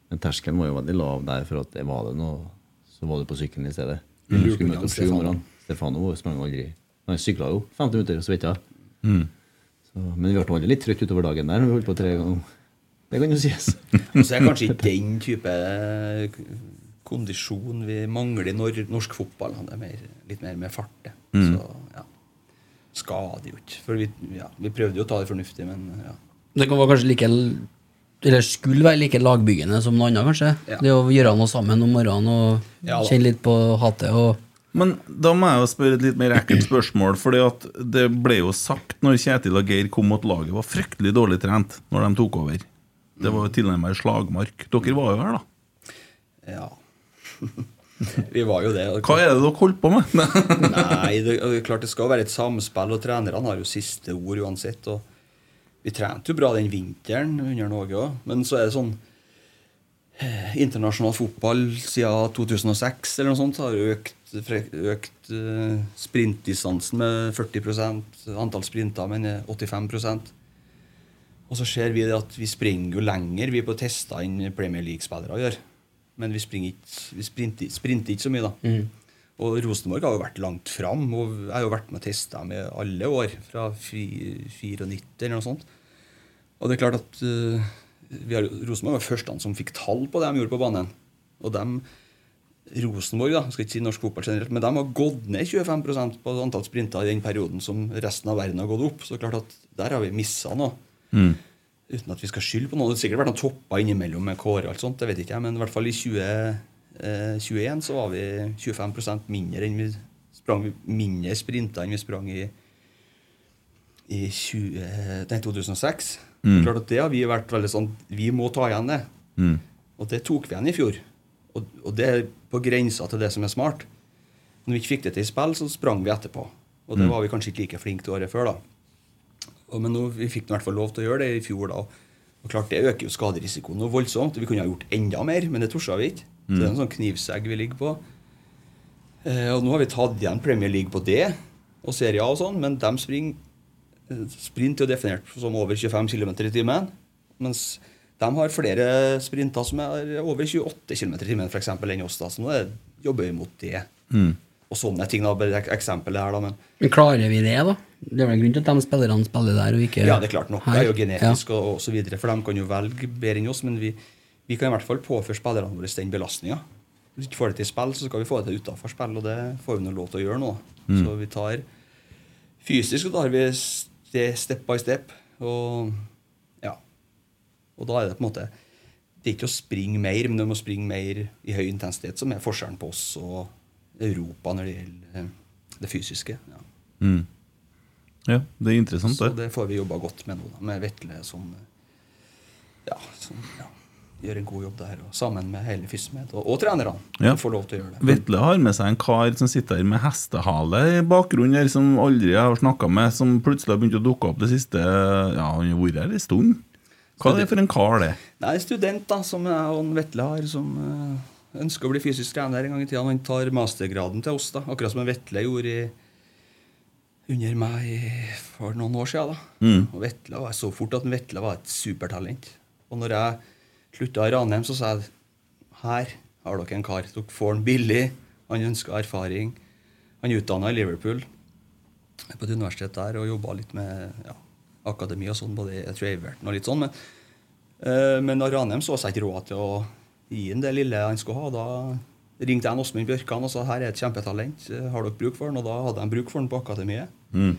Speaker 8: Men terskelen var jo veldig lav der, for at det var det noe, så var du på sykkelen i stedet.
Speaker 6: Mm.
Speaker 8: Du skulle møte opp sju om
Speaker 6: Stefano.
Speaker 8: morgenen. Stefano var- sprang aldri. Han sykla jo 50 minutter og svetta.
Speaker 5: Mm.
Speaker 8: Så- Men vi ble aldri litt trøtt utover dagen der. når Vi holdt på tre ganger. Det kan jo sies.
Speaker 10: Og så er kanskje ikke den type eh, kondisjon vi mangler i nor norsk fotball. Det er mer, litt mer med fart. Det.
Speaker 6: Mm.
Speaker 10: Så ja, skader jo ikke. For vi, ja, vi prøvde jo å ta det fornuftig, men ja.
Speaker 6: Det kan være kanskje like Eller skulle være like lagbyggende som noe annet, kanskje.
Speaker 10: Ja.
Speaker 6: Det å gjøre noe sammen om morgenen og
Speaker 5: Ja da.
Speaker 6: kjenne litt på hatet og
Speaker 5: Men da må jeg jo spørre et litt mer ekkelt spørsmål. Fordi at det ble jo sagt når Kjetil og Geir kom mot laget, var fryktelig dårlig trent når de tok over. Det var jo tilnærmet slagmark. Dere var jo her, da.
Speaker 10: ja. Vi var jo det.
Speaker 5: Hva er det dere holdt på med?
Speaker 10: Nei, det, og det er klart det skal være et samspill, og trenerne har jo siste ord uansett. og Vi trente jo bra den vinteren under Norge òg, men så er det sånn eh, Internasjonal fotball siden 2006 eller noe sånt har jo økt, fre- økt eh, sprintdistansen med 40 Antall sprinter men eh, 85 Og så ser vi det at vi springer jo lenger, vi er på tester enn Premier League-spillere gjør. Men vi, springer ikke, vi sprinter, sprinter ikke så mye, da.
Speaker 6: Mhm.
Speaker 10: Og Rosenborg har jo vært langt fram. Og jeg har jo vært med og testa med alle år, fra fi- 94 eller noe sånt. Og det er klart at eh, vi har, Rosenborg var førstene som fikk tall på det de gjorde på banen. Og dem, Rosenborg, da, skal ikke si norsk fotball generelt, men de har gått ned 25 på antall sprinter i den perioden som resten av verden har gått opp. Så det er klart at der har vi missa noe.
Speaker 5: Mm.
Speaker 10: Uten at vi skal skylde på noe. Det har sikkert vært noen topper innimellom med Kåre. og alt sånt, det vet ikke jeg, Men i hvert fall i 2021 så var vi 25 mindre enn vi sprang mindre sprinter enn vi sprang i, i 20, nei, 2006.
Speaker 5: Mm.
Speaker 10: Klart at det har vi vært veldig sånn Vi må ta igjen det.
Speaker 5: Mm.
Speaker 10: Og det tok vi igjen i fjor. Og, og det er på grensa til det som er smart. Når vi ikke fikk det til i spill, så sprang vi etterpå. Og det
Speaker 5: Mm.
Speaker 10: var vi kanskje ikke like flinke til året før, da. Og, men nå, vi fikk nå i hvert fall lov til å gjøre det i fjor, da. Og klart, det øker jo skaderisikoen noe voldsomt. Vi kunne ha gjort enda mer, men det torde vi ikke. Så det er en sånn knivsegg vi ligger på. Eh, og nå har vi tatt igjen Premier League på det, og Serie A og sånn, men de springer eh, Sprint er jo definert som over 25 km i timen, mens de har flere sprinter som er over 28 km i timen, for eksempel, enn oss, da. Så nå er, jobber vi mot det.
Speaker 6: Mm.
Speaker 10: Og sånne ting, da. Bare ek- eksempel her, da. Men
Speaker 6: Men klarer vi det, da? Det er vel en grunn til at de spillerne spiller der og ikke
Speaker 10: Ja, det er klart. Noe
Speaker 6: her.
Speaker 10: er jo genetisk og, og så videre, for de kan jo velge bedre enn oss, men vi, vi kan i hvert fall påføre spillerne våre den belastninga. Hvis vi ikke får det til i spill, så skal vi få det til utafor spill, og det får vi nå lov til å gjøre nå.
Speaker 5: Mm.
Speaker 10: Så vi tar Fysisk så tar vi ste, step by step, og ja. Og da er det på en måte Det er ikke å springe mer, men du må springe mer i høy intensitet, som er forskjellen på oss og Europa når det gjelder eh, det fysiske. Ja.
Speaker 5: Mm. Ja, det er interessant,
Speaker 10: Så
Speaker 5: det.
Speaker 10: det får vi jobba godt med nå, da, med Vetle som, ja, som ja, gjør en god jobb der. Og sammen med hele Fysmed og, og trenerne.
Speaker 5: Ja.
Speaker 10: som Får lov til å gjøre det.
Speaker 5: Vetle har med seg en kar som sitter her med hestehale i bakgrunnen, her, som aldri jeg har snakka med, som plutselig har begynt å dukke opp det siste Ja, han har vært her en stund. Hva er det for en kar, det?
Speaker 10: Nei, student da, som jeg og en Vetle har, som eh, ønsker å bli fysisk trener en gang i tida. Han tar mastergraden til oss, da, akkurat som en Vetle gjorde i, under meg i- for noen år siden. Da.
Speaker 5: Mm.
Speaker 10: Og Vetle var så fort at en Vetle var et supertalent. Og når jeg slutta i Ranheim, så sa jeg her har dere en kar. Dere får han billig. Han ønsker erfaring. Han er utdanna i Liverpool på et universitet der og jobba litt med ja, akademi og sånn, både jeg tror Everton og litt sånn. Men, eh, men når Ranheim så seg ikke råd til å gi ham det lille han skulle ha. Da ringte jeg en Åsmund Bjørkan og sa her er et kjempetalent, Eh, har dere bruk for han? Og da hadde de bruk for han på akademiet.
Speaker 5: Mm.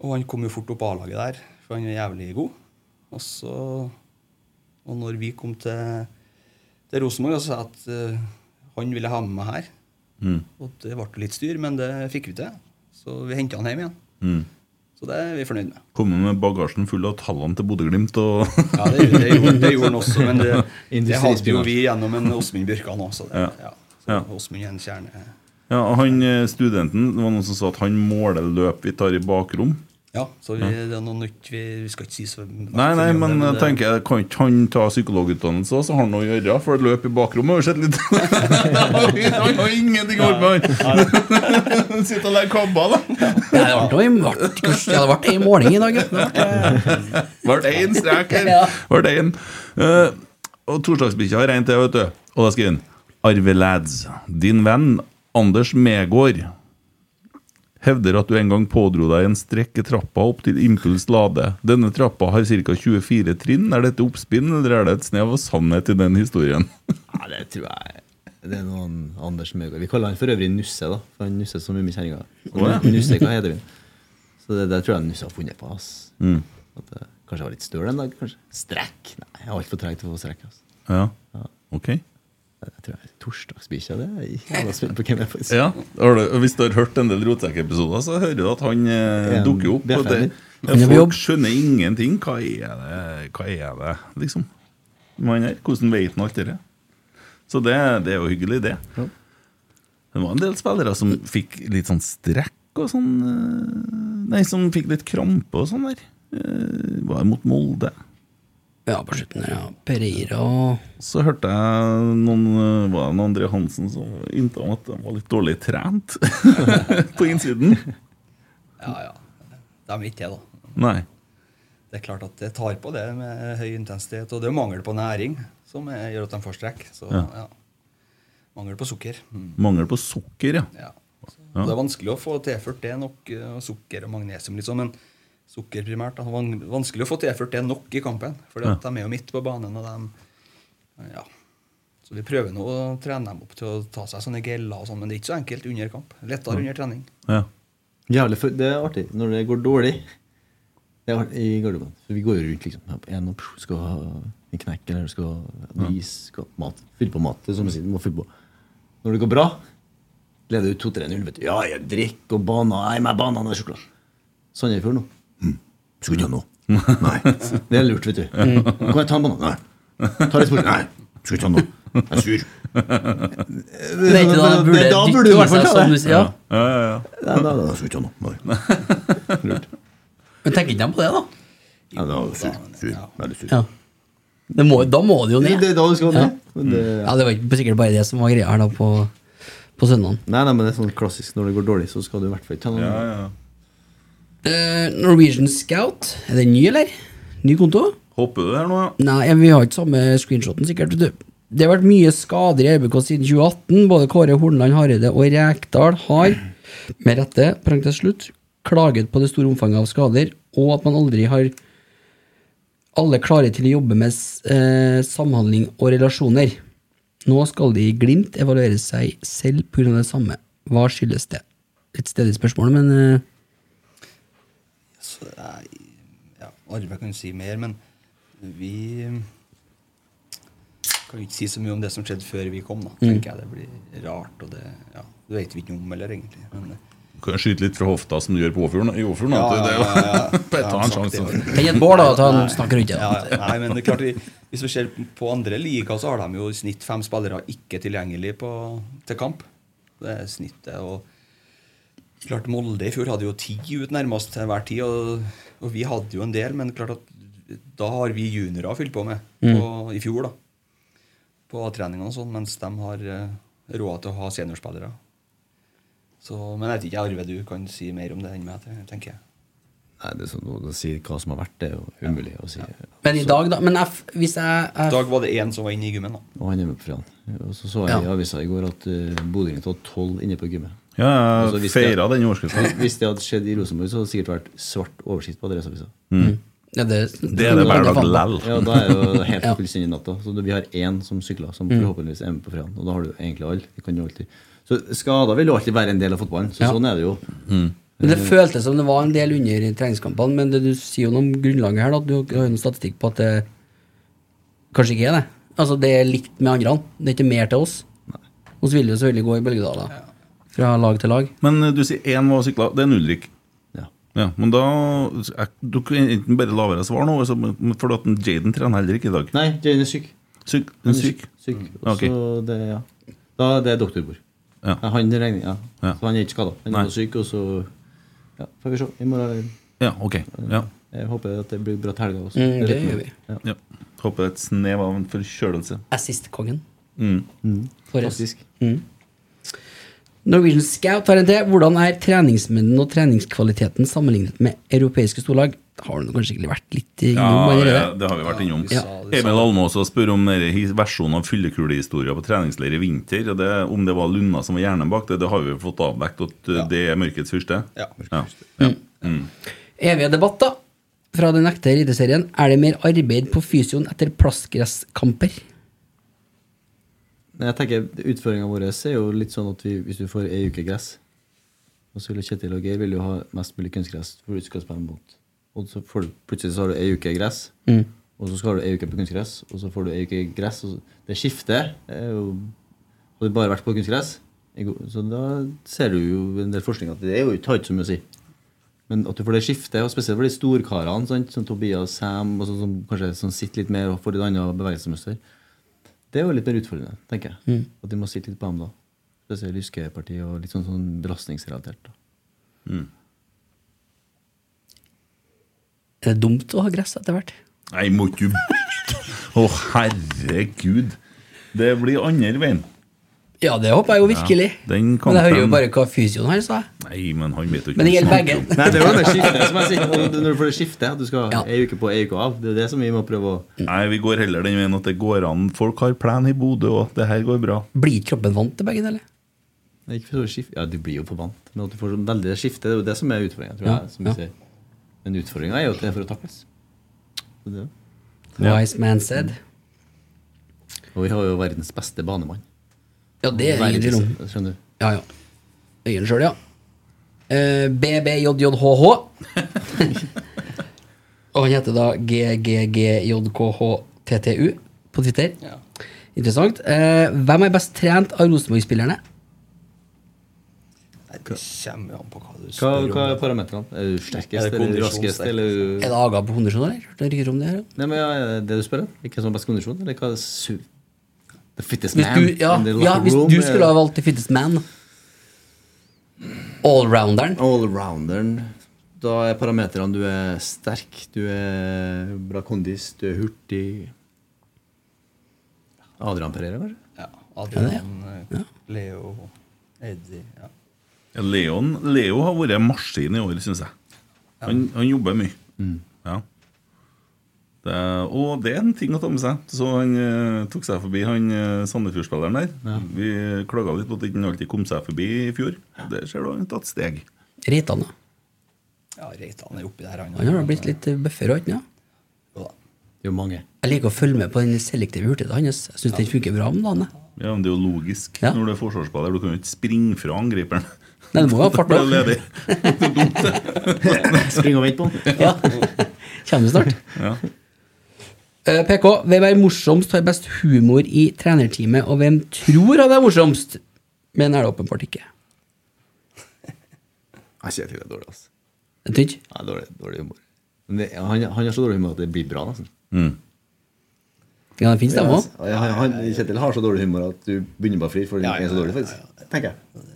Speaker 10: Og han kom jo fort opp på A-laget der, for han er jævlig god. Og så Og når vi kom til, til Rosenborg, så sa jeg at eh, han ville ha med meg her.
Speaker 5: Mm.
Speaker 10: Og det ble litt styr, men det fikk vi til. Så vi henta han hjem igjen.
Speaker 5: Mm.
Speaker 10: Så det er vi fornøyd med.
Speaker 5: Kommer med bagasjen full av tallene til Bodø-Glimt og
Speaker 10: Ja, det, det, gjorde, det gjorde han også, men det, det hadde jo vi gjennom en Åsmund Bjørkan òg.
Speaker 5: Ja.
Speaker 10: Ja.
Speaker 5: Ja.
Speaker 10: Åsmund er en kjerne.
Speaker 5: Ja, og han eh, Studenten det var noen som sa at han måler løp vi tar i bakrom.
Speaker 10: Ja, så vi,
Speaker 5: Ja.
Speaker 10: det er noe nytt vi, vi skal ikke si så
Speaker 5: Nei, nei, men jeg
Speaker 10: det-
Speaker 5: tenker jeg, kan ikke han ta psykologutdannelse også, så har han noe å gjøre? For et løp i bakrommet har jo sett litt Han har ingenting å gjøre med, han! Sitter og legger kabber, da.
Speaker 6: Ja, det ble noe i- ble- kurs- ja, det ble en måling i dag, ja. Det ble-
Speaker 5: Ble det én strek her?
Speaker 6: Ja.
Speaker 5: Ble det én? Eh, og torsdagsbikkja har en til, vet du. Og da skriver han Arve Lads, din venn Anders Megård hevder at du en gang pådro deg en strekk i trappa opp til Impuls Lade. Denne trappa har ca. 24 trinn. Er dette oppspinn, eller er det et snev av sannhet i den historien?
Speaker 8: Ja, det tror jeg Det er noen Anders Møgaard. Vi kaller han for øvrig Nusse, da. For han nusser så mye med kjerringa.
Speaker 5: Å, ja.
Speaker 8: Nusse, hva heter vi? Så det, det tror jeg Nusse har funnet på. ass.
Speaker 5: Mm.
Speaker 8: At jeg kanskje jeg var litt støl en dag. kanskje. Strekk! Nei, jeg er altfor treg til å få strekk. ass.
Speaker 5: Ja, ok.
Speaker 8: Jeg tror jeg er torsdagsbikkja. Det er jeg jævla spent på hvem jeg faktisk
Speaker 5: Ja, har du, Hvis du har hørt en del Rotsekk-episoder, så hører du at han eh,
Speaker 8: En
Speaker 5: dukker opp. Og det,
Speaker 8: beffermer. Han er på jobb.
Speaker 5: folk skjønner ingenting. Hva er det, Hva er det liksom? Man her, Hvordan vet han alt det? Så det, det er jo hyggelig, det. Det var en del spillere som fikk litt sånn strekk og sånn eh, Nei, som fikk litt krampe og sånn der. Eh, Var mot Molde.
Speaker 6: Ja, på slutten der, ja. Pereira og
Speaker 5: Så hørte jeg noen eh, Var det noen André Hansen som innta om at de var litt dårlig trent på innsiden?
Speaker 10: Ja, ja. Det er mitt, det, da.
Speaker 5: Nei.
Speaker 10: Det er klart at det tar på det med høy intensitet. Og det er mangel på næring som eh, gjør at de får strekk. Så, ja.
Speaker 5: Ja.
Speaker 10: Mangel på sukker. Mm.
Speaker 5: Mangel på sukker, ja.
Speaker 10: Ja.
Speaker 5: Ja.
Speaker 10: Og Det er vanskelig å få tilført det nok, eh, og sukker og magnesium litt sånn, men sukker primært. da. Van- Vanskelig å få tilført det nok i kampen, for
Speaker 5: Ja.
Speaker 10: de er jo midt på banen. og de, ja. Så vi prøver nå å trene dem opp til å ta seg sånne geller, og sånn, men det er ikke så enkelt under kamp. Lettere under trening.
Speaker 8: Jævlig, for det er artig når det går dårlig. Det er artig i garderoben. For vi går jo rundt liksom. En opp, skal ha en knekk eller skal ha noe is, skal ha mat. Fylle på mat. Det er sånn som å si, du må fylle på. Når det går bra, leder du 2-3-0. vet du. Ja, jeg drikker og banan. Nei, meg banan og sjokolade. Sandefjord nå. Hm. Skal ikke ha noe.
Speaker 6: Hm.
Speaker 8: Nei. Det er lurt, vet du.
Speaker 4: Mm.
Speaker 8: Kan jeg ta en banan? Nei. Ta litt sport. Nei. Skal ikke ta noe. Jeg er sur.
Speaker 6: Men er ikke da
Speaker 8: Men
Speaker 6: burde
Speaker 8: da
Speaker 6: dytte
Speaker 8: burde du i hvert
Speaker 6: seg
Speaker 8: fall ta
Speaker 6: sånn du
Speaker 8: det.
Speaker 6: sier, ja.
Speaker 5: Ja, ja, ja.
Speaker 8: Nei, nei, nei, jeg skal ikke ha noe. Nei.
Speaker 6: Men tenker ikke de på det, da?
Speaker 8: Ja, det var sur. sur. Veldig sur.
Speaker 6: Ja. Det må, da må det jo ned.
Speaker 8: Det- det er da det skal
Speaker 6: ja.
Speaker 8: ned, men det-
Speaker 6: ja, det var ikke sikkert bare det som var greia her da på, på søndagen.
Speaker 8: Nei, nei, men det er sånn klassisk når det går dårlig, så skal du i hvert fall ikke ta noe.
Speaker 6: Eh, Norwegian Scout, er den ny, eller? Ny konto?
Speaker 5: Hopper du her nå, ja?
Speaker 6: Nei, ja, vi har ikke samme screenshoten, sikkert. vet du. Det har vært mye skader i RBK siden 2018. Både Kåre Hornland, Hareide og Rekdal har, med rette, parentes slutt, klaget på det store omfanget av skader, og at man aldri har alle klare til å jobbe med s- eh, samhandling og relasjoner. Nå skal de i Glimt evaluere seg selv pga. det samme. Hva skyldes det? Litt stedig spørsmål, men eh,
Speaker 10: Så, nei, ja, Arve kan jo si mer, men vi kan jo ikke si så mye om det som skjedde før vi kom. da,
Speaker 5: Mm.
Speaker 10: tenker jeg. Det blir rart, og det, ja, det vet vi ikke noe om heller, egentlig. Men,
Speaker 5: Du kan skyte litt fra hofta, som du gjør på Åfjorden. I Åfjorden,
Speaker 10: Ja,
Speaker 5: vet du.
Speaker 10: ja, ja, ja.
Speaker 5: Det er jo Bare
Speaker 10: Ja,
Speaker 5: ta en
Speaker 10: sagt det.
Speaker 5: sjanse.
Speaker 6: Gi et bål, da, at han
Speaker 10: Nei.
Speaker 6: snakker rundt det.
Speaker 10: Ja, nei, men det er klart, vi- hvis vi ser på andre liga, så har de jo i snitt fem spillere ikke tilgjengelig på, til kamp. Det er snittet. og klart Molde i fjor hadde jo ti ut nærmest til hver tid, og, og vi hadde jo en del, men klart at da har vi juniorer fylt på med
Speaker 6: Mm.
Speaker 10: på, i fjor, da. På A-treningene og sånn, mens de har eh, råd til å ha seniorspillere. Så, men jeg vet ikke, Arve, du kan si mer om det enn meg, tenker jeg.
Speaker 8: Nei, det er sånn å si hva som har vært, det er jo umulig å si.
Speaker 6: Men i dag, da? Men jeg, f- hvis jeg,
Speaker 10: I
Speaker 6: jeg
Speaker 10: dag var det én som var inne i gymmen. da.
Speaker 8: Og han er med på fredag. Og så så jeg i avisa i går at uh, Bodø-Glimt var tolv inne på gymmet.
Speaker 5: Ja, jeg
Speaker 10: Altså,
Speaker 8: Og så hvis det-
Speaker 5: feiret den overskriften.
Speaker 8: Hvis- Hvis det hadde skjedd i Rosenborg, så hadde det sikkert vært svart oversikt på Adresseavisa.
Speaker 5: Mm.
Speaker 6: Ja, det-
Speaker 5: Det er det hver dag lell.
Speaker 8: Ja, da er jo helt
Speaker 5: Ja.
Speaker 8: fullstendig natta. Så vi har én som sykler, som
Speaker 5: Mm.
Speaker 8: forhåpentligvis er med på fredag. Og da har du egentlig alle. Vi kan jo alltid. Så skader vil jo alltid være en del av fotballen. Så
Speaker 6: Ja.
Speaker 8: sånn er det jo.
Speaker 6: Men det
Speaker 8: Eh,
Speaker 6: føltes som det var en del under i treningskampene, men det du sier jo noe om grunnlaget her, da, at du har jo noen statistikk på at det kanskje ikke er det. Altså, det er likt med andre. Det er ikke mer til oss. Og så vil det jo selvfølgelig gå i bølgedaler. Fra lag til lag.
Speaker 5: Men eh, du sier én var sykla. Det er en Ulrik.
Speaker 8: Ja.
Speaker 5: men da jeg, Du kan enten bare la være å svare nå, altså, men- for at en Jaden trener heller ikke i dag.
Speaker 8: Nei, Jane er syk.
Speaker 5: Syk,
Speaker 8: Han
Speaker 5: hun
Speaker 8: er
Speaker 5: er syk.
Speaker 8: syk.
Speaker 5: Mm.
Speaker 8: Og
Speaker 5: Ok.
Speaker 8: Så det, ja. Da det er doktorbord.
Speaker 5: Ja.
Speaker 8: Han regner, ja.
Speaker 5: Ja.
Speaker 8: Så han er ikke skada. Han
Speaker 5: Nei.
Speaker 8: er syk, og så ja, får vi se. I morgen
Speaker 5: Ja, ok. Ja.
Speaker 8: Jeg håper at det blir bra til helga også.
Speaker 6: Mm, det gjør vi.
Speaker 8: Ja.
Speaker 5: Ja. Håper det er et snev av en forkjølelse.
Speaker 6: Assist-kongen.
Speaker 5: Mm.
Speaker 6: For oss.
Speaker 8: Faktisk.
Speaker 6: Mm. Norwegian Scout har en til. Hvordan er treningsmengden og treningskvaliteten sammenlignet med europeiske storlag? Har du kanskje egentlig vært litt eh,
Speaker 5: Ja,
Speaker 6: innom
Speaker 5: det,
Speaker 6: allerede?
Speaker 5: det har vi vært innom.
Speaker 6: Ja.
Speaker 5: Emil Almås også spør om denne his- versjonen av fyllekulehistorier på treningsleir i vinter. Og det, om det var Lunna som var hjernen bak det, det har vi jo fått avdekt at eh, det er mørkets fyrste. Ja. Ja. Mm.
Speaker 6: Evige debatt, da. Fra den ekte rideserien. Er det mer arbeid på fysioen etter plastgresskamper?
Speaker 8: Men jeg tenker Utføringa vår er jo litt sånn at vi, hvis du får ei uke gress Og så vil Kjetil og Geir vil jo ha mest mulig kunstgress for du skal spille mot. Og så får du, plutselig så har du ei uke gress,
Speaker 6: Mm.
Speaker 8: og så skal du ei uke på kunstgress, og så får du ei uke gress. Og så, det skiftet er jo Hadde du bare vært på kunstgress, i go- så da ser du jo en del forskning at det er jo ikke har ikke så mye å si. Men at du får det skiftet, og spesielt for de storkarene, sant, som Tobias Sam, og sånn, som kanskje som sitter litt mer og får et annet bevegelsesmønster, det er jo litt mer utfordrende, tenker jeg.
Speaker 6: Mm.
Speaker 8: At de må sitte litt på dem da. Spesielt lyskepartiet og litt sånn, sånn belastningsrelatert. da.
Speaker 6: Er det dumt å ha gress etter hvert?
Speaker 5: Nei, må ikke du Å, herregud. Det blir andre veien.
Speaker 6: Ja, det håper jeg jo virkelig.
Speaker 5: Ja, den
Speaker 6: Men jeg hører jo
Speaker 5: kampen-
Speaker 6: bare hva fysioen her sa.
Speaker 5: Nei, men han vet jo ikke
Speaker 6: Men
Speaker 5: hva
Speaker 6: det gjelder
Speaker 5: han
Speaker 6: begge.
Speaker 5: snakker om.
Speaker 8: Nei, det er jo det skiftet som jeg sier. og Når du får det skiftet, at du skal ha ei uke på, ei uke av, det er det som vi må prøve å
Speaker 5: Nei, vi går heller den veien at det går an. Folk har plan i Bodø, og det her går bra.
Speaker 6: Blir kroppen vant til begge deler?
Speaker 8: Nei, Ikke for å skifte. Ja, du blir jo forbannet. Men at du får sånn veldig skifte, det er jo det som er utfordringa, tror jeg.
Speaker 6: Ja,
Speaker 8: som vi sier. Men utfordringa er jo at det er for å takles. Så det-
Speaker 6: Wise man said.
Speaker 8: Og vi har jo verdens beste banemann.
Speaker 6: Ja, det er ingen
Speaker 8: Verdens-
Speaker 6: tvil om.
Speaker 8: Skjønner du?
Speaker 6: Ja, ja. Øyen sjøl, ja. Eh, BBJJHH. Og han heter da GGGJKHTTU på Twitter. Interessant. Eh, hvem er best trent av Rosenborg-spillerne?
Speaker 10: Det kommer jo an på hva du
Speaker 8: Hva,
Speaker 10: spør
Speaker 8: hva er
Speaker 10: om.
Speaker 8: parametrene? Er du
Speaker 10: Er
Speaker 8: sterkest
Speaker 10: det
Speaker 8: eller
Speaker 10: kondisjon
Speaker 8: raskest?
Speaker 10: sterkest?
Speaker 8: Eller...
Speaker 6: Er det Aga på kondisjon, eller? Hørte jeg rykter om det her. ja.
Speaker 8: Nei, men ja, er det det du spør om? Ikke som har best kondisjon? Eller hva er su... The fittest
Speaker 6: Hvis
Speaker 8: man
Speaker 6: du, ja,
Speaker 8: in the
Speaker 6: ja,
Speaker 8: locker
Speaker 6: hvis
Speaker 8: room,
Speaker 6: du
Speaker 8: eh,
Speaker 6: skulle ha valgt the fittest man Allrounderen.
Speaker 8: Allrounderen. Da er parametrene du er sterk, du er bra kondis, du er hurtig Adrian Pereira, kanskje?
Speaker 10: Adrian, eh, Leo, Eddie ja.
Speaker 5: Ja, Leon, Leo har vært en maskin i år, syns jeg. Han, han jobber mye. Ja. Det, og det er en ting å ta med seg. Så han eh, tok seg forbi han eh, Sandefjord-spilleren der. Vi klaga litt på at han ikke alltid kom seg forbi i fjor. Der ser du han har tatt steg.
Speaker 6: Reitan, da.
Speaker 10: Ja, Reitan er oppi der, han.
Speaker 6: Han har da blitt litt eh, bøffere og alt, ja.
Speaker 8: Det er jo mange.
Speaker 6: Jeg liker å følge med på den selektive hurtigheten hans. Jeg syns den funker bra om dagen. jeg.
Speaker 5: Ja, men Det er jo logisk når du er forsvarsspiller. Du kan jo ikke springe fra angriperen.
Speaker 6: Nei, du må jo ha
Speaker 5: Da
Speaker 6: fart
Speaker 5: blir
Speaker 6: også.
Speaker 5: det ledig. Det er dumt, det.
Speaker 8: Spring og vent på den.
Speaker 6: Ja. Kommer du snart?
Speaker 5: Ja.
Speaker 6: Eh, PK, hvem er morsomst, har best humor i trenerteamet, og hvem tror han er morsomst? Men er det åpenbart ikke.
Speaker 8: Jeg sier til det er dårlig, altså.
Speaker 6: Jeg tror ikke.
Speaker 8: Nei, dårlig, dårlig humor. Men det, han, han har så dårlig humor at det blir bra, nesten.
Speaker 6: Ja, det finnes dem
Speaker 8: Ja,
Speaker 6: òg.
Speaker 8: altså. Ja, han, han, Kjetil har så dårlig humor at du begynner bare å flire, for den er så dårlig, faktisk. Tenker jeg.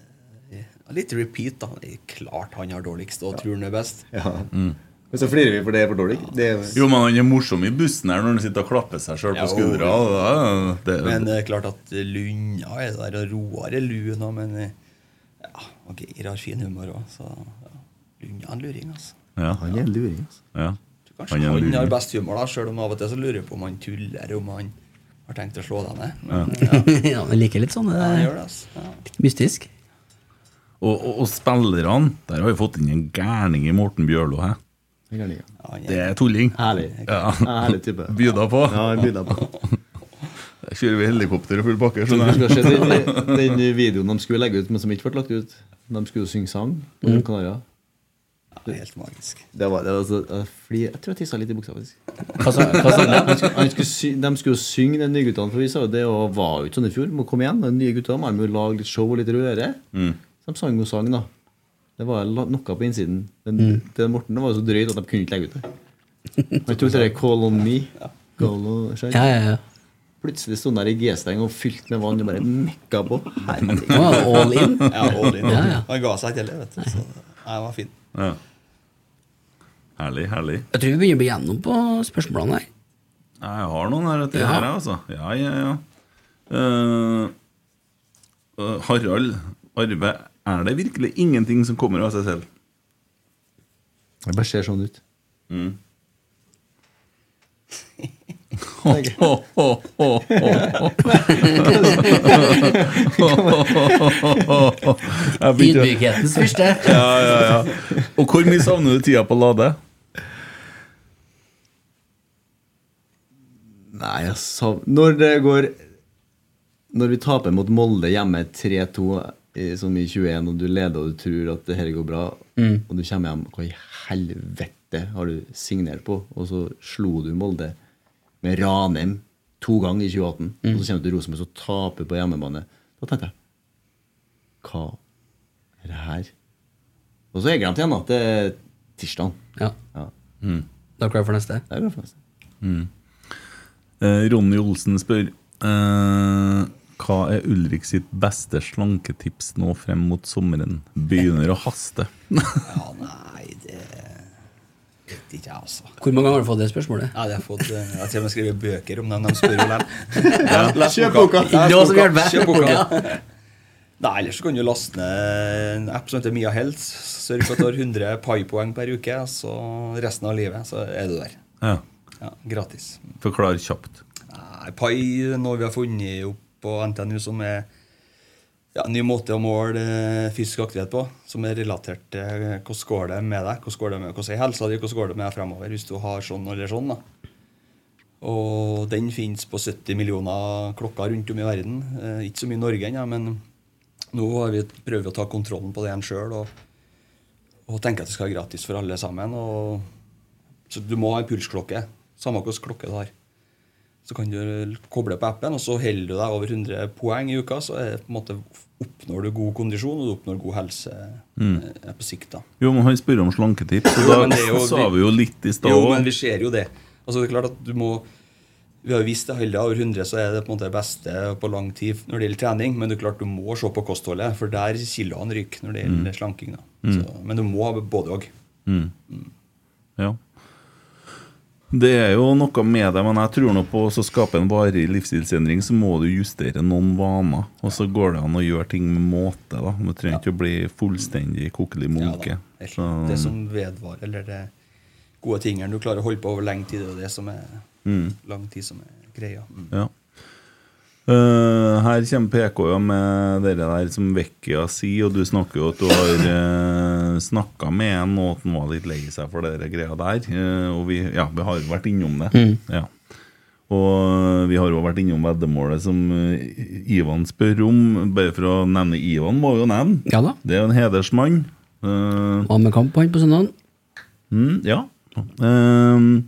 Speaker 10: Ja, Litt repeat, da. Det er Klart han har dårligst og tror han er best.
Speaker 8: Ja. Men så flirer vi, for det er for dårlig. Det er,
Speaker 5: Jo, men han er morsom i bussen her når han sitter og klapper seg sjøl
Speaker 10: Ja,
Speaker 5: på skuldra. og da- Det,
Speaker 10: Men det er klart at Lunda er der, og Roar er lun òg, men eh, ja, og Geir har fin humor òg, så ja. Lund er en luring, altså.
Speaker 5: ja.
Speaker 8: Han er en luring, altså.
Speaker 5: Ja.
Speaker 10: Kanskje
Speaker 5: Han er en
Speaker 10: han,
Speaker 5: luring.
Speaker 10: har best humor, da, sjøl om av og til så lurer jeg på om han tuller, om han har tenkt å slå deg ned. Men,
Speaker 6: Ja.
Speaker 8: altså.
Speaker 6: ja, men liker litt sånn.
Speaker 10: ja, han gjør det,
Speaker 6: Det
Speaker 10: altså. Ja.
Speaker 6: er mystisk.
Speaker 5: Og, og, og spillerne Der har vi fått inn en gærning i Morten Bjørlo. Hæ? Det er tulling.
Speaker 8: Herlig.
Speaker 5: Ja.
Speaker 8: Herlig type.
Speaker 5: Byda på.
Speaker 8: Ja, han byr deg på.
Speaker 5: Der kjører vi helikopter og full pakke.
Speaker 8: Du
Speaker 5: skjønner
Speaker 8: skulle ha
Speaker 5: jeg.
Speaker 8: sett den, den videoen de skulle legge ut, men som ikke ble lagt ut. De skulle jo synge sang på
Speaker 10: Mm.
Speaker 8: Gran Canaria.
Speaker 10: Det er helt magisk.
Speaker 8: Det var, det var så, jeg, flir- jeg tror jeg tissa litt i buksa, faktisk.
Speaker 6: Hva sa- hva sa du?
Speaker 8: Han skulle- han skulle sy- de skulle jo synge, de nye guttene. For vi sa jo det og var jo ikke sånn i fjor. Må komme igjen. De nye guttene må jo lage litt show og litt røre.
Speaker 5: Mm.
Speaker 8: Så De sang jo sang, da. Det var la- noe på innsiden. Den,
Speaker 6: Mm.
Speaker 8: det Morten det var jo så drøyt at de kunne ikke legge ut det. Han tok det der Call on me. Call on,
Speaker 6: Ja, ja, ja.
Speaker 8: Plutselig sto han der i G-streng og fylt med vann og bare mekka på. Herregud.
Speaker 6: Ja, all in.
Speaker 10: Ja, all in.
Speaker 6: Ja, ja.
Speaker 10: Han ga seg ikke heller, vet du. Så, nei, det var fint.
Speaker 5: Ja. Herlig, herlig.
Speaker 6: Jeg tror vi begynner å bli gjennom på spørsmålene her.
Speaker 5: Jeg har noen her etter
Speaker 6: Ja.
Speaker 5: her, jeg, altså. Ja, ja, ja. Eh, eh, Harald Arve, er det virkelig ingenting som kommer av seg selv?
Speaker 8: Det bare ser sånn ut.
Speaker 5: Mm. Jeg begynte-
Speaker 6: Ydmykhetens første.
Speaker 5: Ja, ja, ja. Og hvor mye savner du tida på Lade?
Speaker 8: Nei, jeg sav... Når det går Når vi taper mot Molde hjemme 3-2 i- som i 21, og du leder og du tror at det her går bra,
Speaker 6: Mm.
Speaker 8: og du kommer hjem Hva i helvete har du signert på? Og så slo du Molde med Ranheim to ganger i 2018,
Speaker 6: Mm.
Speaker 8: og så kommer du til Rosenborg og taper på hjemmebane. Da tenkte jeg Hva er det her? Og så har jeg glemt igjen at det er tirsdag.
Speaker 6: Ja. Da er du klar for neste?
Speaker 8: Jeg er glad for neste.
Speaker 5: Mm. Eh, Ronny Olsen spør eh, Hva er Ulrik sitt beste slanketips nå frem mot sommeren? Begynner å haste.
Speaker 10: Ja, nei, det vet ikke jeg, altså.
Speaker 6: Hvor mange ganger har du fått det spørsmålet?
Speaker 10: Ja, det har jeg fått, eh, jeg har til og med skrevet bøker om dem. De spør jo likevel.
Speaker 6: Ja.
Speaker 10: Les
Speaker 6: Kjøp boka.
Speaker 10: Les
Speaker 6: Det var som hjelper.
Speaker 10: Kjøp boka.
Speaker 6: Ja.
Speaker 10: Nei, ellers så kan du laste ned en app som heter Mia Health. Sørg for at du har 100 pai-poeng per uke, så resten av livet så er du der.
Speaker 5: Ja.
Speaker 10: Ja, gratis.
Speaker 5: Forklar kjapt.
Speaker 10: Nei, pai er noe vi har funnet opp på NTNU som er ja, en ny måte å måle eh, fysisk aktivitet på, som er relatert til eh, hvordan går det med deg, hvordan går det med hvordan er helsa di, hvordan går det med deg fremover hvis du har sånn eller sånn. da. Og den finnes på 70 millioner klokker rundt om i verden. Eh, ikke så mye i Norge ennå, men nå har vi, prøver vi å ta kontrollen på det igjen sjøl og, og tenker at det skal være gratis for alle sammen. Og, så du må ha en pulsklokke, samme hvilken klokke du har. Så kan du koble på appen, og så holder du deg over 100 poeng i uka. Så er det på en måte oppnår du god kondisjon, og du oppnår god helse
Speaker 5: Mm.
Speaker 10: eh, på sikt. da.
Speaker 5: Jo, men Han spør om slanketips,
Speaker 10: Jo,
Speaker 5: og
Speaker 10: men
Speaker 5: da
Speaker 10: det er jo-
Speaker 5: sa vi jo litt i stad
Speaker 10: Jo,
Speaker 5: også.
Speaker 10: men vi ser jo det. Altså det er klart at du må Vi har jo visst det hele over 100, så er det på en måte det beste på lang tid når det gjelder trening. Men det er klart du må se på kostholdet, for der kiloene ryker når det
Speaker 5: Mm.
Speaker 10: gjelder slanking. da.
Speaker 5: Mm.
Speaker 10: Så, men du må ha både òg.
Speaker 5: Mm. Ja. Det er jo noe med det, men jeg tror nå på å skape en varig livsstilsendring, så må du justere noen vaner. Og så går det an å gjøre ting med måte. da Du trenger ikke å bli fullstendig kokelig munke.
Speaker 10: Helt-
Speaker 5: Så-
Speaker 10: Det som vedvarer, eller det gode tingene du klarer å holde på over lenge tid, det er jo det som er
Speaker 5: Mm.
Speaker 10: lang tid som er greia. Mm.
Speaker 5: Ja. Eh, her kommer PK jo med dere der som Vekkia sier, og du snakker jo at du har uh, snakka med en, og at han var litt lei seg for dere greia der. Eh, og vi, ja, vi har jo vært innom det.
Speaker 6: Mm.
Speaker 5: Ja. Og eh, vi har jo vært innom veddemålet som eh, Ivan spør om. Bare for å nevne Ivan, må jo nevne.
Speaker 6: Ja da.
Speaker 5: Det er jo en hedersmann. Eh,
Speaker 6: Var med kamp han på søndagen.
Speaker 5: Mm, ja. Ehm,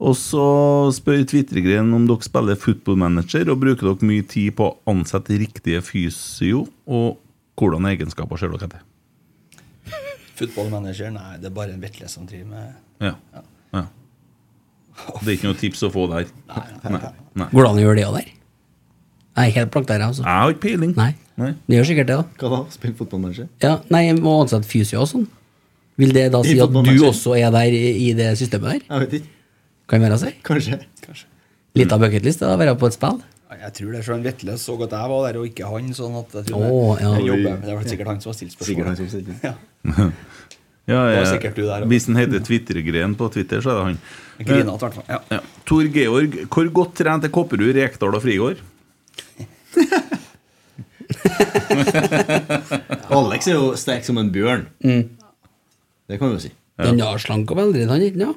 Speaker 5: og så spør Twittergren om dere spiller football manager, og bruker dere mye tid på å ansette riktige fysio, og hvordan egenskaper ser dere etter?
Speaker 10: Footballmanager, nei, det er bare en vetle som driver med
Speaker 5: Ja. ja. Det er ikke noe tips å få der? Nei. Nei.
Speaker 6: Går det an å gjøre det òg der? Nei, helt plank der, altså.
Speaker 5: Jeg har ikke peiling.
Speaker 6: Nei. Det gjør sikkert det, da.
Speaker 8: Hva da? Spille fotballmanager?
Speaker 6: Ja, nei, jeg må ansette fysio og sånn. Vil det da
Speaker 8: I
Speaker 6: si at du
Speaker 8: fotballmatcher?
Speaker 6: også er der i i det systemet der?
Speaker 8: Jeg vet ikke.
Speaker 6: Kan være seg?
Speaker 8: Kanskje.
Speaker 6: Litt av bucketlist er å være på et spill.
Speaker 10: Nei, Jeg tror det er Svein Vetle så at jeg var der, og ikke han. sånn at jeg tror
Speaker 6: Å, ja.
Speaker 10: jeg jobber. Det var sikkert han som har stilt
Speaker 8: Sikkert han
Speaker 10: spørsmålet.
Speaker 8: som sitter.
Speaker 10: Ja.
Speaker 5: Ja,
Speaker 10: Det var
Speaker 5: jeg-
Speaker 10: sikkert du der også.
Speaker 5: Hvis han heter Twittergren på Twitter, så er det han.
Speaker 10: Jeg griner at hvertfall, ja.
Speaker 5: Ja. Tor Georg, hvor godt trent er Kopperud, Rekdal og Frigård?
Speaker 8: Alex er jo sterk som en bjørn. Det kan vi jo si.
Speaker 6: Ja. Den er slank og veldig, han ikke ja.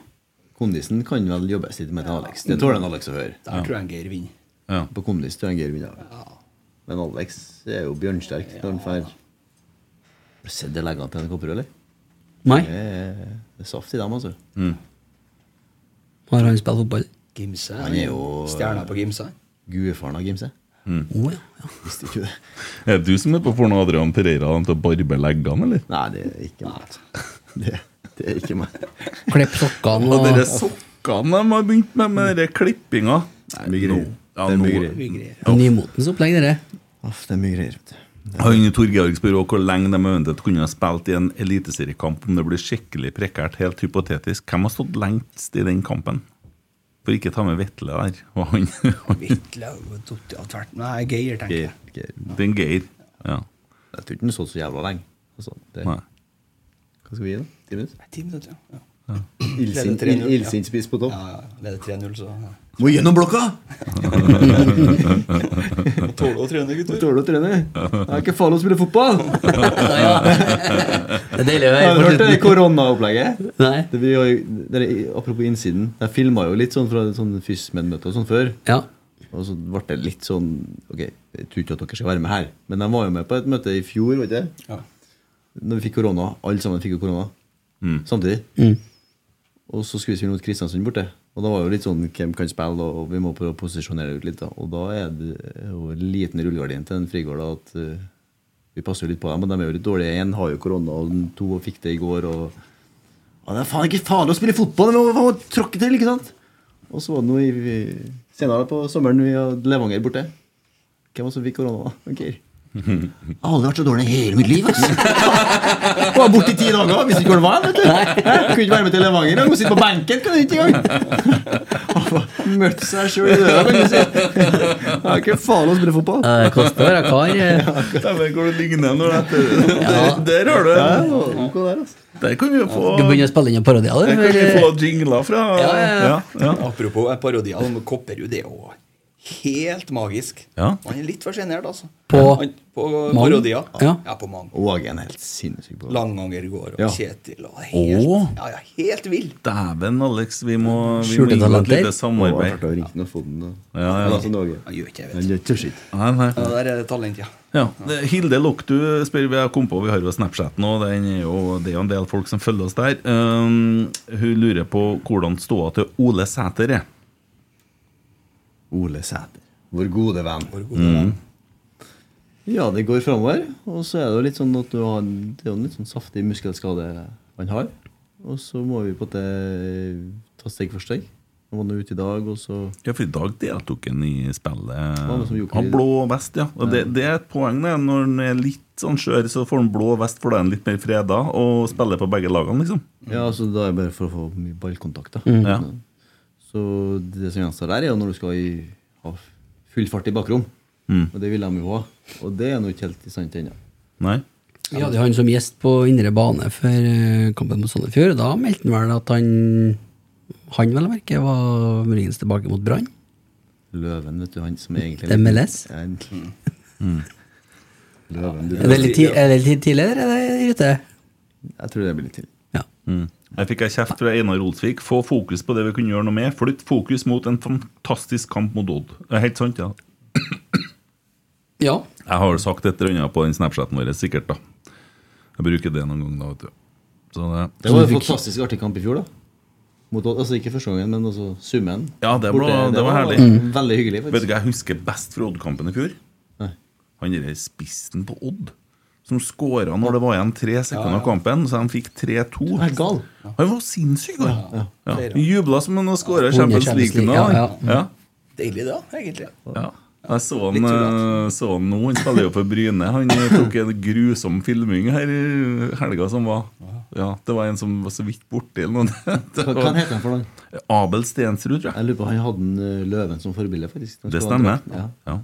Speaker 8: Kondisen kan vel jobbes litt med til Alex. Det tåler en Alex å høre.
Speaker 10: Der tror jeg en Geir vinner.
Speaker 8: På kondis tror jeg en Geir vinner. Men Alex er jo bjørnsterk når han får Har du sett de leggene til en kopperød, eller?
Speaker 6: Nei.
Speaker 8: Det er, det er saft i dem, altså.
Speaker 6: Har han spilt fotball?
Speaker 10: Gimse.
Speaker 8: Han er jo
Speaker 10: Stjerna på Gimse.
Speaker 8: Guefaren av Gimse. Visste ikke du det?
Speaker 5: Er det du som er på porno Adrian Pereira han til å barbe leggene, eller?
Speaker 8: Nei, det er ikke meg. Det, det er ikke meg.
Speaker 6: Klipp sokkene
Speaker 5: Og
Speaker 6: og
Speaker 5: dere sokkene de har begynt med, med dere klippinga. Nå- Ja,
Speaker 8: Det er mye
Speaker 5: nå-
Speaker 8: greier.
Speaker 6: Nymotens opplegg, dere.
Speaker 8: Aff, det er mye greier, vet du.
Speaker 5: Han Torgeir spør også hvor lenge de eventuelt kunne ha spilt i en eliteseriekamp om det blir skikkelig prekært, helt hypotetisk. Hvem har stått lengst i den kampen? For ikke ta med Vetle der. Og han,
Speaker 10: Vetle Totti har vært Nei, Geir, tenker jeg.
Speaker 5: Den Geir. Ja.
Speaker 8: Jeg tror ikke den så så jævla lenge. Altså, det,
Speaker 5: Nei.
Speaker 8: Hva skal vi gi, da? Ti minutter?
Speaker 10: Ti minutter, ja.
Speaker 8: Ja.
Speaker 10: Leder
Speaker 8: Ildsint-
Speaker 10: 3-0, ja.
Speaker 8: ildsint spiss på topp.
Speaker 10: Ja, ja, ja. Leder 3-0, så ja.
Speaker 8: Må gjennom blokka!
Speaker 10: Må tåle å trene, gutter.
Speaker 8: Må tåle å trene. Det er ikke farlig å spille fotball!
Speaker 10: Ja,
Speaker 6: Det er deilig å høre.
Speaker 8: Har du hørt det koronaopplegget?
Speaker 6: Nei.
Speaker 8: Det vi har, det er- apropos innsiden. Jeg filma jo litt sånn fra et sånn FysMed-møte og sånn før. Og så ble det litt sånn Ok, jeg tror ikke at dere skal være med her, men de var jo med på et møte i fjor, vet du.
Speaker 10: Ja.
Speaker 8: Når vi fikk korona. Alle sammen fikk jo korona samtidig. Og så skulle vi spille mot Kristiansund borte. Og da var jo litt sånn hvem kan spille, og vi må prøve å posisjonere ut litt. da. Og da er det jo en liten rullegardin til en Frigård da, at eh, vi passer jo litt på dem. Og de er jo litt dårlige. Én har jo korona, og den to fikk det i går. og... Ja, det er faen ikke farlig å spille fotball! Det må, må tråkke til, ikke sant? Og så var det noe i, vi- senere på sommeren vi hadde Levanger borte. Hvem var det som fikk korona? da? Okay. Jeg har aldri vært så dårlig i hele mitt liv, ass! Jeg var borte i ti dager, visste ikke hvor det var. vet du Hæ? Kunne ikke være med til Levanger. Jeg må sitte på benken, kan jeg ikke engang! Møtte seg sjøl i døra, kan du si. Det er ikke farlig å spille fotball.
Speaker 6: Det koster å være kar. eh.
Speaker 5: Dæven, hvor det ligner når det er der, der har du
Speaker 6: Ja, det
Speaker 8: altså.
Speaker 5: Der kan vi jo få
Speaker 6: Du begynner å spille inn en parodi av
Speaker 5: Der
Speaker 6: det? eh,
Speaker 5: kan vi få
Speaker 6: eller?
Speaker 5: jingler fra
Speaker 6: Ja, ja, ja.
Speaker 10: Apropos eh, parodier om Kopperud, det er jo helt magisk.
Speaker 8: Ja.
Speaker 10: Han er litt for sjenert, altså.
Speaker 8: På-
Speaker 10: Han- på
Speaker 8: Mang?
Speaker 10: parodier.
Speaker 8: Ja.
Speaker 10: ja, på Mang.
Speaker 8: Og Hagen er helt sinnssyk på det.
Speaker 10: Langanger går, og
Speaker 8: Ja.
Speaker 10: Kjetil og helt,
Speaker 5: Å,
Speaker 10: ja, ja, helt vill.
Speaker 5: dæven, Alex. Vi må, vi må
Speaker 8: Skjulte
Speaker 5: inngå et
Speaker 8: talenter.
Speaker 5: lite samarbeid.
Speaker 8: Å, jeg har vært og ringt noen foden, da.
Speaker 5: Ja, ja.
Speaker 8: Men altså, Norge.
Speaker 10: Han gjør ikke det,
Speaker 8: Han gjør ikke skitt.
Speaker 5: Nei, nei.
Speaker 10: Ja, der er det talent, ja.
Speaker 5: Ja, det- Hilde Loktu spør vi har kommet på, vi har jo Snapchat nå, den er jo, det er jo en del folk som følger oss der. Um, hun lurer på hvordan ståa til Ole Sæter er.
Speaker 8: Ole Sæter. Vår gode venn.
Speaker 5: Mm.
Speaker 8: Ja, det går framover. Og så er det jo litt sånn at du har, det er jo en litt sånn saftig muskelskade han har. Og så må vi på en måte ta steg for steg. Han var nå ute i dag, og så
Speaker 5: Ja, for i dag deltok han i spillet.
Speaker 8: var det som gjorde-
Speaker 5: Han blå vest, ja. Og det, det er et poeng det, når han er litt sånn skjør, så får han blå vest, for da er han litt mer freda og spiller på begge lagene, liksom.
Speaker 8: Ja, altså da er det bare for å få mye ballkontakt, da.
Speaker 5: Mm. Ja.
Speaker 8: Så det som gjenstår der, er jo når du skal i, ha full fart i bakrom.
Speaker 5: Mm.
Speaker 8: Og det vil de jo ha. Og det er nå ikke helt i stand til ennå.
Speaker 5: Nei.
Speaker 6: Vi hadde jo han som gjest på indre bane før eh, kampen mot Sandefjord. og Da meldte han vel at han, han vel å merke, var muligens tilbake mot Brann.
Speaker 8: Løven, vet du, han som er egentlig
Speaker 6: MLS?
Speaker 8: Ja, en-
Speaker 5: Mm.
Speaker 8: Løven, du-
Speaker 6: Er det litt ti- er det litt tidlig, eller er det ute?
Speaker 8: Jeg tror det blir litt tidlig.
Speaker 5: Mm. Jeg fikk ei kjeft fra Einar Olsvik. Få fokus på det vi kunne gjøre noe med. Flytt fokus mot en fantastisk kamp mot Odd. Det er helt sant, ja.
Speaker 6: Ja.
Speaker 5: Jeg har sagt et eller annet på den Snapchaten vår, sikkert. da Jeg bruker det noen ganger, da. vet du Så det,
Speaker 8: Det var en fantastisk artig kamp i fjor, da. Mot, Odd. altså Ikke første gangen, men altså summen.
Speaker 5: Ja, det var,
Speaker 8: Borte,
Speaker 5: det var herlig.
Speaker 8: Veldig hyggelig,
Speaker 5: Vet du
Speaker 8: faktisk.
Speaker 5: hva jeg husker best fra Odd-kampen i fjor? Han derre spissen på Odd. Som skåra når det var igjen tre sekunder av kampen, så de fikk 3-2.
Speaker 8: Han er gal.
Speaker 5: Han var sinnssyk, han. Ja,
Speaker 10: Flere.
Speaker 5: Jubla som han skåra i
Speaker 10: Under
Speaker 5: Champions
Speaker 10: Champions
Speaker 5: League-finalen.
Speaker 10: League, ja, ja.
Speaker 5: Ja.
Speaker 10: Deilig, da, egentlig.
Speaker 5: Ja. Jeg så han, eh, så han nå, han spiller jo for Bryne. Han tok en grusom filming her i helga som var. Ja, Det var en som var så vidt borti eller noe. Det
Speaker 8: Hva-
Speaker 5: var-
Speaker 8: hva heter han for noe?
Speaker 5: Abel Stensrud, tror jeg.
Speaker 8: Jeg lurer på, Han hadde en eh, Løven som forbilde, faktisk. Den
Speaker 5: Det
Speaker 8: skulle
Speaker 5: stemmer.
Speaker 8: ha drakt,
Speaker 5: Ja.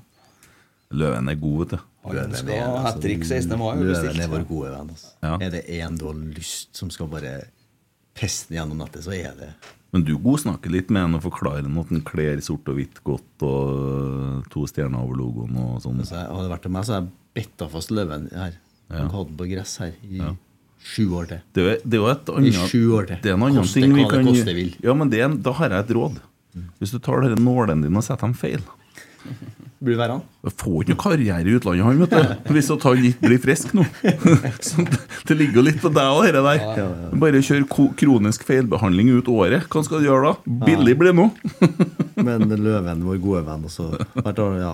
Speaker 5: Løven er god, vet du.
Speaker 10: Han skal ha hat trick 16. mai. har vi bestilt.
Speaker 8: altså, Løven er vår gode venn. Altså. Er det én du har lyst som skal bare peste den gjennom nettet, så er det
Speaker 5: Men du godsnakker litt med han og forklarer han at han kler sort og hvitt godt og eh, to stjerner over logoen og sånn.
Speaker 8: altså, jeg- Hadde det vært til meg, så hadde jeg bitta fast Løven her.
Speaker 5: Ja.
Speaker 8: Han hadde den på gress her i
Speaker 5: Ja.
Speaker 8: sju år til.
Speaker 5: Det er, det er jo et
Speaker 8: I
Speaker 5: annet
Speaker 8: sju år til.
Speaker 5: Det er en annen
Speaker 8: Koste
Speaker 5: ting vi
Speaker 8: hva det
Speaker 5: kan
Speaker 8: koste vil. Mm.
Speaker 5: Ja, men det er, en- da har jeg et råd. Hvis du tar denne nålen din og setter dem feil
Speaker 8: Blir det verre?
Speaker 5: Du får ikke noe karriere i utlandet, han, vet du. Hvis at han ikke blir frisk nå. Så det- det ligger jo litt på deg og dette der. Bare kjør ko- kronisk feilbehandling ut året. Hva skal du gjøre da? Billig blir det nå.
Speaker 8: Men Løven, vår gode venn, altså. Hvert år, ja.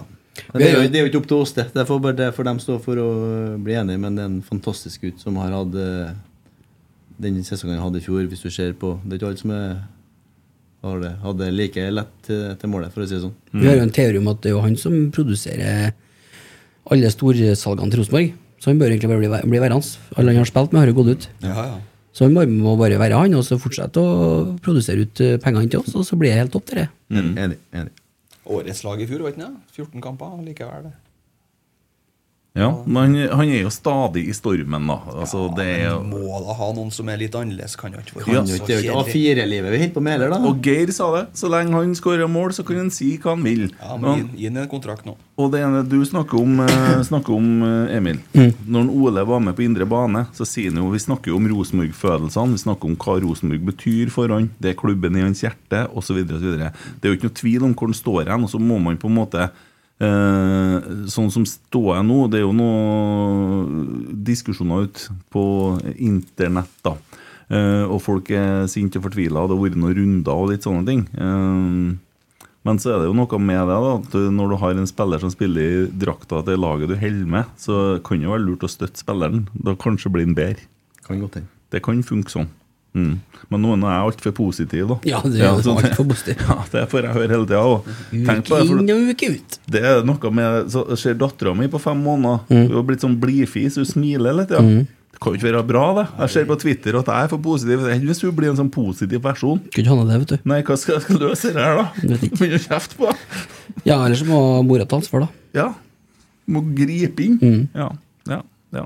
Speaker 8: Men det, er jo, det er jo ikke opp til oss, det. Det får bare det for dem stå for å eh, bli enige. Men det er en fantastisk gutt som har hatt eh, den sesongen han hadde i fjor, hvis du ser på Det er ikke alle som er, har det, hadde like lett til, til målet, for å si det sånn.
Speaker 6: Vi har jo en teori om at det er jo han som produserer alle storsalgene til Rosenborg. Så han bør egentlig bare bli, bli værende. Alle han har spilt med, har jo gått ut.
Speaker 10: Ja, ja.
Speaker 6: Så han må, må bare være han, og så fortsette å produsere ut eh, pengene til oss, og så blir det helt topp, det.
Speaker 8: Mm.
Speaker 10: Enig. Årets lag i fjor, var ikke det? 14 kamper likevel.
Speaker 5: Ja, men han, han er jo stadig i stormen, da. Altså, det er jo
Speaker 10: Må da ha noen som er litt annerledes. Kan jo ikke
Speaker 5: Kan
Speaker 10: være
Speaker 5: jo
Speaker 10: så
Speaker 5: ikke, det er jo ikke
Speaker 10: kjedelig.
Speaker 8: A4-livet vi holder på med heller, da.
Speaker 5: Og Geir sa det. Så lenge han skårer mål, så kan han si hva han vil.
Speaker 10: Ja,
Speaker 5: Men-
Speaker 10: men Gi ham en kontrakt nå.
Speaker 5: Og det ene du snakker om, eh, snakker om eh, Emil
Speaker 10: Mm.
Speaker 5: Når en Ole var med på Indre bane, så sier han jo Vi snakker jo om Rosenborg-fødelsene, vi snakker om hva Rosenborg betyr for han, det er klubben i hans hjerte, osv. Det er jo ikke noe tvil om hvor han står hen, og så må man på en måte eh, Sånn som står jeg nå, det er jo noen diskusjoner ute på internett, da. Eh, og folk er sinte og fortvila, og det har vært noen runder og litt sånne ting. Eh, men så er det jo noe med det, da. At du- når du har en spiller som spiller i drakta til laget du holder med, så kan det jo være lurt å støtte spilleren. Da kanskje blir han bedre.
Speaker 8: Kan godt hende.
Speaker 5: Det kan funke sånn. Mm. Men nå er nå jeg altfor positiv, da.
Speaker 6: Ja, det er jo
Speaker 5: så det-
Speaker 6: altfor positiv.
Speaker 5: Ja, det får jeg høre hele tida. og tenk på
Speaker 6: Uke
Speaker 5: det, for-
Speaker 6: inn og uke ut.
Speaker 5: det er noe med så Ser dattera mi på fem måneder,
Speaker 6: Mm.
Speaker 5: hun har blitt sånn blidfis, hun smiler litt. Ja.
Speaker 6: Mm.
Speaker 5: Det kan jo ikke være bra, det. Jeg ser på Twitter at jeg er for positiv. Enn hvis hun blir en sånn positiv person?
Speaker 6: Kunne ikke ha det, vet du.
Speaker 5: Nei, hva skal jeg skal løse det her, da? Begynner å kjefte på henne.
Speaker 6: Ja, ellers må mora ta ansvar, da.
Speaker 5: Ja. Må gripe inn.
Speaker 6: Mm.
Speaker 5: Ja. ja. ja.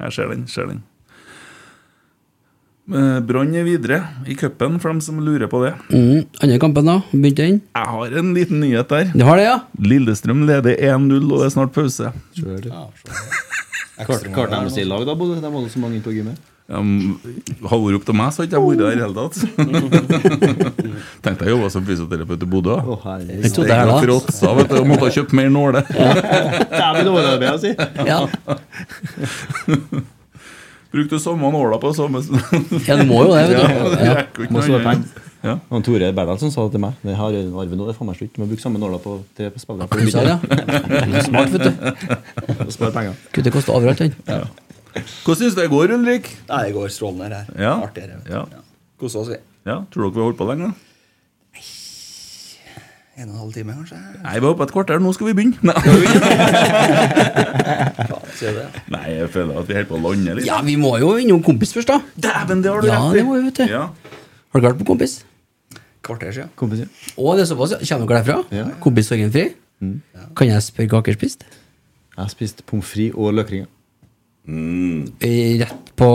Speaker 5: Jeg ser den. Ser den. Eh, Brann er videre i cupen, for dem som lurer på det.
Speaker 6: Mm. Andre kampen, da? Begynte den?
Speaker 5: Jeg har en liten nyhet der.
Speaker 6: Du har det, ja?
Speaker 5: Lillestrøm leder 1-0, og det er snart pause.
Speaker 8: Klarte klarte de å stille lag, da, Bodø? De hadde så mange inn på gymmet.
Speaker 5: Um, Hadde det vært opp til meg, så hadde jeg ikke vært der i det hele tatt. Tenkte jeg jobba som fysioterapeut i Bodø. da.
Speaker 8: herregud.
Speaker 5: Steg
Speaker 8: Jeg trodde her da.
Speaker 5: og fråtsa, vet du, og måtte ha kjøpt mer nåler.
Speaker 8: Dæven, det var det jeg ble å si. Ja.
Speaker 5: Brukte samme nåla på samme
Speaker 8: Ja, du må jo det, vet du.
Speaker 5: Ja, det rekker jo ikke
Speaker 8: Må
Speaker 5: noe
Speaker 8: spare
Speaker 5: annet.
Speaker 8: penger. Han Tore Berdalsen sa det til meg. Det her arven nå, det er faen meg slutt. Må bruke samme nåla på tre spillere.
Speaker 6: Du sa det, ja. Smart, vet du.
Speaker 8: Spare penger.
Speaker 6: Kunne det koste overalt, den.
Speaker 5: Hvordan syns du det går, Ulrik?
Speaker 10: Nei, Det går strålende her.
Speaker 5: Ja.
Speaker 10: Artigere.
Speaker 5: Ja.
Speaker 10: Kosa oss, vi.
Speaker 5: ja. Tror dere vi har holdt på lenge? da?
Speaker 10: En og en halv time, kanskje?
Speaker 5: Nei, vi har holdt på et kvarter. Nå skal vi begynne. Nei,
Speaker 10: Ser du det?
Speaker 5: Nei jeg føler at vi holder på å lande litt.
Speaker 6: Ja, vi må jo innom kompis først, da.
Speaker 5: Dæven, det har
Speaker 6: du ja, rett i. Det må vi, vet du. Har dere vært på kompis?
Speaker 10: Kvarter siden.
Speaker 8: Kompis, ja.
Speaker 6: Å, det er såpass, ja. Kommer dere derfra? Kompis sorgenfri? Kan jeg spørre hva dere spiste?
Speaker 8: Jeg spiste pommes frites og løkringer.
Speaker 6: Eh, Rett på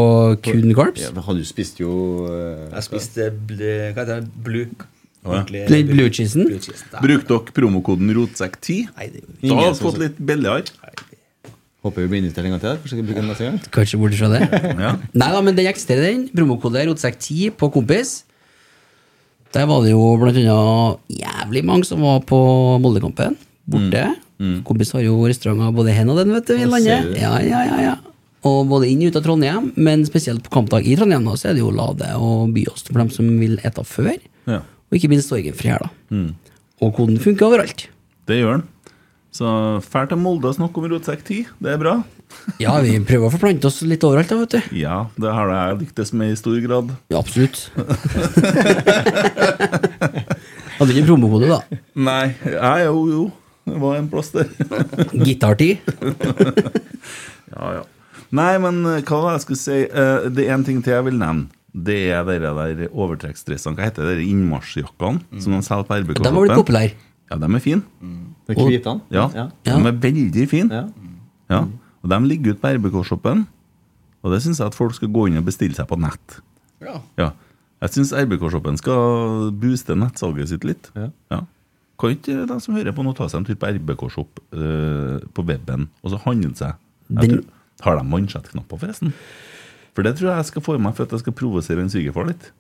Speaker 6: kun carbs?
Speaker 8: Ja, men han du spiste jo eh,
Speaker 10: Jeg spiste ble, hva heter det? blue
Speaker 5: ja.
Speaker 10: Ordentlig
Speaker 5: Den
Speaker 10: blue-
Speaker 5: blue cheesen?
Speaker 10: blue cheese, da.
Speaker 5: Brukte dere promokoden ROTSEK10?
Speaker 10: Nei, det gjorde vi
Speaker 5: Da
Speaker 10: ikke.
Speaker 5: har vi fått litt billigere.
Speaker 8: Håper vi blir invitert en gang til her. Kanskje vi bruker den neste gang?
Speaker 6: Kanskje bortsett fra det.
Speaker 5: Ja.
Speaker 6: Nei da, men den eksisterer, den. Promokode rotsekk10 på Kompis. Der var det jo blant annet jævlig mange som var på Moldekampen. Borte. Kompis har jo restauranter både hen og den, vet du, i
Speaker 13: Ja,
Speaker 6: landet.
Speaker 13: Mm. ser du.
Speaker 6: Ja, ja, ja, ja. Og både inn og ut av Trondheim, men spesielt på kampdag i Trondheim da, så er det jo Lade og Byåst for dem som vil ete før.
Speaker 5: Ja.
Speaker 6: Og ikke minst Sorgenfri her, da.
Speaker 13: Mm.
Speaker 6: Og koden funker overalt.
Speaker 5: Det gjør den. Så fær til Molde og snakk om Rotsekk 10. Det er bra.
Speaker 6: Ja, vi prøver å forplante oss litt overalt, da, vet du.
Speaker 5: Ja, det har jeg lyktes med i stor grad.
Speaker 6: Ja, absolutt. Hadde ikke promokode, da.
Speaker 5: Nei, ja, jo, jo. Det var en plass der.
Speaker 6: Gitartid.
Speaker 5: ja, ja. Nei, men eh, hva var det jeg skulle si? Eh, Det er en ting til jeg vil nevne. Det er dere der overtrekksdressene. Hva heter dere innmarsjjakkene som de selger på RBK?
Speaker 6: De har blitt
Speaker 5: Shoppen?
Speaker 6: populære.
Speaker 5: Ja, de er fine.
Speaker 8: Det er hvitene.
Speaker 5: Ja,
Speaker 8: Ja.
Speaker 5: de er veldig fine. Ja.
Speaker 6: Mm.
Speaker 5: Og de ligger ute på RBK-shoppen. Og det syns jeg at folk skal gå inn og bestille seg på nett.
Speaker 10: Ja.
Speaker 5: Ja. Jeg syns RBK-shoppen skal booste nettsalget sitt litt.
Speaker 8: Ja.
Speaker 5: Kan ikke de som hører på nå, ta seg en tur på RBK-shop eh, på weben og så handle seg? Jeg
Speaker 6: Den-
Speaker 5: tror, har de mansjettknapper, forresten? For det tror jeg jeg skal få i meg for at jeg skal provosere en svigerfar litt.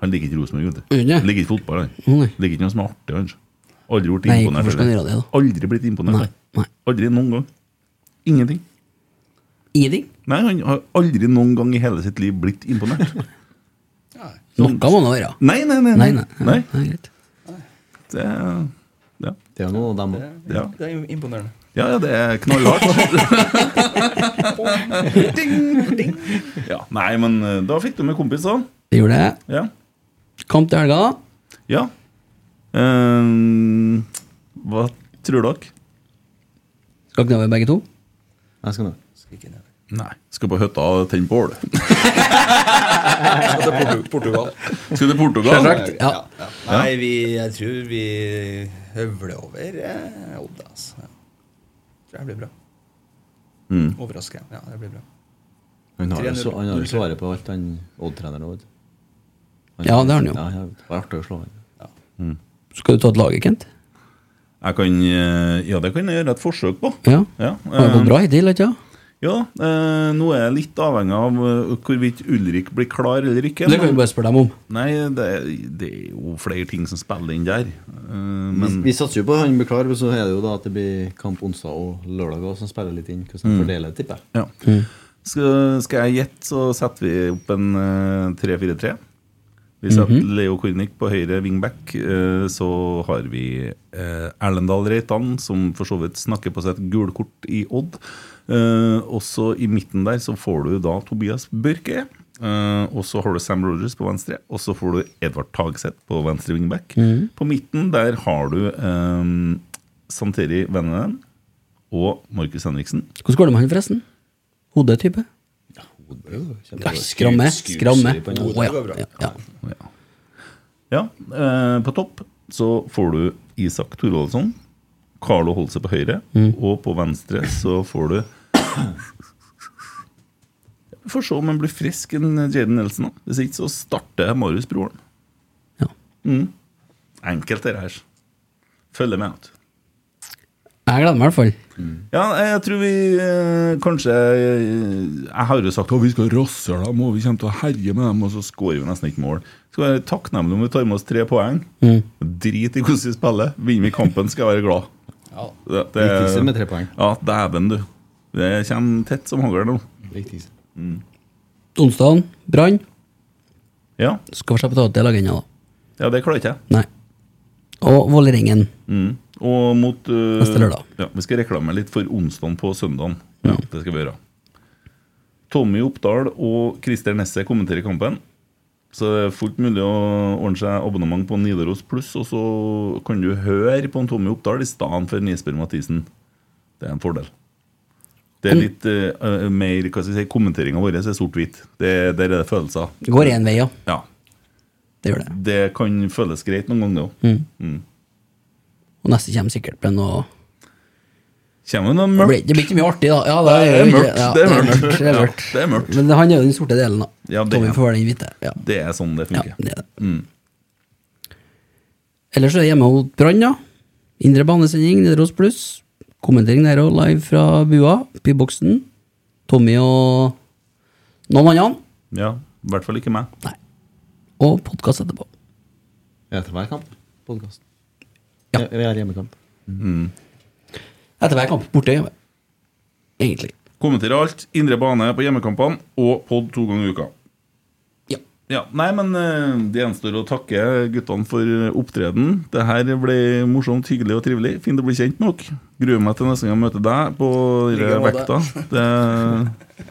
Speaker 5: Han liker ikke Rosenborg, vet du.
Speaker 6: Gjør han det?
Speaker 5: Liker ikke fotball, han.
Speaker 6: Å, nei.
Speaker 5: Liker ikke noe som er artig, han. Aldri blitt
Speaker 6: Nei,
Speaker 5: imponert.
Speaker 6: hvorfor skal han
Speaker 5: eller?
Speaker 6: gjøre det,
Speaker 5: Aldri blitt imponert.
Speaker 6: Nei, nei.
Speaker 5: Aldri noen gang. Ingenting.
Speaker 6: Ingenting?
Speaker 5: Nei, han har aldri noen gang i hele sitt liv blitt imponert.
Speaker 6: Noe må det være.
Speaker 5: Nei, nei, nei.
Speaker 6: nei, nei.
Speaker 5: Nei.
Speaker 6: greit.
Speaker 5: Det er ja.
Speaker 8: Det er jo noen av dem òg.
Speaker 5: Ja.
Speaker 10: Det er jo imponerende.
Speaker 5: Ja, ja, det er knallhardt.
Speaker 10: Ding, ding.
Speaker 5: ja, nei, men eh, da fikk du med kompisene.
Speaker 6: Det gjorde det.
Speaker 5: Ja.
Speaker 6: Kamp til helga, da.
Speaker 5: ja. Eh, hva tror dere?
Speaker 6: Skal nedover begge to?
Speaker 8: Jeg skal
Speaker 5: Nei. Skal på hytta og tenne bål.
Speaker 10: Skal til Portu- Portugal.
Speaker 5: Skal til Portugal? Selvsagt, ja.
Speaker 10: Nei, vi, jeg tror vi høvler over eh, Odd, altså. Ja. Tror jeg blir bra.
Speaker 8: Mm.
Speaker 10: Overrasker. Ja, det blir bra.
Speaker 8: Han har jo
Speaker 10: 3-0.
Speaker 8: så- han har jo svaret på alt, han Odd-treneren òg.
Speaker 6: Ja, det har han jo.
Speaker 8: Ja, ja, det var artig å slå han.
Speaker 6: Skal du ta et laget, Kent?
Speaker 5: Jeg kan, eh, ja, det kan jeg gjøre et forsøk på.
Speaker 6: Ja. Har det
Speaker 5: eh,
Speaker 6: gått bra hittil, ikke sant?
Speaker 5: Ja, eh, nå er jeg litt avhengig av eh, hvorvidt Ulrik blir klar eller ikke.
Speaker 6: Det kan vi
Speaker 5: men-
Speaker 6: bare spørre dem om.
Speaker 5: Nei, det, det er jo flere ting som spiller inn der. Eh, men
Speaker 8: Vi, vi satser jo på at han blir klar, men så er det jo da at det blir kamp onsdag og lørdag også, som spiller litt inn. Hvordan de
Speaker 5: Mm.
Speaker 8: fordeler det, tipper jeg.
Speaker 5: ja. skal, skal jeg gjette, så setter vi opp en eh, 3-4-3. Vi setter Leo Kornic på høyre wingback. eh, så har vi eh, Erlendal Reitan, som for så vidt snakker på seg et gulkort i Odd. Eh, også i midten der så får du da Tobias Børke. eh, og så har du Sam Rogers på venstre, og så får du Edvard Tagseth på venstre wingback.
Speaker 6: Mhm.
Speaker 5: På midten der har du eh, Santeri Vennenen og Markus Henriksen.
Speaker 6: Hvordan går det med han, forresten? Hodetype? Ja, skramme. Skramme. Å, ja. Ja, ja.
Speaker 5: Ja, eh, på topp så får du Isak Thorvaldsson. Carlo Holse på høyre, og på venstre så får du Vi får se om han blir frisk, en Jaden Nelson. da. Hvis ikke så starter Marius Broren. Mm. Enkelt, det her. Følger med. vet du.
Speaker 6: Jeg gleder meg i hvert fall.
Speaker 5: Ja, jeg tror vi eh, kanskje eh, Jeg har jo sagt at vi skal rasse dem, og vi kommer til å herje med dem, og så skårer vi nesten ikke mål. Skal være takknemlige om vi tar med oss tre poeng.
Speaker 6: Mm.
Speaker 5: Drit i hvordan vi spiller. Vinner vi kampen, skal jeg være glad.
Speaker 10: Ja.
Speaker 5: Det,
Speaker 8: Viktigste med tre poeng.
Speaker 5: Ja, dæven, du. Det kommer tett som hagl nå.
Speaker 8: Viktigste.
Speaker 5: Mm.
Speaker 6: Onsdagen, Brann.
Speaker 5: Ja.
Speaker 6: Skal vi slippe å ta ut det laget ennå, da.
Speaker 5: ja, det klarer ikke jeg.
Speaker 6: Nei. Og Vålerengen.
Speaker 5: Mm. Og mot eh,
Speaker 6: Neste lørdag.
Speaker 5: Ja, vi skal reklame litt for onsdagen på søndagen. Ja, det skal vi gjøre. Tommy Oppdal og Christer Nesse kommenterer kampen. Så det er fullt mulig å ordne seg abonnement på Nidaros Pluss, og så kan du høre på en Tommy Oppdal i stedet for en Jesper Mathisen. Det er en fordel. Det
Speaker 6: Mm.
Speaker 5: er litt eh, eh, mer hva skal jeg si, Kommenteringa vår er sort-hvit. Det- Der er det følelser.
Speaker 6: Det går én vei, ja.
Speaker 5: Ja.
Speaker 6: Det gjør det.
Speaker 5: Det kan føles greit noen ganger, det òg.
Speaker 6: Mm. Og neste kommer sikkert med noe
Speaker 5: Kommer det noe
Speaker 6: Det blir
Speaker 5: mørkt?
Speaker 6: det blir ikke mye artig, da. Ja,
Speaker 5: Nei, det er
Speaker 6: jo ikke-
Speaker 5: mørkt,
Speaker 6: ja,
Speaker 5: det er mørkt.
Speaker 6: det er
Speaker 5: Ja,
Speaker 6: mørkt.
Speaker 5: det er mørkt.
Speaker 6: Men han er jo den sorte delen, da.
Speaker 5: Ja, det
Speaker 6: Tommy
Speaker 5: er-
Speaker 6: får være den hvite. Ja.
Speaker 5: Det er sånn det funker.
Speaker 6: det er det.
Speaker 5: Mm.
Speaker 6: Ellers er det hjemme hos Brann, ja. Indre banesending, Nidaros Pluss. Kommentering der òg, live fra bua, byboksen. Tommy og noen andre.
Speaker 5: Ja, i hvert fall ikke meg.
Speaker 6: Og podkast etterpå.
Speaker 8: Etter hver kamp. Podkast. Ja. Vi er hjemmekamp.
Speaker 6: Etter hver kamp. Borte hjemme. Egentlig.
Speaker 5: Kommentere alt. Indre bane på hjemmekampene og pod to ganger i uka.
Speaker 6: Ja.
Speaker 5: Nei, men eh, det gjenstår å takke guttene for eh, opptreden. Det her ble morsomt, hyggelig og trivelig. Fint å bli kjent med dere. Gruer meg til neste gang jeg møter deg på denne
Speaker 6: Like måte.
Speaker 5: vekta. Det...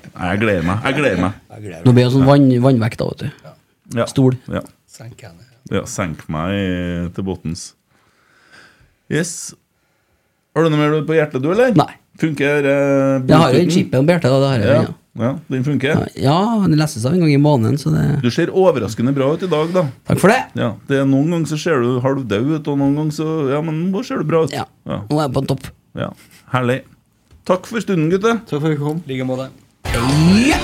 Speaker 5: Nei, jeg gleder meg. Jeg gleder meg.
Speaker 6: Nå blir det sånn vann, vannvekt, da, vet du.
Speaker 5: Ja.
Speaker 6: Stol.
Speaker 5: Ja.
Speaker 10: Senk henne.
Speaker 5: Ja, senk meg til buttons. Yes. Har du noe mer på hjertet, du, eller?
Speaker 6: Nei.
Speaker 5: Funker eh,
Speaker 6: Jeg har jo
Speaker 5: Bluetoothen?
Speaker 6: den chipen på hjertet, da. Det har jeg,
Speaker 5: Ja,
Speaker 6: ja.
Speaker 5: ja, den funker.
Speaker 6: Ja, men det leser seg en gang i måneden, så det
Speaker 5: Du ser overraskende bra ut i dag, da.
Speaker 6: Takk for det.
Speaker 5: Ja, det er Noen ganger så ser du halvdau ut, og noen ganger så Ja, men nå ser du bra ut. Ja,
Speaker 6: Nå er jeg på topp.
Speaker 5: Ja, Herlig. Takk for stunden, gutter.
Speaker 8: Takk for at du kom.
Speaker 10: I like måte.
Speaker 6: Ja.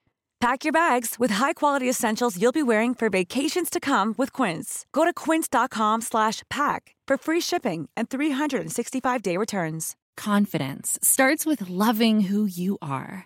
Speaker 14: Pack your bags with high-quality essentials you'll be wearing for vacations to come with Quince. Go to quince.com slash pack for free shipping and 365-day returns.
Speaker 15: Confidence starts with loving who you are.